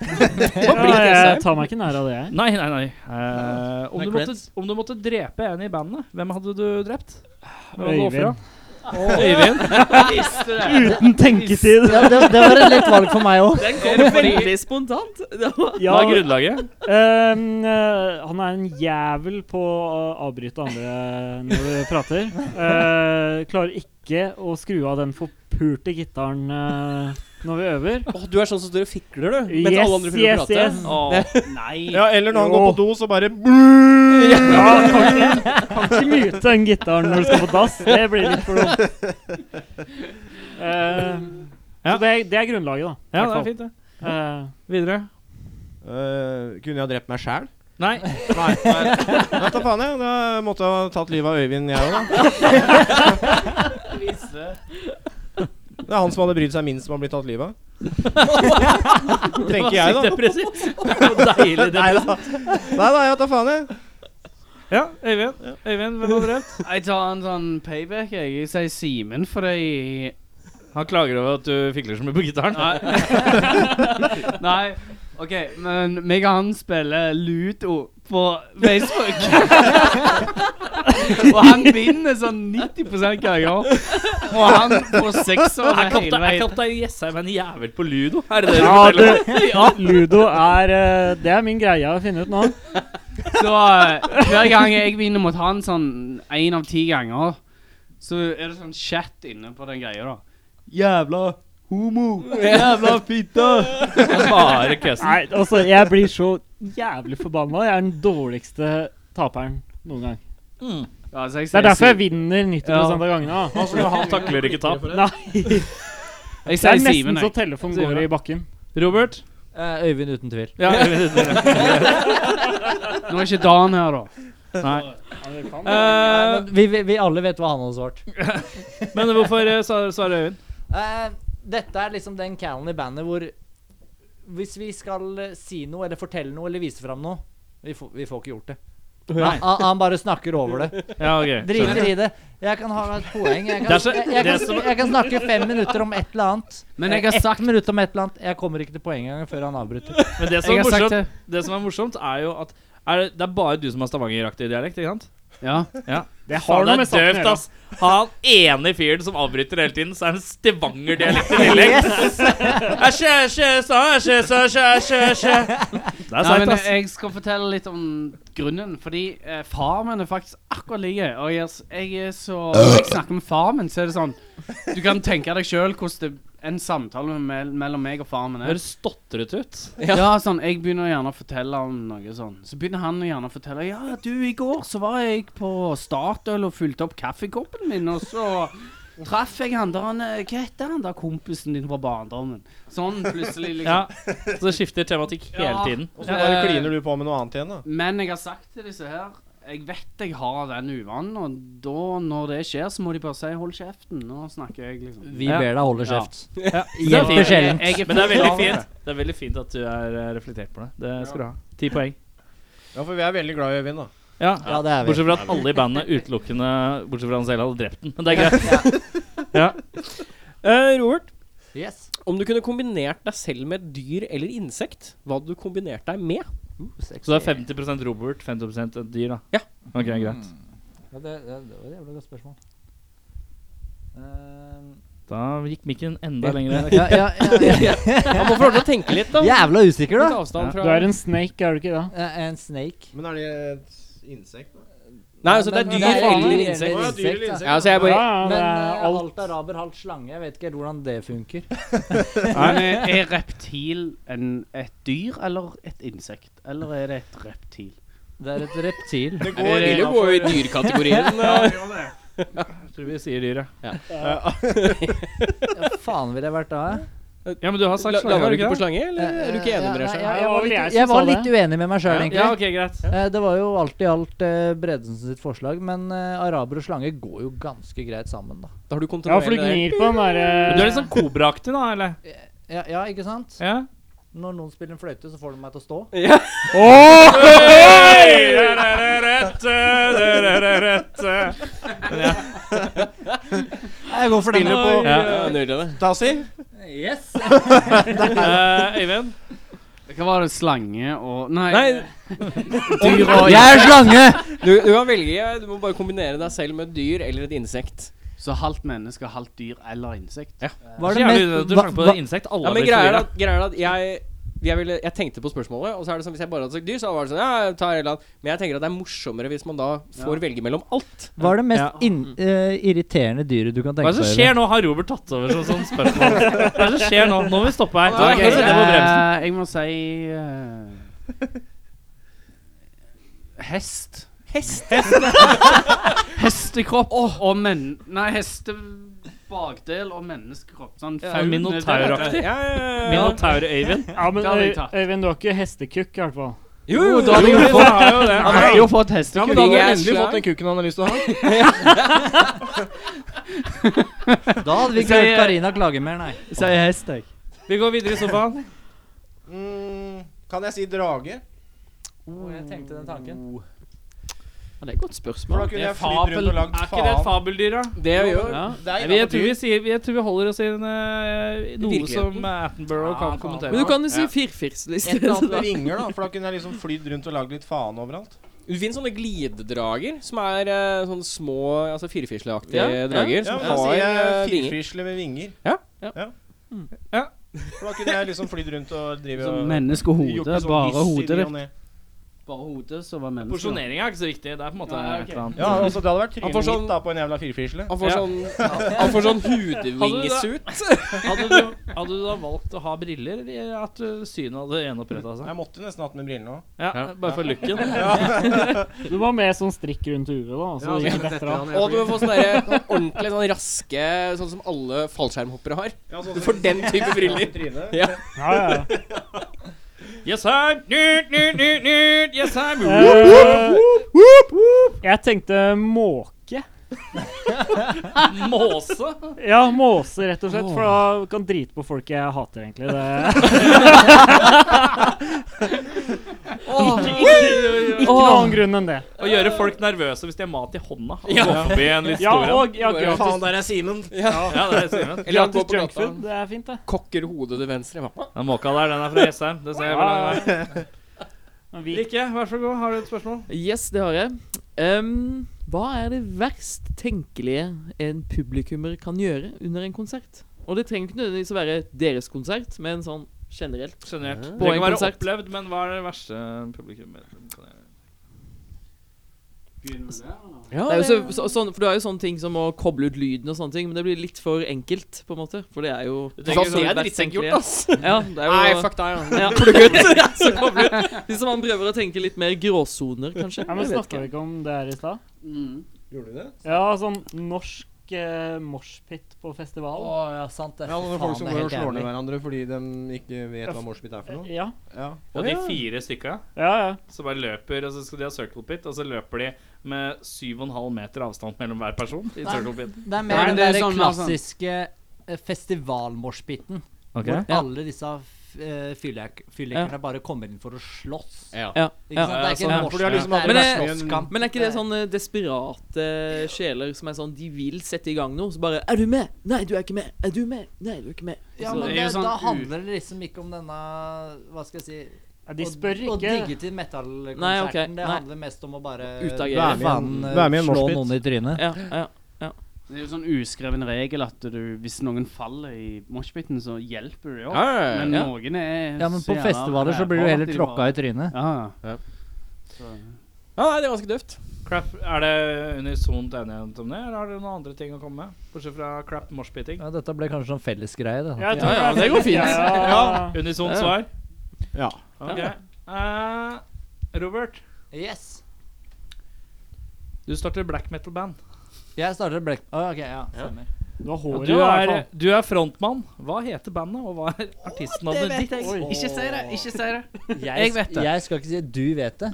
Speaker 7: Ja, jeg tar meg ikke nær av det, jeg.
Speaker 2: Nei, nei, nei. Eh, om,
Speaker 4: Nei,
Speaker 2: du måtte,
Speaker 4: creds.
Speaker 2: om du måtte drepe en i bandet, hvem hadde du drept? Hvem hadde du
Speaker 7: Øyvind.
Speaker 2: offret? Øyvind?
Speaker 7: Uten tenketid.
Speaker 5: Ja, det, det var et lett valg for meg òg.
Speaker 3: Den kom veldig spontant. Det var
Speaker 7: Ja,
Speaker 2: Hva er grunnlaget?
Speaker 7: øhm, øh, han er en jævel på å avbryte andre når du prater. Eh, klarer ikke å skru av den forpurte gitaren eh, når vi øver.
Speaker 1: Åh, du er sånn som står og fikler, du. Mens alle
Speaker 7: Yes,
Speaker 1: andre prøver å
Speaker 7: yes,
Speaker 1: prate.
Speaker 7: yes.
Speaker 6: nei.
Speaker 4: Ja, eller når han går på do, så bare
Speaker 7: Ja, kan ikke, kan ikke mute den gitaren når du skal på dass. Det blir litt for dumt. Eh,
Speaker 2: Ja.
Speaker 7: Så det, det er grunnlaget, da.
Speaker 2: Ja, det er fint, det.
Speaker 7: Eh,
Speaker 2: Videre.
Speaker 4: Eh, Kunne jeg ha drept meg sjæl?
Speaker 2: Nei.
Speaker 4: Nei. nei. Vet da faen, jeg. Da måtte jeg ha tatt livet av Øyvind, jeg òg, da. Det er han som hadde brydd seg minst om å bli tatt livet av. Tenker jeg, da.
Speaker 2: Depressivt. Deilig
Speaker 4: Nei
Speaker 2: depressivt.
Speaker 4: da. Nei da, jeg tar faen, jeg.
Speaker 2: Ja, Øyvind. Øyvind, hvem hadde du drept?
Speaker 6: Jeg tar en sånn payback, jeg. Jeg sier Simen, for jeg
Speaker 2: Han klager over at du fikler så mye på gitaren.
Speaker 6: Nei. OK, men meg og han spiller ludo på Facebook. og han vinner sånn 90 hver gang. Og han får seksere hele veien.
Speaker 2: Kaptein Jessheim er en jævel på ludo.
Speaker 7: ja, du, Ludo er eh, Det er min greie å finne ut nå.
Speaker 6: Så eh, hver gang jeg vinner mot han sånn én av ti ganger, så er det sånn chat inne på den greia, da. Jævla homo! Jævla fitte!
Speaker 2: Bare køssen.
Speaker 7: Nei, altså, jeg blir så jævlig forbanna. Jeg er den dårligste taperen noen gang.
Speaker 6: Ja, så
Speaker 7: Det
Speaker 6: jeg sier
Speaker 7: er derfor jeg
Speaker 6: Sim-
Speaker 7: vinner 90 av gangene. da.
Speaker 2: Altså, han takler ikke tap.
Speaker 7: Nei, Det
Speaker 6: Jeg
Speaker 7: er
Speaker 6: sier
Speaker 7: nesten
Speaker 6: Simen,
Speaker 7: så
Speaker 6: jeg.
Speaker 7: telefonen går i bakken.
Speaker 2: Robert?
Speaker 5: Øyvind uten tvil.
Speaker 2: Ja,
Speaker 6: Nå er ikke Dan her, da.
Speaker 2: Nei.
Speaker 5: Nei,
Speaker 2: Eh,
Speaker 5: men Uh, vi, vi, vi alle vet hva han hadde svart.
Speaker 2: men hvorfor eh, sa- svarer Øyvind?
Speaker 5: Eh, dette er liksom den callen i bandet hvor hvis vi skal eh, si noe eller fortelle noe eller vise fram noe vi, får- vi får ikke gjort det.
Speaker 2: Nei.
Speaker 5: Han, han bare snakker over det.
Speaker 2: Ja, ok.
Speaker 5: Driter i det. Jeg kan ha et poeng. Jeg
Speaker 2: Det er
Speaker 5: kan,
Speaker 2: så-
Speaker 5: jeg, jeg,
Speaker 2: det er
Speaker 5: kan,
Speaker 2: så-
Speaker 5: jeg kan snakke fem minutter om et eller annet. Eh,
Speaker 6: Men jeg har
Speaker 5: Ett
Speaker 6: sagt-
Speaker 5: minutt om et eller annet. Jeg kommer ikke til poenget engang før han avbryter.
Speaker 2: Men det som,
Speaker 6: Jeg
Speaker 2: er
Speaker 6: har sagt
Speaker 2: morsomt,
Speaker 6: det.
Speaker 2: det som er morsomt, er jo at er det, det er bare du som har stavanger-aktig dialekt, ikke sant?
Speaker 6: Ja.
Speaker 7: Det har noe med
Speaker 2: Faen, det er
Speaker 7: saken å
Speaker 2: døvt,
Speaker 7: gjøre.
Speaker 2: ass. Han ene fyren som avbryter hele tiden, så er det en Stavanger-dialekt i tillegg. Æsj, æsj, æsj, æsj, æsj, æsj, æsj. Det er
Speaker 6: Nei,
Speaker 2: seigt,
Speaker 6: men
Speaker 2: ass.
Speaker 6: jeg skal fortelle litt om grunnen. Fordi eh, far min er faktisk akkurat like. Og jeg, er s- jeg er så Når jeg snakker med far min, så er det sånn Du kan tenke deg sjøl hvordan det en samtale mell- mellom meg og faren min. er-
Speaker 2: Høres stotret ut.
Speaker 6: Ja. sånn, Jeg begynner gjerne å fortelle om noe sånn. Så begynner han å gjerne å fortelle Ja, du, i går så var jeg på Statoil og fylte opp kaffekoppen min, og så traff jeg han der han eh, Hva heter han der kompisen din fra barndommen? Sånn plutselig, liksom.
Speaker 2: Ja, Så det skifter tematikk hele
Speaker 6: Ja.
Speaker 2: tiden.
Speaker 4: Og så bare kliner du på med noe annet igjen, da.
Speaker 6: Men jeg har sagt til disse her Jeg vet jeg har den uvanen, og da, når det skjer, så må de bare si 'hold kjeften'. Nå snakker jeg, liksom.
Speaker 5: Vi
Speaker 2: Ja.
Speaker 5: ber deg holde
Speaker 6: Ja.
Speaker 5: kjeft. Hjelper sjelden.
Speaker 6: Jeg
Speaker 2: Men det er veldig
Speaker 6: fullt klar over det.
Speaker 2: fint Det er veldig fint at du er eh, reflektert på det. Det skal du ha. Ti poeng.
Speaker 4: Ja, for vi er veldig glad i Øyvind, da.
Speaker 2: Ja.
Speaker 5: Ja, det er vi.
Speaker 2: Bortsett fra at alle i bandet utelukkende Bortsett fra han selv hadde drept den. Men det er greit. Ja.
Speaker 1: Eh, Robert,
Speaker 5: Yes.
Speaker 1: om du kunne kombinert deg selv med et dyr eller insekt, hva hadde du kombinert deg med?
Speaker 2: Så det er 50 Robert, 50 et dyr, da.
Speaker 1: Ja.
Speaker 2: Ok, greit.
Speaker 1: Mm.
Speaker 5: Ja, det, det, det var et jævla godt spørsmål. Eh,
Speaker 2: Da gikk mikken enda lenger.
Speaker 5: ja, ja, ja, ja.
Speaker 1: Han må få lov til å tenke litt, da.
Speaker 5: Jævla usikker,
Speaker 1: Litt
Speaker 5: da.
Speaker 1: avstand
Speaker 7: Du
Speaker 1: fra
Speaker 7: er en snake, er du ikke det?
Speaker 5: Eh, En snake.
Speaker 4: Men er det et insekt? da?
Speaker 1: Nei, altså, det er dyr eller
Speaker 5: Eller
Speaker 1: insekt.
Speaker 4: Å, ja, dyr eller
Speaker 5: ja.
Speaker 4: insekt,
Speaker 1: Ja, altså, jeg
Speaker 7: Ja,
Speaker 1: bare
Speaker 7: ja,
Speaker 5: Men
Speaker 7: det
Speaker 5: eh,
Speaker 7: er alt.
Speaker 5: halvt araber, halvt slange. Jeg vet ikke helt hvordan det funker.
Speaker 6: Men er, er reptil en, et dyr eller et insekt? Eller er det et reptil?
Speaker 5: Det er et reptil.
Speaker 1: Det
Speaker 4: Det går
Speaker 1: vil jo gå i dyrkategorien. eh.
Speaker 2: Jeg tror vi sier dyr, ja.
Speaker 5: Ja, faen ville jeg vært da?
Speaker 2: Ja, men du har sagt
Speaker 1: La-
Speaker 2: slange,
Speaker 1: Lager du
Speaker 2: har
Speaker 1: ikke på
Speaker 2: du ikke det?
Speaker 1: slange, eller er du ikke enig med deg
Speaker 5: selv?
Speaker 1: selv?
Speaker 5: Jeg,
Speaker 7: Det
Speaker 5: jeg,
Speaker 7: var
Speaker 5: var
Speaker 7: vel jeg
Speaker 5: litt-
Speaker 7: som
Speaker 5: jeg
Speaker 7: sa
Speaker 5: var
Speaker 7: det.
Speaker 5: litt uenig med meg sjøl,
Speaker 2: Ja,
Speaker 5: egentlig.
Speaker 2: Ja, ok, greit.
Speaker 5: Eh, Det var jo alt i alt eh, Bredesen sitt forslag, men eh, araber og slange går jo ganske greit sammen, da.
Speaker 1: Da har du
Speaker 7: Ja, for du
Speaker 1: kontinuerlig
Speaker 7: gnir på den eh,
Speaker 2: Men du er
Speaker 7: derre
Speaker 2: litt sånn kobraaktig, da, eller?
Speaker 5: Ja, ja, ikke sant?
Speaker 2: Ja.
Speaker 5: Når noen spiller en fløyte, så får de meg til å stå. Jeg går for den.
Speaker 4: Spiller på
Speaker 1: Ja, nydelig.
Speaker 4: Tasi.
Speaker 5: Yes.
Speaker 2: Eh, Øyvind?
Speaker 6: Hva var det? Slange og Nei.
Speaker 1: Nei,
Speaker 5: Jeg er slange!
Speaker 1: du, du kan velge. Du må bare kombinere deg selv med et dyr eller et insekt.
Speaker 6: Så halvt menneske, halvt dyr eller insekt? Ja.
Speaker 2: Så
Speaker 5: Var det
Speaker 2: jævlig
Speaker 5: mest-
Speaker 2: Du
Speaker 5: hva-
Speaker 2: slang på
Speaker 5: hva-
Speaker 2: insekt. Alle
Speaker 1: Ja,
Speaker 2: har
Speaker 1: men
Speaker 2: blitt
Speaker 1: greia er
Speaker 2: forvirra.
Speaker 1: at, greia er at jeg, jeg, ville, jeg tenkte på spørsmålet, og så er det sånn hvis jeg bare hadde sagt dyr, så hadde det vært sånn ja, jeg tar et eller annet. Men jeg tenker at det er morsommere hvis man da får velge mellom alt.
Speaker 5: Hva er det mest
Speaker 2: Ja.
Speaker 5: inn- eh, irriterende dyret du kan
Speaker 2: Hva
Speaker 5: tenke
Speaker 2: er det som
Speaker 5: deg?
Speaker 2: skjer nå? Har Robert tatt over som sånn spørsmål? Hva er det som skjer nå? Nå må vi stoppe her.
Speaker 1: Ok,
Speaker 2: Nå setter vi på bremsen.
Speaker 6: jeg må si eh, Hest. Hest? Hestekropp og men... Nei, hestebakdel og menneskekropp. Sånn
Speaker 2: Ja, Minotauraktig.
Speaker 1: Ja, ja, ja, ja.
Speaker 2: Minotaur-Øyvind.
Speaker 7: Ja, men
Speaker 6: Det hadde jeg
Speaker 7: Øy-
Speaker 6: tatt.
Speaker 7: Øyvind, du har ikke hestekukk, i hvert fall.
Speaker 1: Jo,
Speaker 6: Jo,
Speaker 1: jo,
Speaker 6: da
Speaker 1: jo.
Speaker 6: hadde jeg jo fått,
Speaker 2: har jo det.
Speaker 6: han hadde jo fått
Speaker 4: Ja, men da
Speaker 6: hestekuk.
Speaker 4: hadde
Speaker 1: Jeg
Speaker 4: han
Speaker 1: er
Speaker 4: endelig
Speaker 1: slang.
Speaker 4: fått den kukken han har lyst til å ha.
Speaker 5: Da hadde vi ikke
Speaker 6: Sier-
Speaker 5: hørt Karina klage mer, nei.
Speaker 6: Sier hest, jeg.
Speaker 2: Vi går videre i sofaen.
Speaker 4: Mm, kan jeg si drage?
Speaker 5: jeg tenkte den tanken.
Speaker 3: Ja, det er et godt
Speaker 4: For da
Speaker 3: spørsmål.
Speaker 4: kunne jeg flydd rundt og lagd
Speaker 2: Er ikke det et
Speaker 4: faen.
Speaker 2: fabeldyr, da?
Speaker 1: Det gjør
Speaker 6: Ja.
Speaker 4: Det er
Speaker 2: Nei, Jeg
Speaker 4: innenfor
Speaker 2: tror, vi
Speaker 4: dyr.
Speaker 2: sier, jeg tror vi holder oss i en, eh, noe
Speaker 1: Virkeligheten.
Speaker 2: som Attenborough
Speaker 6: Ja,
Speaker 2: kan
Speaker 6: faen.
Speaker 2: kommentere.
Speaker 3: Men du kan jo si
Speaker 4: Ja. Et
Speaker 3: firfirsliste.
Speaker 4: eller annet med vinger, da. For da kunne jeg liksom flydd rundt og lagd litt faen overalt.
Speaker 1: Det finnes sånne glidedrager som er eh, sånne små, altså firfisleaktige
Speaker 3: Ja, ja.
Speaker 1: drager.
Speaker 4: Ja,
Speaker 1: Som
Speaker 4: men da
Speaker 1: har
Speaker 4: sier
Speaker 1: eh,
Speaker 4: jeg
Speaker 1: vinger.
Speaker 4: firfisle med vinger.
Speaker 1: Ja.
Speaker 4: ja.
Speaker 2: Ja.
Speaker 4: For da kunne jeg liksom flydd rundt og drive
Speaker 6: Som
Speaker 4: og
Speaker 6: menneske og
Speaker 4: gjort
Speaker 6: hode.
Speaker 4: en sånn
Speaker 6: Bare
Speaker 4: hiss i
Speaker 6: hodet
Speaker 4: ny og
Speaker 6: ditt.
Speaker 4: ne.
Speaker 6: Bare hodet, så var mennesket da.
Speaker 2: Porsjoneringa er ikke så viktig. Det er på en måte
Speaker 6: Nei, ok.
Speaker 2: et eller annet.
Speaker 4: Ja, altså det hadde vært
Speaker 1: Han
Speaker 4: trynet
Speaker 1: får sånn-
Speaker 4: mitt da på en jævla firfisle.
Speaker 1: Han får
Speaker 2: Ja.
Speaker 1: sånn, han får sånn hudvingesut.
Speaker 2: Hadde, du, hadde du da valgt å ha briller, eller at uh, synet hadde gjenoppretta seg?
Speaker 4: Jeg måtte nesten hatt med brillene òg.
Speaker 2: Ja, Bare for looken.
Speaker 7: Du var med sånn strikk rundt huet, da. Så det ikke detter av.
Speaker 1: Og du må få sånne der, sånn ordentlig sånn raske, sånn som alle fallskjermhoppere har.
Speaker 4: Ja, altså,
Speaker 1: Du får den type briller. Ja.
Speaker 7: Ja, ja, ja.
Speaker 2: Yes, I'm nyt, nyt, nyt, nyt. Yes, I'm
Speaker 7: Eh, Jeg tenkte måke.
Speaker 2: Måse.
Speaker 7: Ja, måse, rett og slett. For da kan drite på folk jeg hater, egentlig. Det, ikke noen grunn enn det.
Speaker 2: Å gjøre folk nervøse hvis de har mat i hånda. Og gå forbi en litt
Speaker 7: Ja,
Speaker 2: stor en.
Speaker 7: og ja, gratis,
Speaker 4: der er Simen.
Speaker 2: Ja, det er Simen.
Speaker 1: Eller han går
Speaker 7: gratis
Speaker 1: på gata.
Speaker 7: junkfood. Det er fint, det.
Speaker 1: Kokker hodet til venstre. Hva?
Speaker 2: Den måka der, den er fra Jessheim. Det ser jeg hvor lang vei.
Speaker 7: Men vi-
Speaker 2: Rikke, vær så god. Har du et spørsmål?
Speaker 3: Yes, det har jeg. Ehm, hva er det verst tenkelige en publikummer kan gjøre under en konsert? Og det trenger ikke nødvendigvis å være deres konsert, men sånn generelt.
Speaker 2: Sjenert. Det
Speaker 3: På
Speaker 2: kan
Speaker 3: en
Speaker 2: være
Speaker 3: konsert.
Speaker 2: opplevd, men hva er det verste publikum kan gjøre?
Speaker 6: Begynner med det, eller?
Speaker 1: Ja,
Speaker 3: Det er jo så, så, sånn, for du har jo sånne ting som å koble ut lyden og sånne ting, men det blir litt for enkelt, på en måte. For det er jo
Speaker 1: tenker sånn best tenkelige.
Speaker 3: ass. Ja, det er jo
Speaker 1: Nei, fuck deg, ja.
Speaker 3: ja. Plugg ut! Ja, så koble ut. Hvis man prøver å tenke litt mer gråsoner, kanskje.
Speaker 7: Ja, men
Speaker 3: Jeg vet
Speaker 7: Snakka vi ikke om det her i stad?
Speaker 6: Mm.
Speaker 4: Gjorde du det?
Speaker 7: Ja, sånn norsk eh, moshpit på festival.
Speaker 5: Å ja, sant det.
Speaker 4: Ja, altså, det
Speaker 5: Fy
Speaker 4: er folk som
Speaker 5: faen,
Speaker 4: går og
Speaker 5: det er helt
Speaker 4: slår ned
Speaker 5: jævlig.
Speaker 4: hverandre fordi de ikke vet hva moshpit er for noe.
Speaker 7: Ja,
Speaker 4: Ja.
Speaker 2: Ja, de fire stykka
Speaker 7: ja. ja.
Speaker 2: som bare løper, og så skal de ha circle pit, og så løper de med 7,5 meter avstand mellom hver person i
Speaker 5: Nei.
Speaker 2: circle pit.
Speaker 5: Det er
Speaker 6: Nei,
Speaker 5: mer den
Speaker 6: det er
Speaker 5: der
Speaker 6: sånn, altså.
Speaker 5: klassiske eh, festivalmoshpiten.
Speaker 2: Okay.
Speaker 5: Hvor alle disse eh, fyrlek- fyrlekerne bare kommer inn for å slåss.
Speaker 1: Ja.
Speaker 3: Ja,
Speaker 5: Ikke
Speaker 3: ja.
Speaker 5: sant? Det er ikke
Speaker 4: Ja,
Speaker 5: en
Speaker 4: for de har liksom
Speaker 5: moshpit,
Speaker 3: aldri
Speaker 5: det er
Speaker 3: vært
Speaker 5: en
Speaker 4: med i en-
Speaker 5: slåsskamp.
Speaker 3: Men er ikke det sånn eh, desperate sjeler som er sånn De vil sette i gang noe, så bare Er du med? Nei, du er ikke med. Er du med? Nei, du er ikke med.
Speaker 6: Så
Speaker 5: Ja, men
Speaker 6: det er
Speaker 5: det,
Speaker 6: jo sånn
Speaker 5: da
Speaker 6: u-
Speaker 5: handler det liksom ikke om denne Hva skal jeg si
Speaker 7: ja de spør
Speaker 5: Å digge
Speaker 7: ikke.
Speaker 5: til metallkonserten.
Speaker 3: Nei, ok,
Speaker 5: Det
Speaker 3: nei.
Speaker 5: handler mest om å bare
Speaker 3: Utagere.
Speaker 4: Være med
Speaker 5: Være
Speaker 4: i en-
Speaker 5: faen, eh,
Speaker 4: være med i en
Speaker 5: slå
Speaker 4: moshpit.
Speaker 5: noen i trynet.
Speaker 3: Ja, ja.
Speaker 6: Det er jo sånn uskreven regel at du, hvis noen faller i moshpiten, så hjelper du jo.
Speaker 1: Ja, ja, ja.
Speaker 6: Men
Speaker 3: ja.
Speaker 6: noen er
Speaker 5: Ja, men
Speaker 6: så
Speaker 5: på
Speaker 6: jævla
Speaker 5: festivaler så blir du
Speaker 6: ræva
Speaker 5: heller
Speaker 6: at de
Speaker 5: tråkka
Speaker 6: bare-
Speaker 5: i trynet.
Speaker 6: Ja, ja.
Speaker 1: Ja.
Speaker 6: Så-
Speaker 1: ja, nei, det er ganske døvt.
Speaker 2: Crap, Er det unisont enighet om det, eller har dere noen andre ting å komme med? Bortsett fra crap moshpiting.
Speaker 5: Ja, dette ble kanskje sånn fellesgreie, det. da.
Speaker 7: Ja, jeg tror
Speaker 3: Ja, ja,
Speaker 7: det går fint. Ja,
Speaker 2: Unisont svar?
Speaker 4: Ja.
Speaker 2: Ok. Eh, Robert,
Speaker 5: Yes.
Speaker 2: du starter black metal-band.
Speaker 5: Jeg starter Black... Å, ok, ja, stemmer.
Speaker 7: Du har
Speaker 2: Og
Speaker 7: håret
Speaker 2: Du
Speaker 7: i hvert
Speaker 2: er,
Speaker 7: fall.
Speaker 2: du er frontmann. Hva heter bandet, og hva er artistnavnet ditt?
Speaker 6: Ikke si det! Ikke si det!
Speaker 5: Jeg vet det. Jeg skal ikke si du vet det.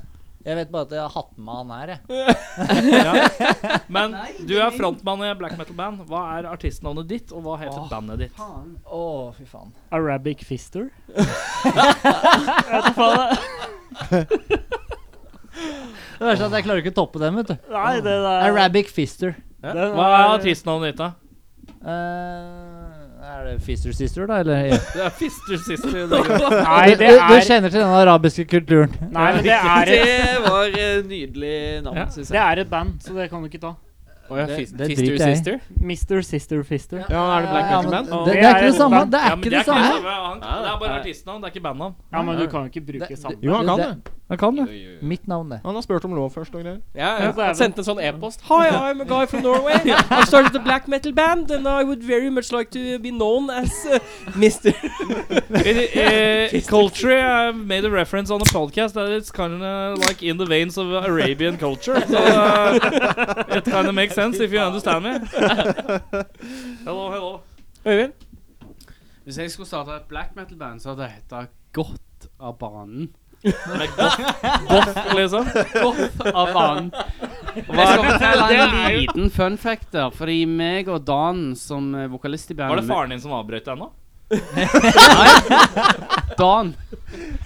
Speaker 5: Jeg vet bare at jeg har hatt med han her, jeg.
Speaker 2: Men du er frontmann i black metal-band. Hva er artistnavnet ditt, og hva heter
Speaker 5: Åh.
Speaker 2: bandet ditt?
Speaker 6: Faen.
Speaker 5: Å, fy faen.
Speaker 7: Arabic fister. Jeg vet da faen.
Speaker 5: Det verste er at jeg klarer ikke å toppe dem, vet du.
Speaker 7: Nei, det der
Speaker 5: Arabic Fister.
Speaker 7: den
Speaker 2: Hva er artistnavnet ditt, da?
Speaker 5: Eh, er det Fister Sister, da, eller?
Speaker 2: Det er Fister Sister.
Speaker 7: Nei, det
Speaker 5: du, du
Speaker 7: er
Speaker 5: kjenner til den arabiske kulturen.
Speaker 7: Nei, men det er et,
Speaker 3: Det var eh, nydelig navn,
Speaker 2: Ja.
Speaker 3: syns
Speaker 7: det
Speaker 3: jeg.
Speaker 7: er et band, så det kan du ikke ta.
Speaker 1: Å ja,
Speaker 5: Det-
Speaker 1: fist-
Speaker 5: det
Speaker 1: Fister
Speaker 5: driter jeg i.
Speaker 1: Sister.
Speaker 7: Mr. Sister Fister.
Speaker 4: ja, er det Black
Speaker 5: Ja,
Speaker 4: Metal
Speaker 5: men
Speaker 4: Band?
Speaker 5: Det,
Speaker 7: Det
Speaker 5: det er
Speaker 7: er
Speaker 5: ikke det
Speaker 7: et
Speaker 5: samme.
Speaker 7: band.
Speaker 5: Det er ikke det samme.
Speaker 2: Han- Det er bare artistnavn, det er ikke bandnavn.
Speaker 7: Ja, men du kan jo ikke bruke samme.
Speaker 4: Jo, han kan det.
Speaker 2: Han kan det.
Speaker 5: Mitt navn, det.
Speaker 4: Han har spurt om lov først og greier.
Speaker 1: Ja,
Speaker 7: Ja,
Speaker 1: ja.
Speaker 7: så er
Speaker 1: Han
Speaker 7: det-
Speaker 1: sendte en sånn e-post. Hi, I'm a guy from Norway. I started a black metal band, and I would very much like to be known as uh, Mr.
Speaker 2: Eh, eh, Culture I made a reference on a podcast that it's kind of like in the veins of Arabian culture. So uh, it kind of makes sense if you understand me. Hello, hello.
Speaker 1: Øyvind?
Speaker 6: Hvis jeg skulle starte et black metal-band, så hadde det heta Godt av banen.
Speaker 2: Boff, liksom.
Speaker 6: Godt av banen. Jeg skal fortelle en liten fun fact der. Fordi meg og Dan, som er vokalist i
Speaker 2: Var det
Speaker 6: bandet
Speaker 2: faren din som avbrøt deg nå?
Speaker 6: Dan.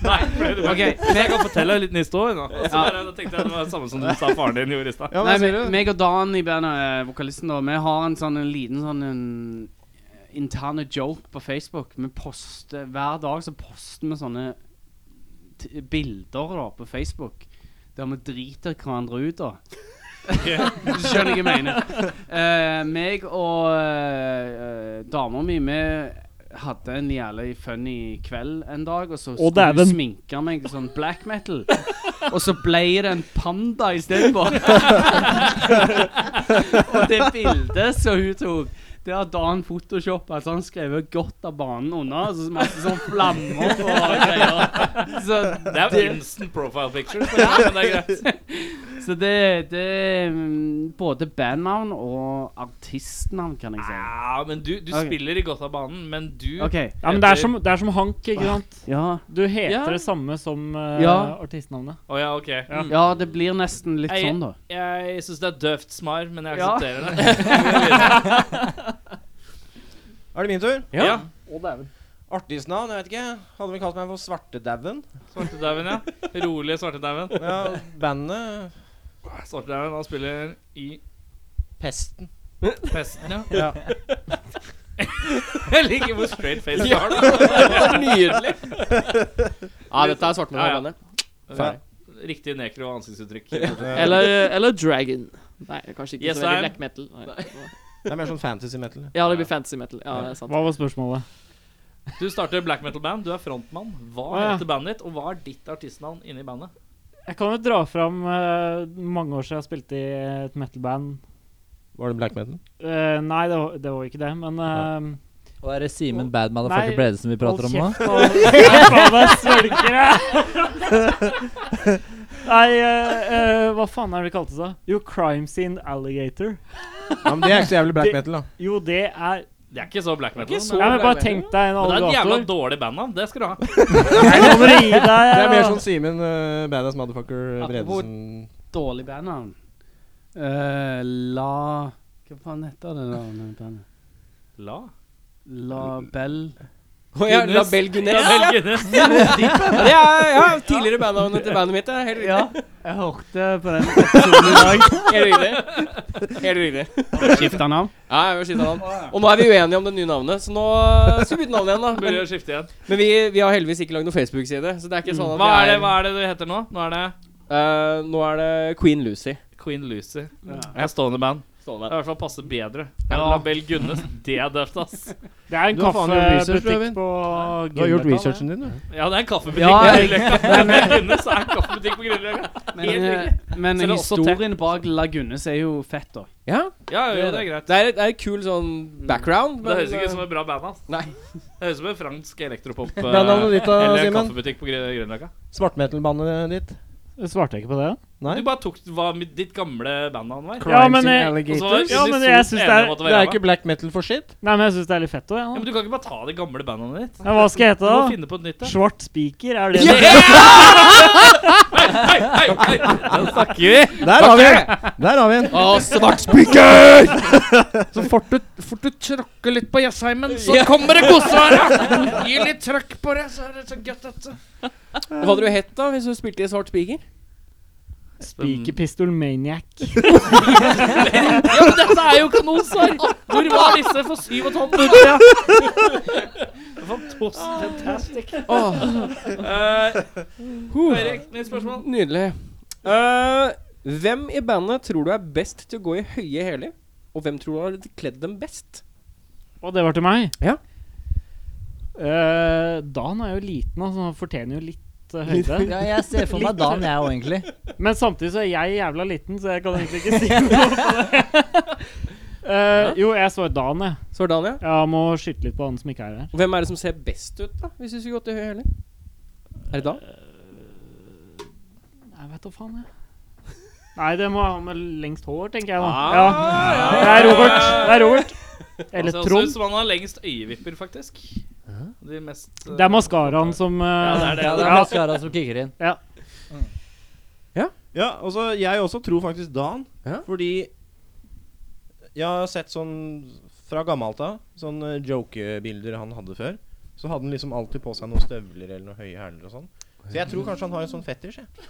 Speaker 2: Nei.
Speaker 6: Ok,
Speaker 2: Jeg kan fortelle en liten historie nå. Og Så
Speaker 6: Ja.
Speaker 2: bare, da tenkte jeg det var det samme som du sa faren din gjorde i stad.
Speaker 4: Ja,
Speaker 6: Nei,
Speaker 4: men
Speaker 6: me-
Speaker 4: ser du?
Speaker 6: meg og Dan i bandet, eh, vokalisten, da, vi har en sånn en liten sånn en eh, interne joke på Facebook. Vi poster, Hver dag så poster vi sånne t bilder da på Facebook der vi driter hverandre ut, da. Du skjønner hva jeg mener. Eh, meg og uh, dama mi, vi hadde en jævlig funny kveld en dag, og
Speaker 7: Å,
Speaker 6: så skulle
Speaker 7: dæven.
Speaker 6: hun sminke meg sånn black metal. Og så ble det en panda istedenfor. og det bildet som hun tok det har Dan photoshoppa, så han skrev 'godt av banen' under. Så masse sånn flammer og greier. Så
Speaker 2: Det er jo instant profile pictures. Men det er greit.
Speaker 6: så det, det mm, Både bandnavn og artistnavn, kan jeg si.
Speaker 2: Ja, men du, du
Speaker 6: Ok.
Speaker 2: spiller i Gothabanen, men du
Speaker 6: OK.
Speaker 7: Ja, men det er som, det er som Hank, ikke sant?
Speaker 6: Ja.
Speaker 7: Du heter
Speaker 3: Ja.
Speaker 7: det samme som eh,
Speaker 6: Ja.
Speaker 7: artistnavnet.
Speaker 2: Å ja, OK.
Speaker 6: ja, det blir nesten litt
Speaker 2: Jeg-
Speaker 6: sånn, da.
Speaker 2: Jeg syns det er døvt, Smar, men jeg
Speaker 6: Ja.
Speaker 2: aksepterer det.
Speaker 4: Er det min tur?
Speaker 1: Ja.
Speaker 4: Artigsnavn? Jeg vet ikke. Hadde vel kalt meg for Svartedauden.
Speaker 2: Svartedauden, ja. Rolig Svartedauden.
Speaker 4: Ja, bandet
Speaker 2: Svartedauden han spiller i
Speaker 4: Pesten.
Speaker 2: Pesten, ja.
Speaker 4: Ja.
Speaker 2: Jeg liker hvor straight face du har det.
Speaker 1: Nydelig. Ja, dette er svartmann
Speaker 2: Ja, ja.
Speaker 1: bandet.
Speaker 4: Ferdig.
Speaker 2: Riktig nekro ansiktsuttrykk.
Speaker 3: Eller, eller Dragon. Nei, kanskje ikke
Speaker 2: Yes,
Speaker 3: så veldig
Speaker 2: I'm-
Speaker 3: black metal. Nei.
Speaker 4: Det er mer sånn fantasy metal.
Speaker 3: Ja, det blir fantasy metal. Ja, det er sant.
Speaker 7: Hva var spørsmålet?
Speaker 2: Du starter black metal-band, du er frontmann. Hva
Speaker 7: Å, ja.
Speaker 2: heter bandet ditt, og hva er ditt artistnavn inni bandet?
Speaker 7: Jeg kan jo dra fram eh, mange år siden jeg spilte i et metal-band.
Speaker 4: Var det Black Metal?
Speaker 7: Eh, nei, det var, det var ikke det, men eh,
Speaker 5: Og er det Simen Bad
Speaker 7: Nei,
Speaker 5: Motherfucker Bredesen vi prater om nå?
Speaker 7: Hold kjeft, og deg svelgere! Nei, eh, eh, hva faen er det det kalte seg? Jo, Crime Scene Alligator.
Speaker 4: Ja, men Det er ikke så jævlig black
Speaker 7: Det-
Speaker 4: metal, da.
Speaker 7: Jo, det er
Speaker 2: Det er ikke så black metal.
Speaker 3: Ikke så
Speaker 7: Nei, men
Speaker 3: black
Speaker 7: Bare
Speaker 3: metal.
Speaker 7: tenk deg en
Speaker 2: men det er et jævla
Speaker 7: alligator.
Speaker 2: dårlig bandnavn. Det skal du ha.
Speaker 7: Nå må du gi deg.
Speaker 4: Det er mer
Speaker 7: ja.
Speaker 4: sånn Simen eh, Badass Motherfucker eh,
Speaker 6: Apropos-
Speaker 4: Bredesen.
Speaker 6: Dårlig bandnavn. Eh, la Hva faen heter det navnet? bandet?
Speaker 2: La.
Speaker 6: La Bell
Speaker 1: Å ja,
Speaker 2: Guinness.
Speaker 1: Label Guinness.
Speaker 2: Vel,
Speaker 1: Ja,
Speaker 2: Guinness.
Speaker 1: det er ja, tidligere bandnavnet til bandet mitt. det er Helt riktig.
Speaker 6: Jeg hørte på den episoden i dag.
Speaker 1: Helt riktig. Helt riktig.
Speaker 6: Skifta navn.
Speaker 1: Ja, jeg vil skifte navn. Og nå er vi uenige om det nye navnet, så nå skal vi bytte navn igjen, da.
Speaker 2: Burde
Speaker 1: Men,
Speaker 2: jeg skifte igjen.
Speaker 1: men vi, vi har heldigvis ikke lagd noen Facebook-side, så det er ikke sånn at
Speaker 2: Hva
Speaker 1: vi
Speaker 2: er det, hva er det du heter nå? Nå er det
Speaker 1: Eh, nå er det Queen Lucy.
Speaker 2: Queen Lucy. Det er stående band. Det er i hvert fall passe bedre. La Bell Gunnes, det er døft, ass.
Speaker 7: Det er en
Speaker 4: Du har faen gjort research, du, Øyvind.
Speaker 7: kaffebutikk på
Speaker 4: Du har
Speaker 7: Grünerløkka,
Speaker 4: gjort
Speaker 7: det.
Speaker 4: researchen din, du.
Speaker 2: Ja, det er en kaffebutikk
Speaker 6: Ja,
Speaker 2: på
Speaker 6: jeg-
Speaker 2: Grünerløkka. La Bell Gunnes er en kaffebutikk på Grünerløkka.
Speaker 6: Men,
Speaker 2: Helt
Speaker 6: eh, men
Speaker 2: Så det er også te.
Speaker 6: historien bak La Gunnes er jo fett, da.
Speaker 1: Ja,
Speaker 2: Ja, jo, det er greit.
Speaker 1: det er, det er et kul sånn background,
Speaker 2: Det
Speaker 1: men eh,
Speaker 2: høres ikke sånn-
Speaker 7: eh,
Speaker 2: ut som et bra band, ass.
Speaker 1: Nei.
Speaker 2: Det høres ut som en fransk elektropop eh,
Speaker 4: Bandnavnet ditt da,
Speaker 2: eller en
Speaker 4: Simen?
Speaker 2: kaffebutikk på Grü- Grünerløkka.
Speaker 4: Svartmetal-bandet ditt?
Speaker 7: Svarte jeg ikke på det?
Speaker 4: Nei?
Speaker 2: Du bare tok hva mitt- ditt gamle bandnavn var.
Speaker 7: Ja, men,
Speaker 4: Crime Scene
Speaker 2: Og så var
Speaker 7: eh,
Speaker 4: Alligators?
Speaker 7: Ja, men
Speaker 2: unison
Speaker 7: jeg synes det er-
Speaker 2: enig om at
Speaker 4: Det
Speaker 2: var
Speaker 4: er
Speaker 2: ræva.
Speaker 4: ikke black metal for shit.
Speaker 7: Nei, men jeg syns det er litt fett òg,
Speaker 2: ja, men
Speaker 7: jeg.
Speaker 2: Du kan ikke bare ta det gamle bandnavnet ditt.
Speaker 7: Ja, hva skal jeg
Speaker 2: Du
Speaker 7: hete,
Speaker 2: må
Speaker 7: da?
Speaker 2: finne på et nytt. Ja.
Speaker 7: Svart spiker, er det det?
Speaker 2: Hei, hei, hei! Den snakker vi!
Speaker 4: Der har vi den! Der har vi den.
Speaker 1: Å, svart spiker!
Speaker 2: Så fort du, fort du tråkker litt på gjessheimen, så kommer det kosehåra! Gi litt trøkk på det, så er det så godt, dette.
Speaker 1: Hva hadde du hett da hvis du spilte i Svart spiker?
Speaker 7: Spikerpistol Maniac.
Speaker 2: Ja, men dette er jo kanonsvar! Hvor var disse for syv og et halvt minutter siden? Det var Fantastisk. Fantastic. Eh, Erik, nytt spørsmål.
Speaker 1: Nydelig. Eh, hvem i bandet tror du er best til å gå i høye hæler? Og hvem tror du har kledd dem best?
Speaker 7: Og det var til meg?
Speaker 1: Ja.
Speaker 7: Eh, Dan er jo liten, altså. Han fortjener jo litt eh, høyde.
Speaker 5: Ja, jeg ser for meg Dan, jeg òg, egentlig.
Speaker 7: Men samtidig så er jeg jævla liten, så jeg kan egentlig ikke si noe på det. Eh, jo, jeg svarer Dan, jeg.
Speaker 1: Svar Dania.
Speaker 7: Jeg må skyte litt på han som ikke er her.
Speaker 1: Hvem er det som ser best ut, da? Hvis du skulle gått i høye hæler? Er det da?
Speaker 7: Jeg vet da faen, jeg. Nei, det må ha med lengst hår, tenker jeg da.
Speaker 2: Ah,
Speaker 7: ja.
Speaker 2: ja. Altså,
Speaker 7: Det er Robert. Det er Robert. Eller
Speaker 2: Han ser også ut
Speaker 7: Trond.
Speaker 2: som han har lengst øyevipper, faktisk. De mest eh,
Speaker 7: Det er maskaraen som eh,
Speaker 2: Ja, det
Speaker 5: Ja, det er
Speaker 7: Ja.
Speaker 5: maskara som kicker inn.
Speaker 4: Ja, altså, jeg også tror faktisk Dan.
Speaker 1: Ja.
Speaker 4: Fordi jeg har sett sånn fra gammelt av, sånne jokebilder han hadde før. Så hadde han liksom alltid på seg noen støvler eller noen høye hæler og sånn. Så jeg tror kanskje han har en sånn fetisj, jeg.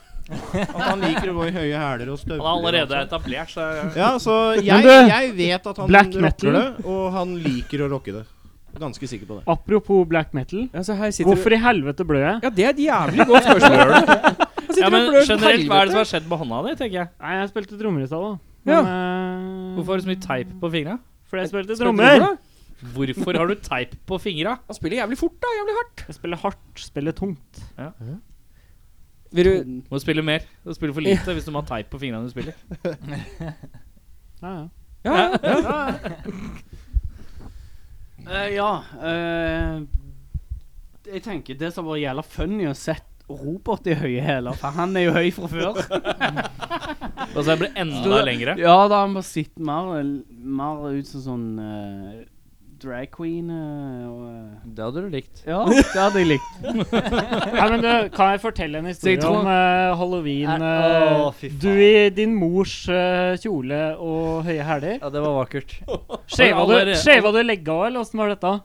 Speaker 4: At han liker å gå i høye hæler og støvler.
Speaker 2: Han er allerede
Speaker 4: og sånn.
Speaker 2: etablert, så
Speaker 4: Ja, så
Speaker 7: Men
Speaker 4: jeg,
Speaker 7: du,
Speaker 4: jeg vet at han
Speaker 7: black metal-
Speaker 4: rocker det, og han liker å rocke det. Ganske sikker på det.
Speaker 7: Apropos black metal.
Speaker 1: Ja, så her sitter
Speaker 7: Hvorfor i helvete blør jeg?
Speaker 1: Ja, det er et jævlig godt spørsmål. Han sitter
Speaker 2: ja,
Speaker 1: og
Speaker 2: men
Speaker 1: blør
Speaker 2: generelt, hva er det som
Speaker 1: helvete.
Speaker 2: har skjedd med hånda di, tenker jeg?
Speaker 7: Nei, jeg spilte trommer i stad, da.
Speaker 1: Ja.
Speaker 7: eh,
Speaker 2: Hvorfor har du så mye teip på fingra?
Speaker 7: Fordi jeg spilte
Speaker 1: Spiller
Speaker 7: trommer.
Speaker 1: da?
Speaker 2: Hvorfor har du teip på fingra?
Speaker 1: Han spiller jævlig fort, da. Jævlig hardt.
Speaker 7: Jeg spiller hardt, spiller tungt.
Speaker 1: Vil du
Speaker 2: Må spille mer. Du spiller for lite hvis du må ha teip på fingrene du spiller.
Speaker 7: Ja, ja.
Speaker 1: Ja, ja.
Speaker 6: Eh, ja eh, Jeg tenker det som var jævla funny å sett Robert i høye hæler, for han er jo høy fra før.
Speaker 2: Og så blir det enda
Speaker 6: Så-
Speaker 2: lengre.
Speaker 6: Ja, da han bare sitter mer, mer ut som sånn eh, drag queen eh, og eh,
Speaker 5: Det hadde du likt.
Speaker 6: Ja, det hadde jeg likt.
Speaker 7: Nei, men du, Kan jeg fortelle en historie
Speaker 6: Så jeg tror-
Speaker 7: om eh, halloween?
Speaker 5: Er-
Speaker 7: eh,
Speaker 5: Å, fy faen.
Speaker 7: du i din mors eh, kjole og høye hæler.
Speaker 5: Ja, det var vakkert.
Speaker 7: Skjeva du,
Speaker 2: allerede-
Speaker 7: skjeva du legga, eller åssen var dette?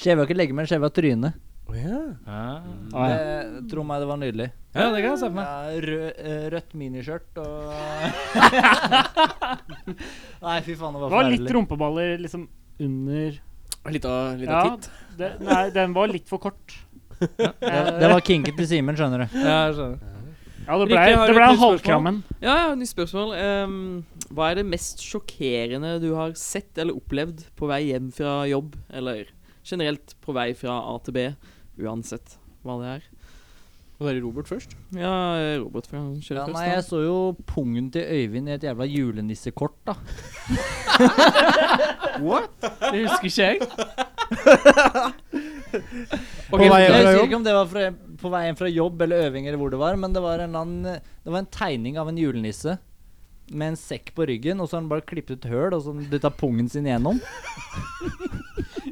Speaker 5: Skjeva ikke legge, men skjeva trynet.
Speaker 2: Ja,
Speaker 7: Ah, ja.
Speaker 5: Det, Eh, tro meg, det var nydelig.
Speaker 2: det kan jeg se for meg.
Speaker 5: Ja, rød, eh, rødt miniskjørt og Nei, fy faen, det
Speaker 7: Det
Speaker 5: var
Speaker 7: var litt
Speaker 5: forferdelig.
Speaker 7: rumpeballer liksom under
Speaker 1: Litt av, litt av
Speaker 7: Ja,
Speaker 1: titt.
Speaker 7: det, nei, den var litt for kort. Eh,
Speaker 5: Det, det var kinken til Simen, skjønner du.
Speaker 2: Ja, jeg skjønner.
Speaker 7: Ja, det ble,
Speaker 2: Rikke, har
Speaker 7: det
Speaker 2: du
Speaker 7: ble
Speaker 2: et nytt spørsmål?
Speaker 7: halvkrammen.
Speaker 3: Ja, ja, nytt spørsmål. Ehm, hva er det mest sjokkerende du har sett eller opplevd på vei hjem fra jobb, eller generelt på vei fra A til B, uansett hva det er? Var det Robert først? Ja, Robert for han kjører
Speaker 5: Ja,
Speaker 3: først.
Speaker 5: nei, jeg så jo pungen til Øyvind i et jævla julenissekort, da.
Speaker 6: Det husker ikke jeg.
Speaker 4: På vei
Speaker 5: jeg
Speaker 4: hjem fra
Speaker 5: husker
Speaker 4: jobb.
Speaker 5: ikke om det var fra, på vei hjem fra jobb eller øving eller hvor det var, men det var en, eller annen, det var en tegning av en julenisse med en sekk på ryggen, og så har han bare klippet et høl, og så har han dytta pungen sin gjennom.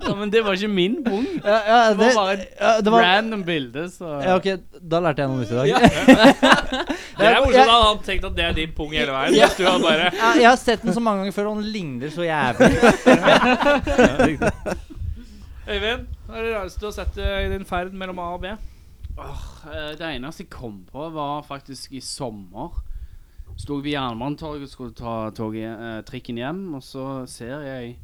Speaker 6: Ja, men det var ikke min pung.
Speaker 5: Ja, ja,
Speaker 6: Det var bare et
Speaker 5: ja, det var,
Speaker 6: random bilde, så
Speaker 5: ja, ok, da lærte jeg noe nytt i dag.
Speaker 2: Det er
Speaker 5: Jeg-
Speaker 2: morsomt
Speaker 5: jeg-
Speaker 2: at han tenkte at det er din pung hele veien. Hvis du har bare
Speaker 5: Ja, jeg har sett den så mange ganger før, og den ligner så jævlig.
Speaker 2: Øyvind, hva er det rareste du har sett eh, i din ferd mellom A og B?
Speaker 6: Åh, eh, Det eneste jeg kom på, var faktisk i sommer. Sto vi ved Jernbanetorget og skulle ta toget, eh, trikken hjem, og så ser jeg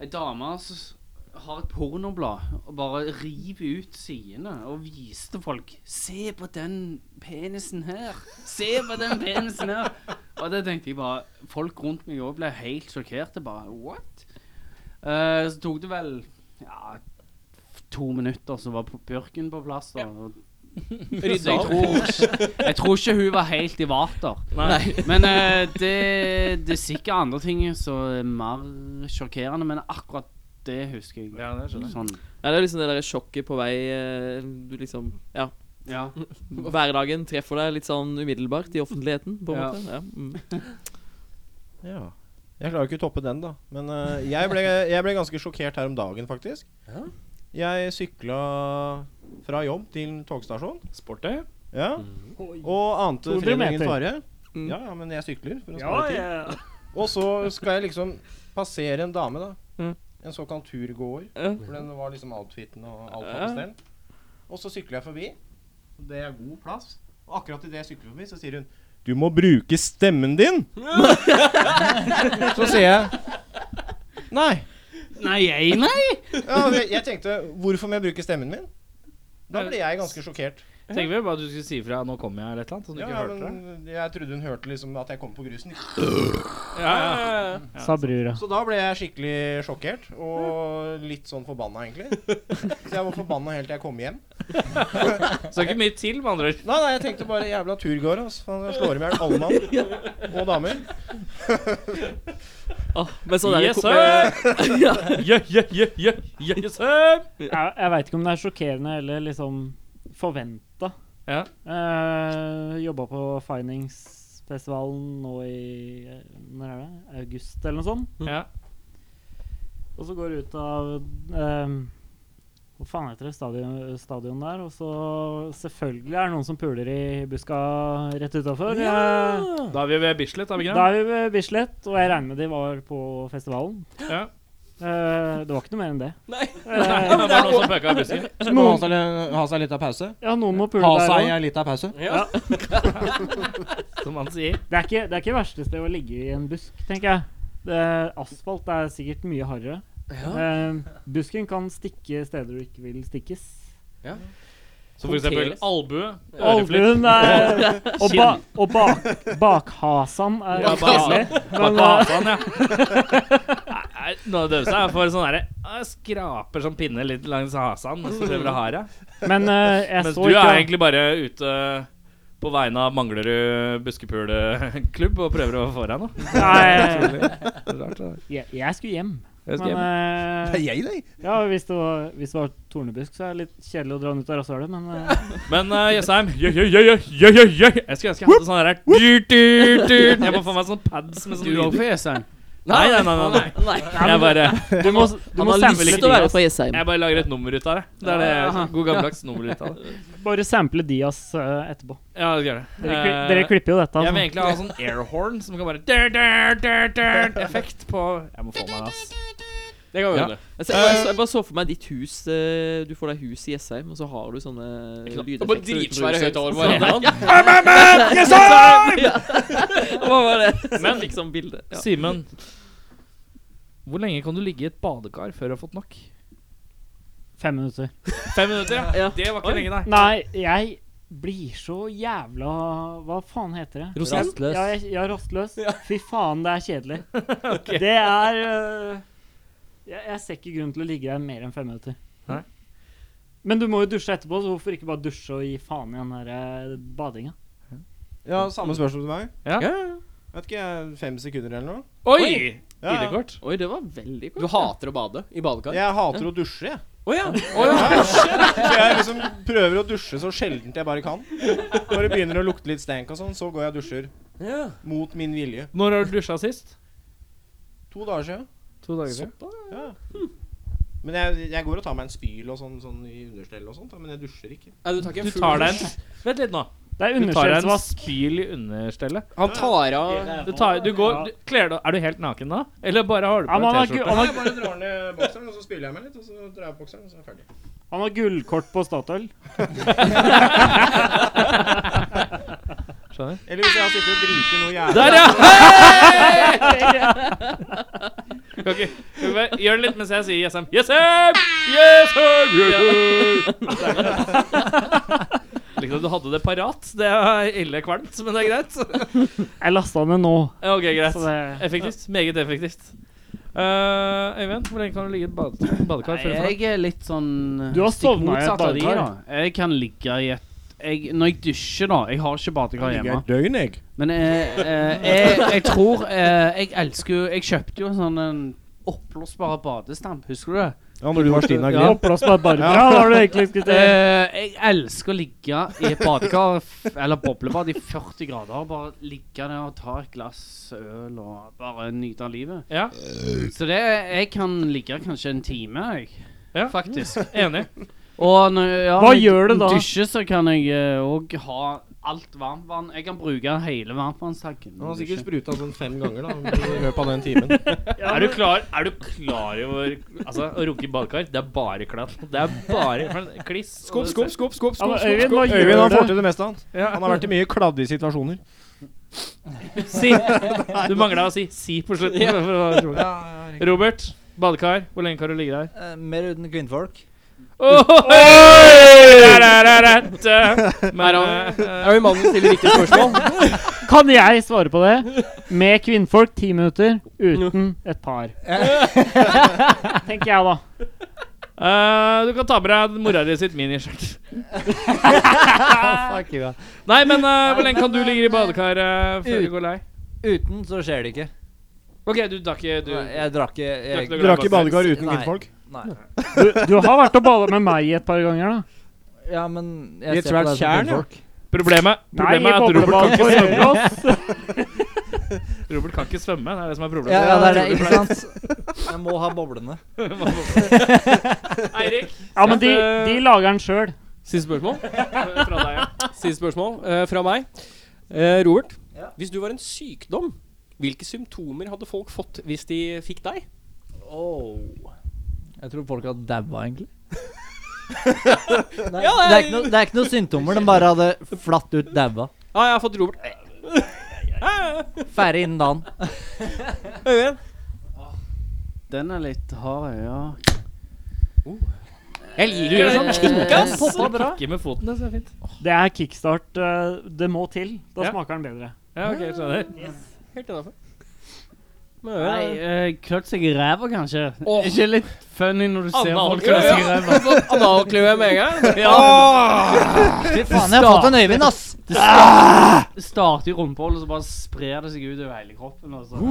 Speaker 6: ei dame som s- har et pornoblad og bare river ut sidene og viser til folk 'Se på den penisen her! Se på den penisen her!' Og det tenkte jeg bare Folk rundt meg òg ble helt sjokkerte. Bare What? Eh, så tok det vel ja, to minutter, så var p- Bjørken på plass. Da. og- Så jeg, tror, ikke- jeg tror ikke hun var helt i vater. Men eh, det, det er sikkert andre ting som er mer sjokkerende, men akkurat det husker jeg.
Speaker 2: Ja, det skjønner jeg.
Speaker 6: Sånn.
Speaker 3: Ja, det er liksom det der sjokket på vei eh, Du liksom Ja.
Speaker 6: Ja.
Speaker 3: Hverdagen treffer deg litt sånn umiddelbart i offentligheten, på en
Speaker 6: Ja.
Speaker 3: måte. Ja. Mm.
Speaker 4: Ja. Jeg klarer ikke å toppe den, da. Men eh, jeg, ble, jeg ble ganske sjokkert her om dagen, faktisk. Jeg sykla fra jobb til togstasjonen.
Speaker 2: Sportøy?
Speaker 4: Ja. Og ante
Speaker 7: 200
Speaker 4: freden ingen
Speaker 7: meter.
Speaker 4: fare.
Speaker 3: Mm.
Speaker 4: Ja, ja, men jeg sykler. For å
Speaker 7: Ja,
Speaker 4: spare tid.
Speaker 7: ja.
Speaker 4: Og så skal jeg liksom passere en dame, da.
Speaker 3: Mm.
Speaker 4: En såkalt turgåer.
Speaker 3: Ja.
Speaker 4: For den var liksom outfiten og alt var
Speaker 3: Ja.
Speaker 4: på stell. Og så sykler jeg forbi. Det er god plass. Og akkurat idet jeg sykler forbi, så sier hun Du må bruke stemmen din! så sier jeg Nei.
Speaker 6: Nei, jeg, nei!
Speaker 4: Ja, men jeg tenkte Hvorfor må jeg bruke stemmen min? Da ble jeg ganske sjokkert.
Speaker 2: Tenker vi bare at du skulle si fra 'nå kommer jeg' eller et eller annet, så du
Speaker 4: Ja,
Speaker 2: ikke
Speaker 4: ja,
Speaker 2: hørte det.
Speaker 4: men jeg trodde hun hørte liksom at jeg kom på grusen.
Speaker 2: Ja, ja.
Speaker 7: Sa brura.
Speaker 4: Så da ble jeg skikkelig sjokkert, og litt sånn forbanna, egentlig. Så jeg var forbanna helt til jeg kom hjem.
Speaker 2: Så ikke mye til, med andre ord.
Speaker 4: Nei, nei, jeg tenkte bare jævla turgåere, altså. Faen, jeg slår i hjel alle mann. Og damer.
Speaker 3: Åh, men sånn er det
Speaker 2: Yes,
Speaker 3: ko-
Speaker 2: sir! Ja, ja, ja, ja, ja, ja, sir!
Speaker 7: Jeg, jeg veit ikke om det er sjokkerende eller liksom forventa.
Speaker 2: Ja.
Speaker 7: Eh, Jobba på Finingsfestivalen nå i eh, Når er det? August, eller noe sånt.
Speaker 2: Mm. Ja.
Speaker 7: Og så går du ut av eh, Hva faen heter det stadion, stadion der? Og så selvfølgelig er det noen som puler i buska rett utafor.
Speaker 2: Da er vi ved Bislett, er vi
Speaker 7: Da
Speaker 2: ikke det?
Speaker 7: er vi ved Bislett, og jeg regner med de var på festivalen.
Speaker 2: Ja.
Speaker 7: Eh, det var ikke noe mer enn det.
Speaker 3: Nei.
Speaker 7: Eh,
Speaker 2: Det var noen som pøka i busken.
Speaker 7: Så må han
Speaker 5: seg, ha seg litt av pause.
Speaker 7: ja, noen må pule der òg.
Speaker 5: litt av pause.
Speaker 3: Ja.
Speaker 2: Som han sier.
Speaker 7: Det er ikke det er ikke verste sted å ligge i en busk, tenker jeg. Det, asfalt er sikkert mye hardere. Eh, busken kan stikke steder du ikke vil stikkes.
Speaker 2: Som for eksempel
Speaker 3: Punkteres.
Speaker 2: albue, øreflipp
Speaker 7: Albuen er Og, ba, og bak, bakhasan er
Speaker 2: Ja,
Speaker 7: kjedelig. Men eh,
Speaker 2: Bakan, ja. Nei, Noe av det døveste er for sånn derre ah, Skraper som pinne litt langs hasan mens du driver og har deg.
Speaker 7: men eh, jeg
Speaker 2: Mens
Speaker 7: så
Speaker 2: du er
Speaker 7: ikke
Speaker 2: egentlig bare ute på vegne av Manglerud buskepuleklubb og prøver å få deg noe.
Speaker 7: Nei,
Speaker 2: Det er rart, det der.
Speaker 7: jeg, jeg skulle hjem.
Speaker 2: Jeg skal
Speaker 7: Men
Speaker 2: hjem.
Speaker 7: eh,
Speaker 4: jeg, nei.
Speaker 7: ja, hvis det, var, hvis det var tornebusk, så er det litt kjedelig å dra den ut av rasshølet, men eh,
Speaker 2: Men eh, Jessheim jøy, jøy, jøy, jøy, jøy, jøy. Jeg skulle ønske jeg hadde sånn der dyr, dyr, dyr. Jeg må få meg sånn pads med sånn
Speaker 6: Du òg
Speaker 2: lyder.
Speaker 6: får Jessheim.
Speaker 2: Nei, nei, nei. nei, nei. Jeg bare,
Speaker 3: Du må,
Speaker 7: du
Speaker 3: du
Speaker 7: må
Speaker 3: må
Speaker 7: sample litt
Speaker 3: lyst til å
Speaker 7: i
Speaker 3: være
Speaker 7: oss.
Speaker 3: fra Jessheim.
Speaker 2: jeg bare lager et nummer ut av det. Det er det god gammeldags nummer ut av det.
Speaker 7: bare sample Dias eh, etterpå.
Speaker 2: Ja, det gjør det.
Speaker 7: Dere,
Speaker 2: Eh,
Speaker 7: kli- dere klipper jo dette.
Speaker 2: Jeg vil
Speaker 7: Altså.
Speaker 2: egentlig ha sånn airhorn som kan bare dyr, dyr, dyr, dyr, Effekt på Jeg må få meg det, ass.
Speaker 1: Det kan vi
Speaker 2: Ja.
Speaker 1: gjøre.
Speaker 3: Altså, Jeg, ser,
Speaker 7: Eh.
Speaker 3: jeg, jeg bare så for meg ditt hus eh, Du får deg hus i Jessheim, og så har du sånne
Speaker 1: Det er bare
Speaker 3: lydeffekter. utenfor
Speaker 1: dritsvære
Speaker 3: huset.
Speaker 1: høyttalere
Speaker 6: Sånn,
Speaker 1: på arenaen.
Speaker 3: Ja. Hva var det? Men liksom bildet. Ja.
Speaker 2: Simen, hvor lenge kan du ligge i et badekar før du har fått nok?
Speaker 7: Fem minutter.
Speaker 2: Fem minutter, ja.
Speaker 3: Ja.
Speaker 2: Det var ikke lenge, nei.
Speaker 7: Nei, jeg blir så jævla Hva faen heter det?
Speaker 5: Rastløs.
Speaker 7: Ja, jeg, ja rastløs. Fy faen, det er kjedelig. Det er øh, jeg, jeg ser ikke grunn til å ligge der mer enn fem minutter.
Speaker 2: Nei.
Speaker 7: Men du må jo dusje etterpå, så hvorfor ikke bare dusje og gi faen i den der eh, badinga?
Speaker 4: Ja, samme spørsmål til meg.
Speaker 2: Ja.
Speaker 4: Vet ikke, jeg, fem sekunder eller noe?
Speaker 2: Oi!
Speaker 4: Ja, ja.
Speaker 2: ID-kort.
Speaker 3: Oi, det var veldig
Speaker 1: Du
Speaker 3: kort.
Speaker 1: hater å bade i badekar?
Speaker 4: Jeg hater å dusje, jeg.
Speaker 1: Å ja.
Speaker 4: Så jeg liksom prøver å dusje så sjeldent jeg bare kan. Når det begynner å lukte litt stank og sånn, så går jeg og dusjer.
Speaker 1: ja.
Speaker 4: Mot min vilje.
Speaker 2: Når har du dusja sist?
Speaker 4: To dager siden.
Speaker 2: To dager siden.
Speaker 4: Ja. Men jeg, jeg går og tar meg en spyl og sånn, sånn i understell og sånt, da, men jeg dusjer ikke.
Speaker 1: Nei, du tar ikke
Speaker 2: Du
Speaker 1: en full
Speaker 2: tar deg en Vent litt nå.
Speaker 7: Det
Speaker 2: Du
Speaker 7: er
Speaker 2: tar deg en
Speaker 7: understellsvask.
Speaker 2: spyl i understellet.
Speaker 1: Han tar av
Speaker 2: Du tar, du går, du, kler deg Er du helt naken da? Eller bare har du på
Speaker 7: Ja, men han
Speaker 2: deg
Speaker 7: har gu-
Speaker 2: T-skjorte?
Speaker 7: han
Speaker 4: Nei,
Speaker 7: har,
Speaker 4: jeg bare drar ned bokseren, og så spyler jeg meg litt, og så drar jeg på bokseren, og så er jeg ferdig.
Speaker 7: han har gullkort på Statoil.
Speaker 2: Skjønner?
Speaker 4: Eller hvis jeg har sittet og driti noe jævlig
Speaker 2: Der, ja! Kan ikke- kan ikke bare- Gjør det litt mens jeg sier yes, I'm. Yes, I'm! Yes, I'm! Yes, I'm! Likte at Liksom, du hadde det parat. Det er ille kvalmt, men det er greit.
Speaker 7: Jeg lasta den ned nå.
Speaker 2: Ja, Ok,
Speaker 7: Så
Speaker 2: greit.
Speaker 7: det,
Speaker 2: Effektivt. Meget effektivt. Eh, Øyvind, hvor lenge kan du ligge i et bade- badekar? før du får
Speaker 6: Nei, jeg er litt sånn eh,
Speaker 7: Du har
Speaker 6: stikk
Speaker 7: sovnet i et
Speaker 6: motsatt av de,
Speaker 7: badekar.
Speaker 6: da. Jeg kan ligge i et jeg, Når jeg dusjer, da Jeg har ikke badekar hjemme.
Speaker 4: døgn, jeg.
Speaker 6: Men eh, eh, jeg, jeg tror eh, Jeg elsker jo Jeg kjøpte jo en sånn en oppblåsbar badestamp, husker du det?
Speaker 4: Ja, når du var Stina
Speaker 7: ja, oppblåsbar Barbara var det egentlig skulle til.
Speaker 6: Eh, jeg elsker å ligge i et badekar, f- eller boblebad, i 40 grader. Bare ligge der og ta et glass øl og bare nyte av livet.
Speaker 2: Ja.
Speaker 6: Så det Jeg kan ligge kanskje en time, jeg.
Speaker 2: Ja.
Speaker 6: Faktisk.
Speaker 2: Enig.
Speaker 6: Og når, ja,
Speaker 7: Hva
Speaker 6: når jeg
Speaker 7: gjør det da?
Speaker 6: Dusjer, så kan jeg òg ha alt varmtvann. Jeg kan bruke hele varmtvannstanken.
Speaker 4: Han har
Speaker 6: når jeg
Speaker 4: sikkert
Speaker 6: dusjer.
Speaker 4: spruta sånn fem ganger da i løpet av den timen.
Speaker 2: Er du klar, er du klar over Altså, å runke i badekar, det er bare klatt. Det er bare kliss. og-
Speaker 4: Skubb, skubb, skubb, skubb,
Speaker 7: Ja, men
Speaker 4: skubb, skubb,
Speaker 7: Øyvind,
Speaker 4: skubb.
Speaker 7: hva gjør
Speaker 4: Øyvind har
Speaker 7: du?
Speaker 4: fått til det meste, han.
Speaker 2: Ja.
Speaker 4: Han har vært i mye kladdige situasjoner.
Speaker 2: Si. Du mangla å si 'si' på slutten. for å- Robert, badekar. Hvor lenge kan du ligge der?
Speaker 5: Eh, mer uten kvinnfolk.
Speaker 2: Men, eh,
Speaker 1: Er jo mannen som stiller riktige spørsmål?
Speaker 7: Kan jeg svare på det? Med kvinnfolk ti minutter, uten et par. Tenker jeg, da.
Speaker 2: eh, du kan ta med deg mora di sitt miniskjørt.
Speaker 5: Ah,
Speaker 2: Nei, men eh, hvor lenge kan du ligge i badekar eh, før du går lei?
Speaker 5: Uten så skjer det ikke.
Speaker 2: OK, du drar ikke du,
Speaker 5: Nei, jeg drakk ikke jeg,
Speaker 2: Drakk
Speaker 4: Du rakk i badekar uten
Speaker 5: Nei.
Speaker 4: kvinnfolk.
Speaker 5: Nei.
Speaker 7: Du, du har vært og balla med meg et par ganger, da.
Speaker 5: Ja, men
Speaker 4: I
Speaker 5: jeg
Speaker 4: et svært tjern, ja.
Speaker 5: kvinnfolk.
Speaker 2: Problemet,
Speaker 7: Nei,
Speaker 2: problemet er at Robert kan
Speaker 7: boblebad på
Speaker 2: ikke svømme.
Speaker 7: Røros.
Speaker 2: Robert kan ikke svømme. Det er det som er problemet.
Speaker 5: Ja, ja, det er det, ikke sant? Jeg må ha boblene.
Speaker 2: Eirik,
Speaker 7: Ja, men de, de lager den sjøl.
Speaker 1: Siste spørsmål.
Speaker 2: fra deg. ja.
Speaker 1: Siste spørsmål eh, fra meg. Eh, Robert,
Speaker 5: Ja.
Speaker 1: hvis du var en sykdom, hvilke symptomer hadde folk fått hvis de fikk deg?
Speaker 5: Jeg tror folk hadde daua, egentlig. Nei, det, er ikke noe, det er ikke noe symptomer. De bare hadde flatt ut daua.
Speaker 1: Ja, Ah, jeg har fått Robert.
Speaker 5: Ferdig innen dagen.
Speaker 1: Øyvind.
Speaker 6: Den er litt hard, ja.
Speaker 1: Jeg liker det sånn.
Speaker 5: Kikkas! Poppa bra.
Speaker 2: Ikke med foten, det, så er fint.
Speaker 7: Det er kickstart. eh, Det må til. Da
Speaker 2: Ja.
Speaker 7: smaker den bedre.
Speaker 2: Ja, ok, skjønner.
Speaker 1: Helt innafor.
Speaker 6: Nei, eh, klødd seg i ræva, kanskje.
Speaker 1: Åh.
Speaker 6: Ikke litt funny når du ser folk
Speaker 1: Analkløe,
Speaker 6: klø seg i ræva?
Speaker 1: Analkløe med en gang.
Speaker 5: Fy faen, jeg har fått en Øyvind, ass!
Speaker 6: Det starter, starter i rumpehullet, og så bare sprer det seg ut over hele kroppen. Altså.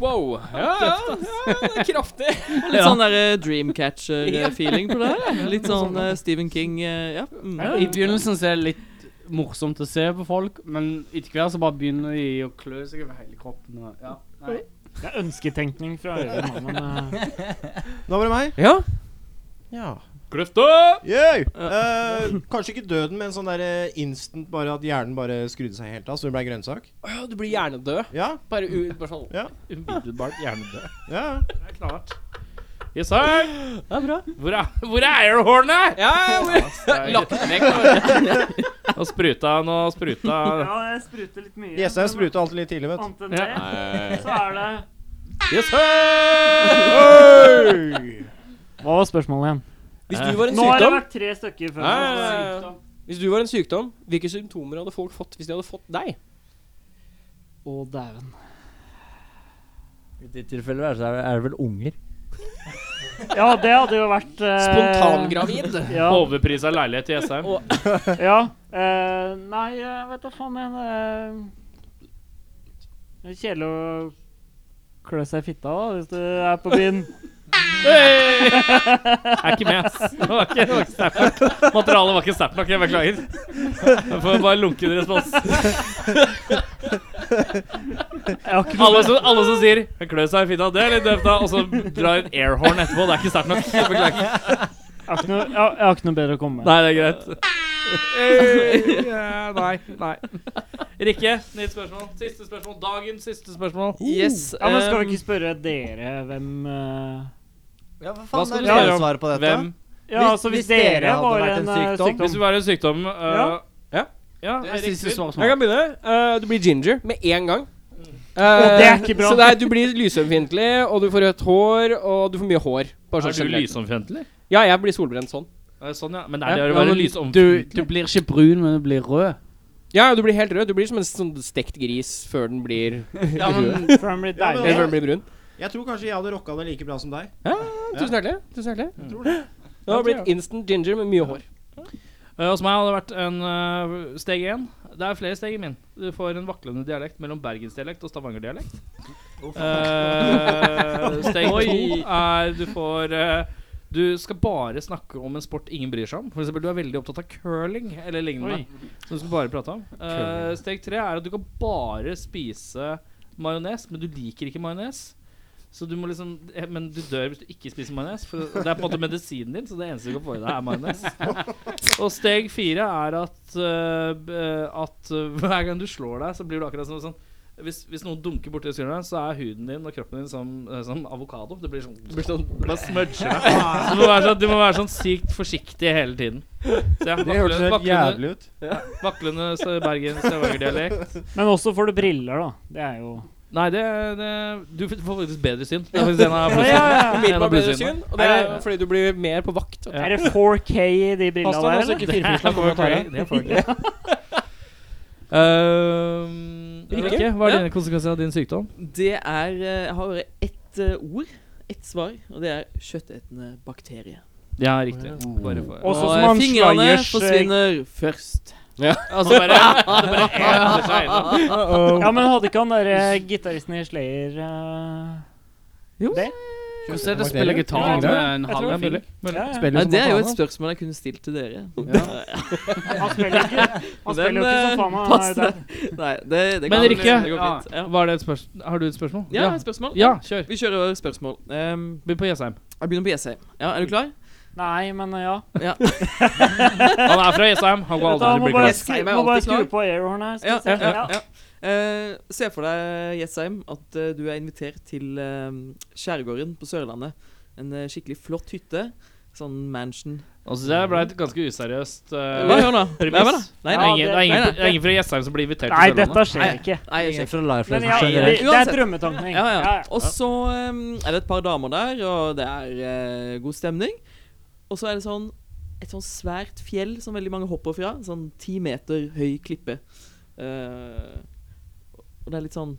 Speaker 1: Wow. Ja, ja, ja, det er kraftig.
Speaker 3: Litt sånn der eh, Dreamcatcher-feeling på det her. ja. Litt sånn eh, Stephen King eh, Ja. Mm.
Speaker 6: I begynnelsen så er det litt morsomt å se på folk, men etter hvert så bare begynner de å klø seg over hele kroppen. Og, ja. Nei.
Speaker 7: Det er ønsketenkning fra Øyvind, nå, men eh,
Speaker 4: Da var det meg.
Speaker 1: Ja.
Speaker 4: Ja.
Speaker 2: Kløfta!
Speaker 4: Yay! Eh, kanskje ikke døden, men sånn der eh, instant bare at hjernen bare skrudde seg helt av, så det ble grønnsak.
Speaker 1: Åh, Du blir hjernedød.
Speaker 4: Ja,
Speaker 1: Bare, u- bare sånn.
Speaker 2: Umiddelbart hjernedød.
Speaker 4: ja.
Speaker 2: Det er knallhardt. Yes, sir.
Speaker 1: Det er bra.
Speaker 2: Hvor er, hvor er airhornet?
Speaker 1: Ja, ja,
Speaker 2: Lagt vekk. Og spruta han og spruta
Speaker 7: Ja, jeg spruter litt mye.
Speaker 4: Jessheim spruta alltid litt tidlig, vet du.
Speaker 7: Annet enn det, så er det
Speaker 2: Yes, sir!
Speaker 4: Hey!
Speaker 7: Hva var spørsmålet igjen?
Speaker 1: Hvis du var en
Speaker 7: Nå har det
Speaker 1: sykdom
Speaker 7: vært tre stykker før.
Speaker 1: Ja, ja, ja, ja. Hvis du var en sykdom, hvilke symptomer hadde folk fått hvis de hadde fått deg?
Speaker 7: Å, dæven.
Speaker 5: I ditt tilfelle er så er det- er det vel unger.
Speaker 7: Ja, det hadde jo vært eh,
Speaker 1: Spontangravid.
Speaker 7: Ja.
Speaker 2: Overprisa leilighet i Jessheim.
Speaker 7: ja eh, nei, jeg vet da faen, men Det er kjedelig å klø seg i fitta da, hvis du er på byen.
Speaker 2: Hey! Jeg er ikke med, ass. Det var ikke, det var ikke sterkt nok. Materialet var ikke sterkt nok. Jeg beklager. Jeg får bare lunken respons.
Speaker 7: Jeg har ikke noe
Speaker 2: Alle som, alle som sier 'klø seg i fitta', det er litt døvt, da. Og så drar en airhorn etterpå. Det er ikke sterkt nok. Jeg beklager.
Speaker 7: jeg har ikke noe, jeg har- jeg har ikke noe bedre å komme med.
Speaker 2: Nei, det er greit. Hey, ja, nei. Nei. Rikke, nytt spørsmål. Siste spørsmål. Dagens siste spørsmål.
Speaker 3: Yes.
Speaker 7: Ja, men skal
Speaker 3: eh,
Speaker 7: vi ikke spørre dere hvem eh,
Speaker 5: Ja, hva
Speaker 2: Hva
Speaker 5: faen
Speaker 2: skal
Speaker 5: er
Speaker 2: du
Speaker 5: det
Speaker 2: gjøre?
Speaker 5: å svare på dette?
Speaker 2: Hvem?
Speaker 7: Ja,
Speaker 5: Hvis-
Speaker 7: altså hvis,
Speaker 5: hvis dere
Speaker 7: dere
Speaker 5: hadde
Speaker 7: var
Speaker 5: vært
Speaker 7: en,
Speaker 5: en
Speaker 7: eh,
Speaker 5: sykdom.
Speaker 2: Hvis
Speaker 7: sykdom
Speaker 2: du var en sykdom øh,
Speaker 7: Ja.
Speaker 2: ja. ja.
Speaker 6: Det er
Speaker 2: riktig.
Speaker 6: siste
Speaker 1: Jeg
Speaker 6: svarsmål.
Speaker 1: kan begynne. Eh, du blir ginger med en gang.
Speaker 7: Å, det er ikke bra.
Speaker 1: Så det er, du blir lysømfintlig, og du får rødt hår, og du får mye hår. Bare
Speaker 2: Er
Speaker 1: sånn
Speaker 2: du
Speaker 1: generelt.
Speaker 2: lysomfiendtlig?
Speaker 1: Ja, jeg blir solbrent sånn.
Speaker 2: Eh, Sånn, ja. Men
Speaker 1: Ja.
Speaker 2: er det å
Speaker 6: Ja,
Speaker 2: være
Speaker 6: men
Speaker 2: lysomfiendtlig?
Speaker 6: du, du blir ikke brun, men du blir rød.
Speaker 1: Ja, du blir helt rød. Du blir som en sånn stekt gris før den blir
Speaker 6: Ja, men
Speaker 7: før han blir
Speaker 4: Ja, men-
Speaker 1: Eller
Speaker 7: deilig.
Speaker 1: før den blir brun.
Speaker 4: Jeg tror kanskje jeg hadde rocka det like bra som deg.
Speaker 1: Tusen hjertelig. Tusen hjertelig.
Speaker 4: Jeg tror det.
Speaker 1: Du har blitt instant ginger med mye hår.
Speaker 2: Eh, Hos meg hadde det vært en eh, steg én. Det er flere steg i min. Du får en vaklende dialekt mellom bergensdialekt og stavangerdialekt. Uh, steg to er du får eh, Du skal bare snakke om en sport ingen bryr seg om. For eksempel, du er veldig opptatt av curling eller lignende.
Speaker 7: Oi.
Speaker 2: Som du skal bare prate om. Eh, steg tre er at du kan bare spise majones, men du liker ikke majones. Så du må liksom eh, Men du dør hvis du ikke spiser majones. For det er på en måte medisinen din, så det eneste du kan få i deg, er majones. Og steg fire er at øh, b- øh, At øh, hver gang du slår deg, så blir du akkurat sånn, sånn hvis, hvis noen dunker borti skulderen, så er huden din og kroppen din som, øh, som avokado. Det blir sånn Du blir sånn Bare smudger deg. Så Du må, være sånn, du må være sånn sykt forsiktig hele tiden. Så ja,
Speaker 4: Det hørtes helt
Speaker 2: vaklende,
Speaker 4: jævlig ut.
Speaker 2: vaklende så- Bergens Stavanger-dialekt.
Speaker 7: Men også får du briller, da. Det er jo
Speaker 2: Nei, det, det Du får faktisk bedre syn. Det er faktisk en av
Speaker 7: ja, ja,
Speaker 2: plussene.
Speaker 1: Blir
Speaker 2: En av
Speaker 1: man bedre
Speaker 2: plussynene.
Speaker 1: syn, og det er fordi du blir mer på vakt.
Speaker 7: Er det 4K i de brillene
Speaker 1: Pass deg
Speaker 7: der,
Speaker 1: nå, så
Speaker 7: eller?
Speaker 1: ikke
Speaker 2: Det er
Speaker 1: firfisla kommer og tar
Speaker 2: for-
Speaker 1: deg.
Speaker 2: det er for- Øhm,
Speaker 1: Rikke?
Speaker 2: Rikke, Ehm, hva er
Speaker 1: Ja.
Speaker 2: dine konsekvenser av din sykdom?
Speaker 3: Det er eh, Jeg har bare ett eh, ord, ett svar, og det er kjøttetende bakterie.
Speaker 2: Ja, riktig. Bare for
Speaker 7: Og- Også som
Speaker 3: eh,
Speaker 7: han
Speaker 3: fingrene
Speaker 7: Slayers, eh,
Speaker 3: forsvinner først.
Speaker 2: Altså bare, det bare endrer seg ennå.
Speaker 7: Ja, men hadde ikke han derre gitaristen i Slayer eh,
Speaker 3: Jo.
Speaker 7: det?
Speaker 6: Hvordan er det å spille gitar med en
Speaker 2: Jeg tror det
Speaker 6: halv
Speaker 2: er
Speaker 6: finger?
Speaker 2: mulig. mulig.
Speaker 7: Ja, ja.
Speaker 3: Ja, det er jo et spørsmål jeg kunne stilt til dere.
Speaker 7: Han spiller ikke Han spiller jo ikke
Speaker 3: eh,
Speaker 7: som faen han er
Speaker 3: passer.
Speaker 7: der.
Speaker 3: Nei, det, det
Speaker 2: Men
Speaker 3: går-
Speaker 2: Rikke,
Speaker 3: det går fint. Ja.
Speaker 2: Var det et spørsmål? Har du et spørsmål?
Speaker 3: Ja, et spørsmål?
Speaker 2: Ja, kjør.
Speaker 3: Vi kjører over spørsmål. Ehm,
Speaker 2: Begynn på Jessheim.
Speaker 3: jeg begynner på Jessheim. Ja, er du klar?
Speaker 7: Nei, men eh, ja.
Speaker 3: Ja.
Speaker 2: Han er fra Jessheim. Han går
Speaker 7: Vet du,
Speaker 2: aldri
Speaker 7: han
Speaker 2: til å
Speaker 7: må
Speaker 2: bli
Speaker 7: bare
Speaker 2: glad.
Speaker 7: skru,
Speaker 3: Jessheim er
Speaker 7: må bare
Speaker 3: alltid klar.
Speaker 7: skru på airhorn her.
Speaker 3: Ja,
Speaker 7: skal vi
Speaker 3: ja,
Speaker 7: se.
Speaker 3: ja, ja. Eh, se for deg, Jessheim, at eh, du er invitert til eh, Skjærgården på Sørlandet. En eh, skikkelig flott hytte. Sånn mansion.
Speaker 2: Altså, det ble et ganske useriøst eh,
Speaker 3: Hva gjør nå? Nei,
Speaker 2: premiss.
Speaker 3: hva da? Nei,
Speaker 2: Det er
Speaker 3: nei.
Speaker 7: Ja,
Speaker 2: ingen, det, er ingen, det er ingen fra Jessheim som blir invitert
Speaker 7: Nei,
Speaker 2: til Sørlandet.
Speaker 7: dette skjer ikke.
Speaker 3: Nei, jeg
Speaker 5: Ingen
Speaker 3: ser ikke.
Speaker 5: fra Lifeless
Speaker 7: Men ja, det,
Speaker 5: generelt.
Speaker 7: det er
Speaker 3: Uansett.
Speaker 7: drømmetankning.
Speaker 3: Ja, ja. Og så eh, er det et par damer der, og det er eh, god stemning. Og så er det sånn et sånn svært fjell som veldig mange hopper fra. Sånn ti meter høy klippe. Eh, og det er litt sånn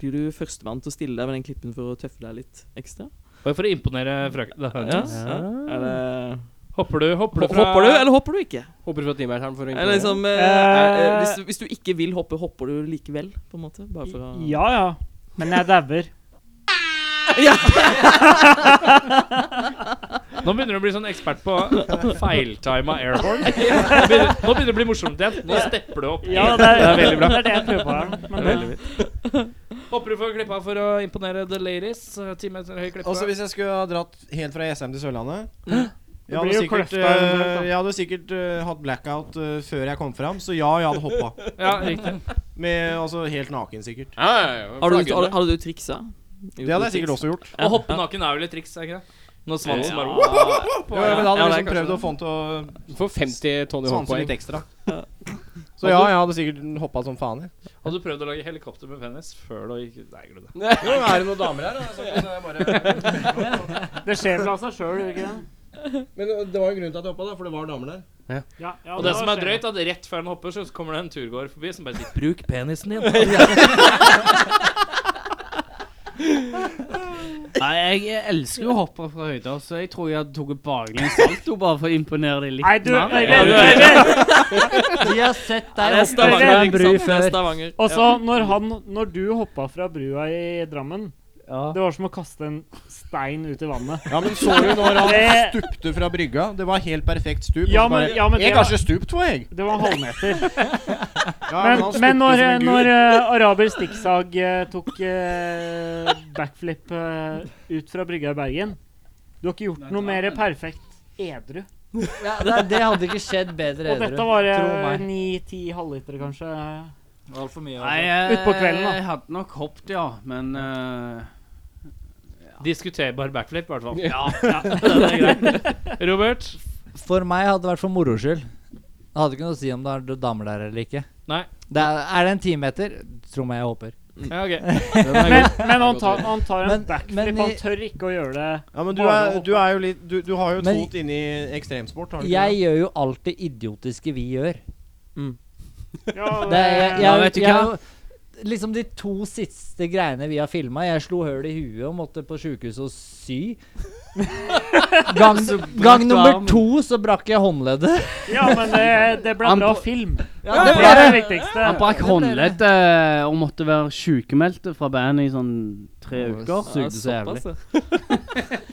Speaker 3: Blir du førstemann til å stille deg ved den klippen for å tøffe deg litt ekstra?
Speaker 2: Bare for å imponere frøken.
Speaker 3: Ja, ja. Er det,
Speaker 2: Hopper du, hopper du fra
Speaker 3: hopper du, eller hopper du ikke?
Speaker 1: Hopper fra timeteren for å
Speaker 3: Eller
Speaker 1: imponere.
Speaker 3: liksom eh, er, eh, hvis, du- hvis du ikke vil hoppe, hopper du likevel? På en måte? Bare for å
Speaker 7: Ja, ja. Men jeg dauer.
Speaker 2: Nå begynner du å bli sånn ekspert på feiltima airhorn. Nå begynner, nå begynner det å bli morsomt igjen. Nå stepper du opp.
Speaker 7: Ja, det er,
Speaker 2: Det er veldig bra.
Speaker 7: Det er det jeg prøver på her. Men
Speaker 2: Det er
Speaker 7: det,
Speaker 2: Hopper du for klippa for å imponere the ladies? Eh, Ti meter høy klippe.
Speaker 4: Også hvis jeg skulle ha dratt helt fra Jessheim til Sørlandet jeg
Speaker 7: Det
Speaker 4: hadde,
Speaker 7: blir jo
Speaker 4: sikkert,
Speaker 7: kløfta eventuelt,
Speaker 4: eh,
Speaker 7: da.
Speaker 4: jeg hadde sikkert eh, hatt blackout eh, før jeg kom fram, så ja, jeg hadde hoppa.
Speaker 2: Ja, riktig.
Speaker 4: Med, altså, helt naken, sikkert.
Speaker 1: Ja, ja, ja.
Speaker 3: Har du,
Speaker 1: Flagger
Speaker 3: hadde,
Speaker 1: det.
Speaker 3: hadde du triksa?
Speaker 4: Det hadde jeg sikkert også gjort.
Speaker 2: Å hoppe naken er vel et triks, er ikke det? Når svansen bare
Speaker 4: Jo, men da
Speaker 3: Ja,
Speaker 4: hadde jeg
Speaker 3: det er
Speaker 4: liksom prøvd å få den til å
Speaker 1: Får 50 tonn i
Speaker 4: svanse
Speaker 1: håndpoeng.
Speaker 4: litt ekstra. Så ja, jeg hadde sikkert hoppa som faen. jeg.
Speaker 2: Hadde du prøvd å lage helikopter med penis før du gikk Nei, glem det.
Speaker 4: Jo, er det noen damer her?
Speaker 7: det skjer vel av seg sjøl, gjør det ikke det?
Speaker 4: Men det var en grunn til at jeg hoppa, for det var damer der.
Speaker 7: Ja, ja,
Speaker 2: Og
Speaker 7: da
Speaker 2: det som er
Speaker 7: skjer
Speaker 2: drøyt, er at rett før den hopper, så kommer det en turgåer forbi som bare sier Bruk penisen din.
Speaker 6: Nei, jeg, jeg elsker jo å hoppe fra høyder, så jeg tror jeg hadde tatt baklengs salto bare for å imponere deg litt
Speaker 7: Nei, du
Speaker 6: mer.
Speaker 7: Øyvind! Øyvind!
Speaker 5: Vi har sett
Speaker 3: Nei,
Speaker 5: deg
Speaker 3: det er
Speaker 5: oppe
Speaker 7: Stavanger.
Speaker 3: Stavanger.
Speaker 7: bru
Speaker 3: ikke sant? Det
Speaker 7: før.
Speaker 3: er Stavanger.
Speaker 7: Og
Speaker 3: Ja.
Speaker 7: så, når, han, når du hoppa fra brua i Drammen
Speaker 6: Ja.
Speaker 7: Det var som å kaste en stein ut i vannet.
Speaker 4: Ja, men så du når han
Speaker 7: Det-
Speaker 4: stupte fra brygga? Det var helt perfekt stup.
Speaker 7: Ja,
Speaker 4: og så bare,
Speaker 7: men- ja, men det
Speaker 4: jeg
Speaker 7: var-
Speaker 4: kanskje stupt for, jeg.
Speaker 7: Det var en halvmeter.
Speaker 4: Ja,
Speaker 7: Men,
Speaker 4: han
Speaker 7: men
Speaker 4: stupte
Speaker 7: når,
Speaker 4: som en gud.
Speaker 7: når eh, araber Stikksag eh, tok eh, backflip eh, ut fra brygga i Bergen Du har ikke gjort noe mer perfekt edru.
Speaker 5: ja, nei, Det hadde ikke skjedd bedre,
Speaker 7: Og dette var ni-ti halvlitere, kanskje.
Speaker 5: Altfor mye.
Speaker 6: Nei,
Speaker 5: altså.
Speaker 6: jeg,
Speaker 7: Ut på kvelden, da.
Speaker 6: Jeg hadde nok hoppet, ja, men eh,
Speaker 2: Diskuterbar backflip, i hvert fall.
Speaker 6: Ja.
Speaker 2: Robert?
Speaker 5: For meg hadde det vært for moro skyld. Det hadde ikke noe å si om det er damer der eller ikke.
Speaker 2: Nei.
Speaker 5: Det er, er det en timeter? Tror meg jeg håper.
Speaker 2: Ja, ok.
Speaker 7: Men, men han, tar, han tar en
Speaker 5: Men-
Speaker 7: backflip.
Speaker 5: men i-
Speaker 7: han tør ikke å gjøre det.
Speaker 4: Ja, men du
Speaker 7: Bare
Speaker 4: er,
Speaker 7: å-
Speaker 4: du er jo litt Du, du har jo et
Speaker 5: Men-
Speaker 4: fot inni ekstremsport, har du ikke
Speaker 5: Jeg gjør jo alt det idiotiske vi gjør.
Speaker 7: Ja, eh,
Speaker 5: Det, er- jeg, jeg,
Speaker 6: Ja, vet du
Speaker 5: jeg-
Speaker 6: hva?
Speaker 5: Liksom de to siste greiene vi har filma. Jeg slo høl i huet og måtte på sjukehuset og sy. Gang, gang nummer to så brakk jeg håndleddet.
Speaker 7: ja men det, det ble
Speaker 6: Han
Speaker 7: bra
Speaker 6: på-
Speaker 7: film.
Speaker 5: Ja,
Speaker 7: Det er det viktigste.
Speaker 6: Han brakk håndleddet og måtte være sykemeldt fra bandet i sånn tre uker.
Speaker 3: Ja,
Speaker 6: Sugde så jævlig.
Speaker 3: såpass, ja.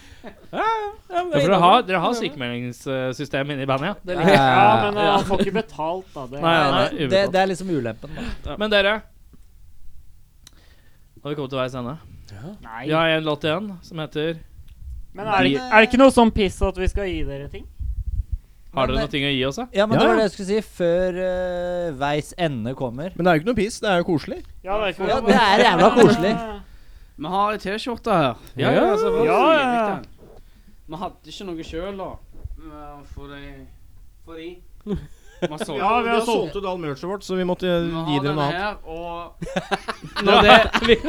Speaker 2: Ja, for dere har, dere har sykemeldingssystem inne i bandet, ja?
Speaker 5: det,
Speaker 7: Ja,
Speaker 5: ja,
Speaker 7: men eh, han får ikke betalt, da. Det.
Speaker 2: Nei, nei,
Speaker 5: det, det,
Speaker 2: ubetalt.
Speaker 5: det er liksom ulempen. Da.
Speaker 2: Men dere Nå har vi kommet til veis ende.
Speaker 7: Nei.
Speaker 2: Vi har en låt igjen som heter
Speaker 7: Men er det, ikke- er det ikke noe sånn piss at vi skal gi dere ting?
Speaker 2: Har dere
Speaker 5: Men-
Speaker 2: noe ting å gi oss, da?
Speaker 5: Ja, men
Speaker 4: Ja,
Speaker 5: det
Speaker 4: ja.
Speaker 5: var det jeg skulle si. Før eh, veis ende kommer.
Speaker 4: det? Men det er jo ikke noe piss. Det er jo koselig.
Speaker 7: Ja, det er, ikke sånn-
Speaker 5: Ja, det er jævla koselig.
Speaker 6: Vi har ei T-skjorte her.
Speaker 2: Ja, ja, altså,
Speaker 7: hva- Ja, ja, ja.
Speaker 6: Vi hadde ikke noe sjøl, da. Men eh, For de For de. Vi har solgt.
Speaker 7: Ja, vi har solgt
Speaker 4: ut all merchet vårt, så vi måtte
Speaker 6: Vi
Speaker 4: gi
Speaker 6: har
Speaker 4: dere
Speaker 6: denne
Speaker 4: noe annet.
Speaker 6: her, og når det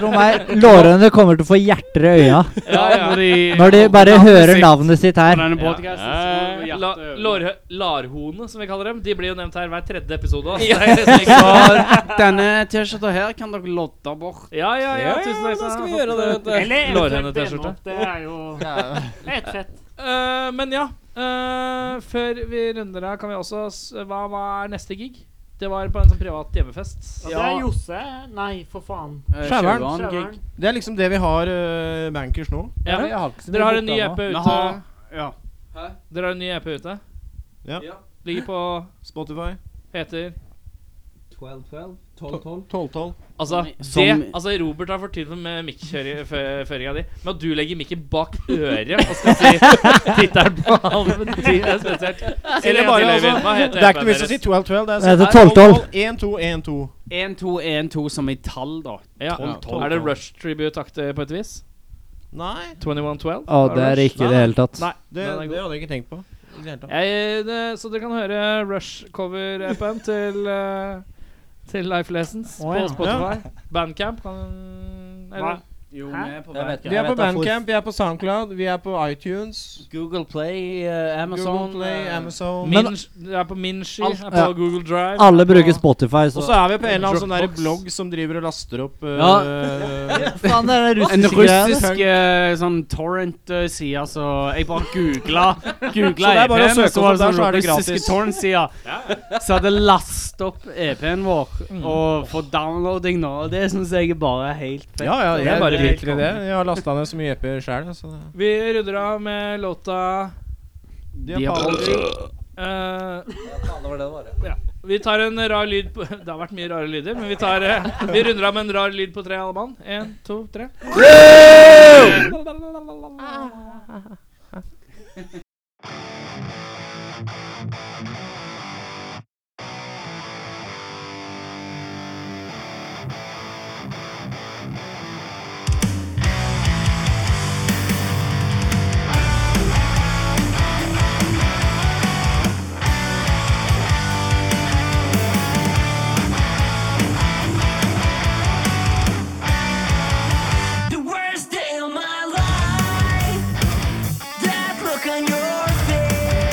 Speaker 5: Tro meg, lårene kommer til å få hjerter i øya
Speaker 6: ja, når de,
Speaker 5: når de bare
Speaker 6: Navnet
Speaker 5: hører
Speaker 6: sitt
Speaker 5: navnet sitt
Speaker 6: på
Speaker 5: her.
Speaker 6: denne podcasten, så
Speaker 2: Eh,
Speaker 6: hjertet
Speaker 2: La,
Speaker 6: øver.
Speaker 2: lårhø- larhoene, som vi kaller dem, de blir jo nevnt her hver tredje episode. altså. da.
Speaker 6: Så denne T-skjorta her kan dere lodde bort.
Speaker 2: Ja, ja, ja, tusen takk.
Speaker 1: da skal vi
Speaker 2: Sånn.
Speaker 1: gjøre det, vet du.
Speaker 7: Eller eventuelt
Speaker 2: Lårhøne-T-skjorte.
Speaker 7: brenne opp. Det er jo helt fett. Altså,
Speaker 2: Eh, men ja, eh, før vi runder av, kan vi også s- hva, hva er neste gig? Det var på en sånn privat hjemmefest.
Speaker 7: Ja, det er Josse. Nei, for faen.
Speaker 4: Skjæveren.
Speaker 6: Eh, Skjæveren.
Speaker 7: Skjæveren.
Speaker 4: Det er liksom det vi har, eh, Bankers, nå.
Speaker 2: Ja.
Speaker 5: Jeg har ikke så mye
Speaker 2: Dere har en ny
Speaker 5: boka
Speaker 2: EP
Speaker 5: nå.
Speaker 6: Vi
Speaker 2: ute.
Speaker 6: har Ja.
Speaker 2: Dere har en ny EP ute.
Speaker 4: Ja.
Speaker 6: Ja.
Speaker 2: Ligger på
Speaker 4: Spotify.
Speaker 2: Heter
Speaker 4: 12-12.
Speaker 2: Altså,
Speaker 6: Som-
Speaker 2: det, altså Robert har fårt tid med mikkføringa di. Men at du legger mikken bak øret og skal si tittelen på albumet, det er spesielt. Si det
Speaker 4: Eller
Speaker 2: en
Speaker 4: bare,
Speaker 2: til, Øyvind. Hva
Speaker 4: altså,
Speaker 2: heter
Speaker 4: det er ikke noe
Speaker 2: EP-en
Speaker 4: vits å si
Speaker 2: deres?
Speaker 4: 12-12. Det
Speaker 5: Det
Speaker 4: er
Speaker 5: heter 12-12.
Speaker 4: 1-2-1-2.
Speaker 6: 1212 som i tall, da.
Speaker 2: Ja.
Speaker 6: 12-12.
Speaker 2: Er det Rush Tribute-aktig på et vis?
Speaker 4: Nei,
Speaker 2: 2112?
Speaker 5: Å, det er det ikke i det hele tatt.
Speaker 2: Nei,
Speaker 4: det, det
Speaker 2: den er god.
Speaker 4: hadde jeg ikke tenkt på. I det hele tatt.
Speaker 2: Jeg, det, så dere kan høre Rush-cover-appen til, eh, til Life Lessons
Speaker 7: Å, ja.
Speaker 2: på Spotify. Bandcamp kan
Speaker 7: Hva?
Speaker 2: eller,
Speaker 6: Jo,
Speaker 7: Hæ?
Speaker 6: vi er på
Speaker 5: Jeg vet
Speaker 6: vei.
Speaker 5: ikke.
Speaker 4: Vi er på
Speaker 5: Jeg vet det er for-
Speaker 4: Bandcamp, vi er på Soundcloud, vi er på iTunes.
Speaker 6: Google Play, eh, Amazon
Speaker 4: Google Play,
Speaker 6: eh,
Speaker 4: Amazon
Speaker 2: Min, Det er på Minshi,
Speaker 5: Alt-
Speaker 2: er på
Speaker 5: ja.
Speaker 2: Google Drive.
Speaker 5: Alle
Speaker 2: er på-
Speaker 5: bruker Spotify,
Speaker 4: Og
Speaker 5: så
Speaker 4: så er vi på en eller annen sånn der
Speaker 2: Dropbox.
Speaker 4: blogg som driver og laster opp eh,
Speaker 5: Faen, det er den
Speaker 6: En
Speaker 5: russiske greia. det.
Speaker 6: russisk eh, sånn torrent-side, så jeg bare googla Googla
Speaker 4: Så det er bare å
Speaker 6: EP-en, og
Speaker 4: søke
Speaker 6: så var
Speaker 4: oss
Speaker 6: det
Speaker 4: opp der,
Speaker 6: sånn
Speaker 4: så er det
Speaker 6: russiske
Speaker 4: gratis.
Speaker 6: torrent-sida. Så hadde last opp EP-en vår
Speaker 4: Mm.
Speaker 6: og for downloading nå. og Det syns jeg er bare helt fett.
Speaker 4: Ja, ja,
Speaker 6: Det
Speaker 4: jeg
Speaker 6: er
Speaker 4: er bare
Speaker 6: helt
Speaker 4: virkelig det. Jeg har lasta ned så mye EP-er sjæl. Altså.
Speaker 2: Vi runder av med låta eh,
Speaker 5: Faen, det var det det var, ja.
Speaker 2: Vi tar en rar lyd på Det har vært mye rare lyder, men vi, tar, eh, vi runder av med en rar lyd på tre, alle mann. Én, to, tre.
Speaker 8: The worst day of my life. That look on your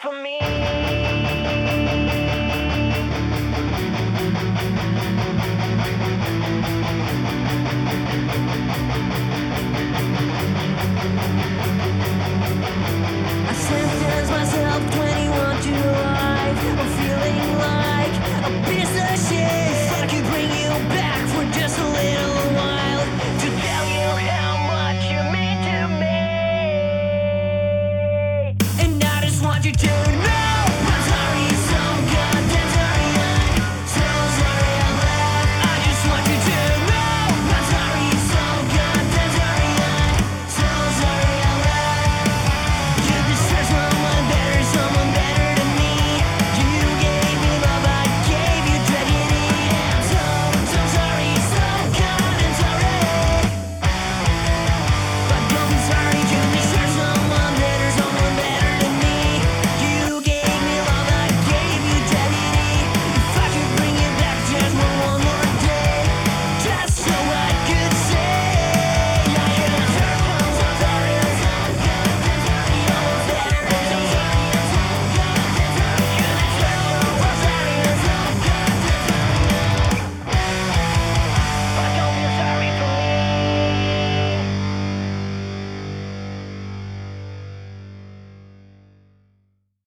Speaker 8: for me.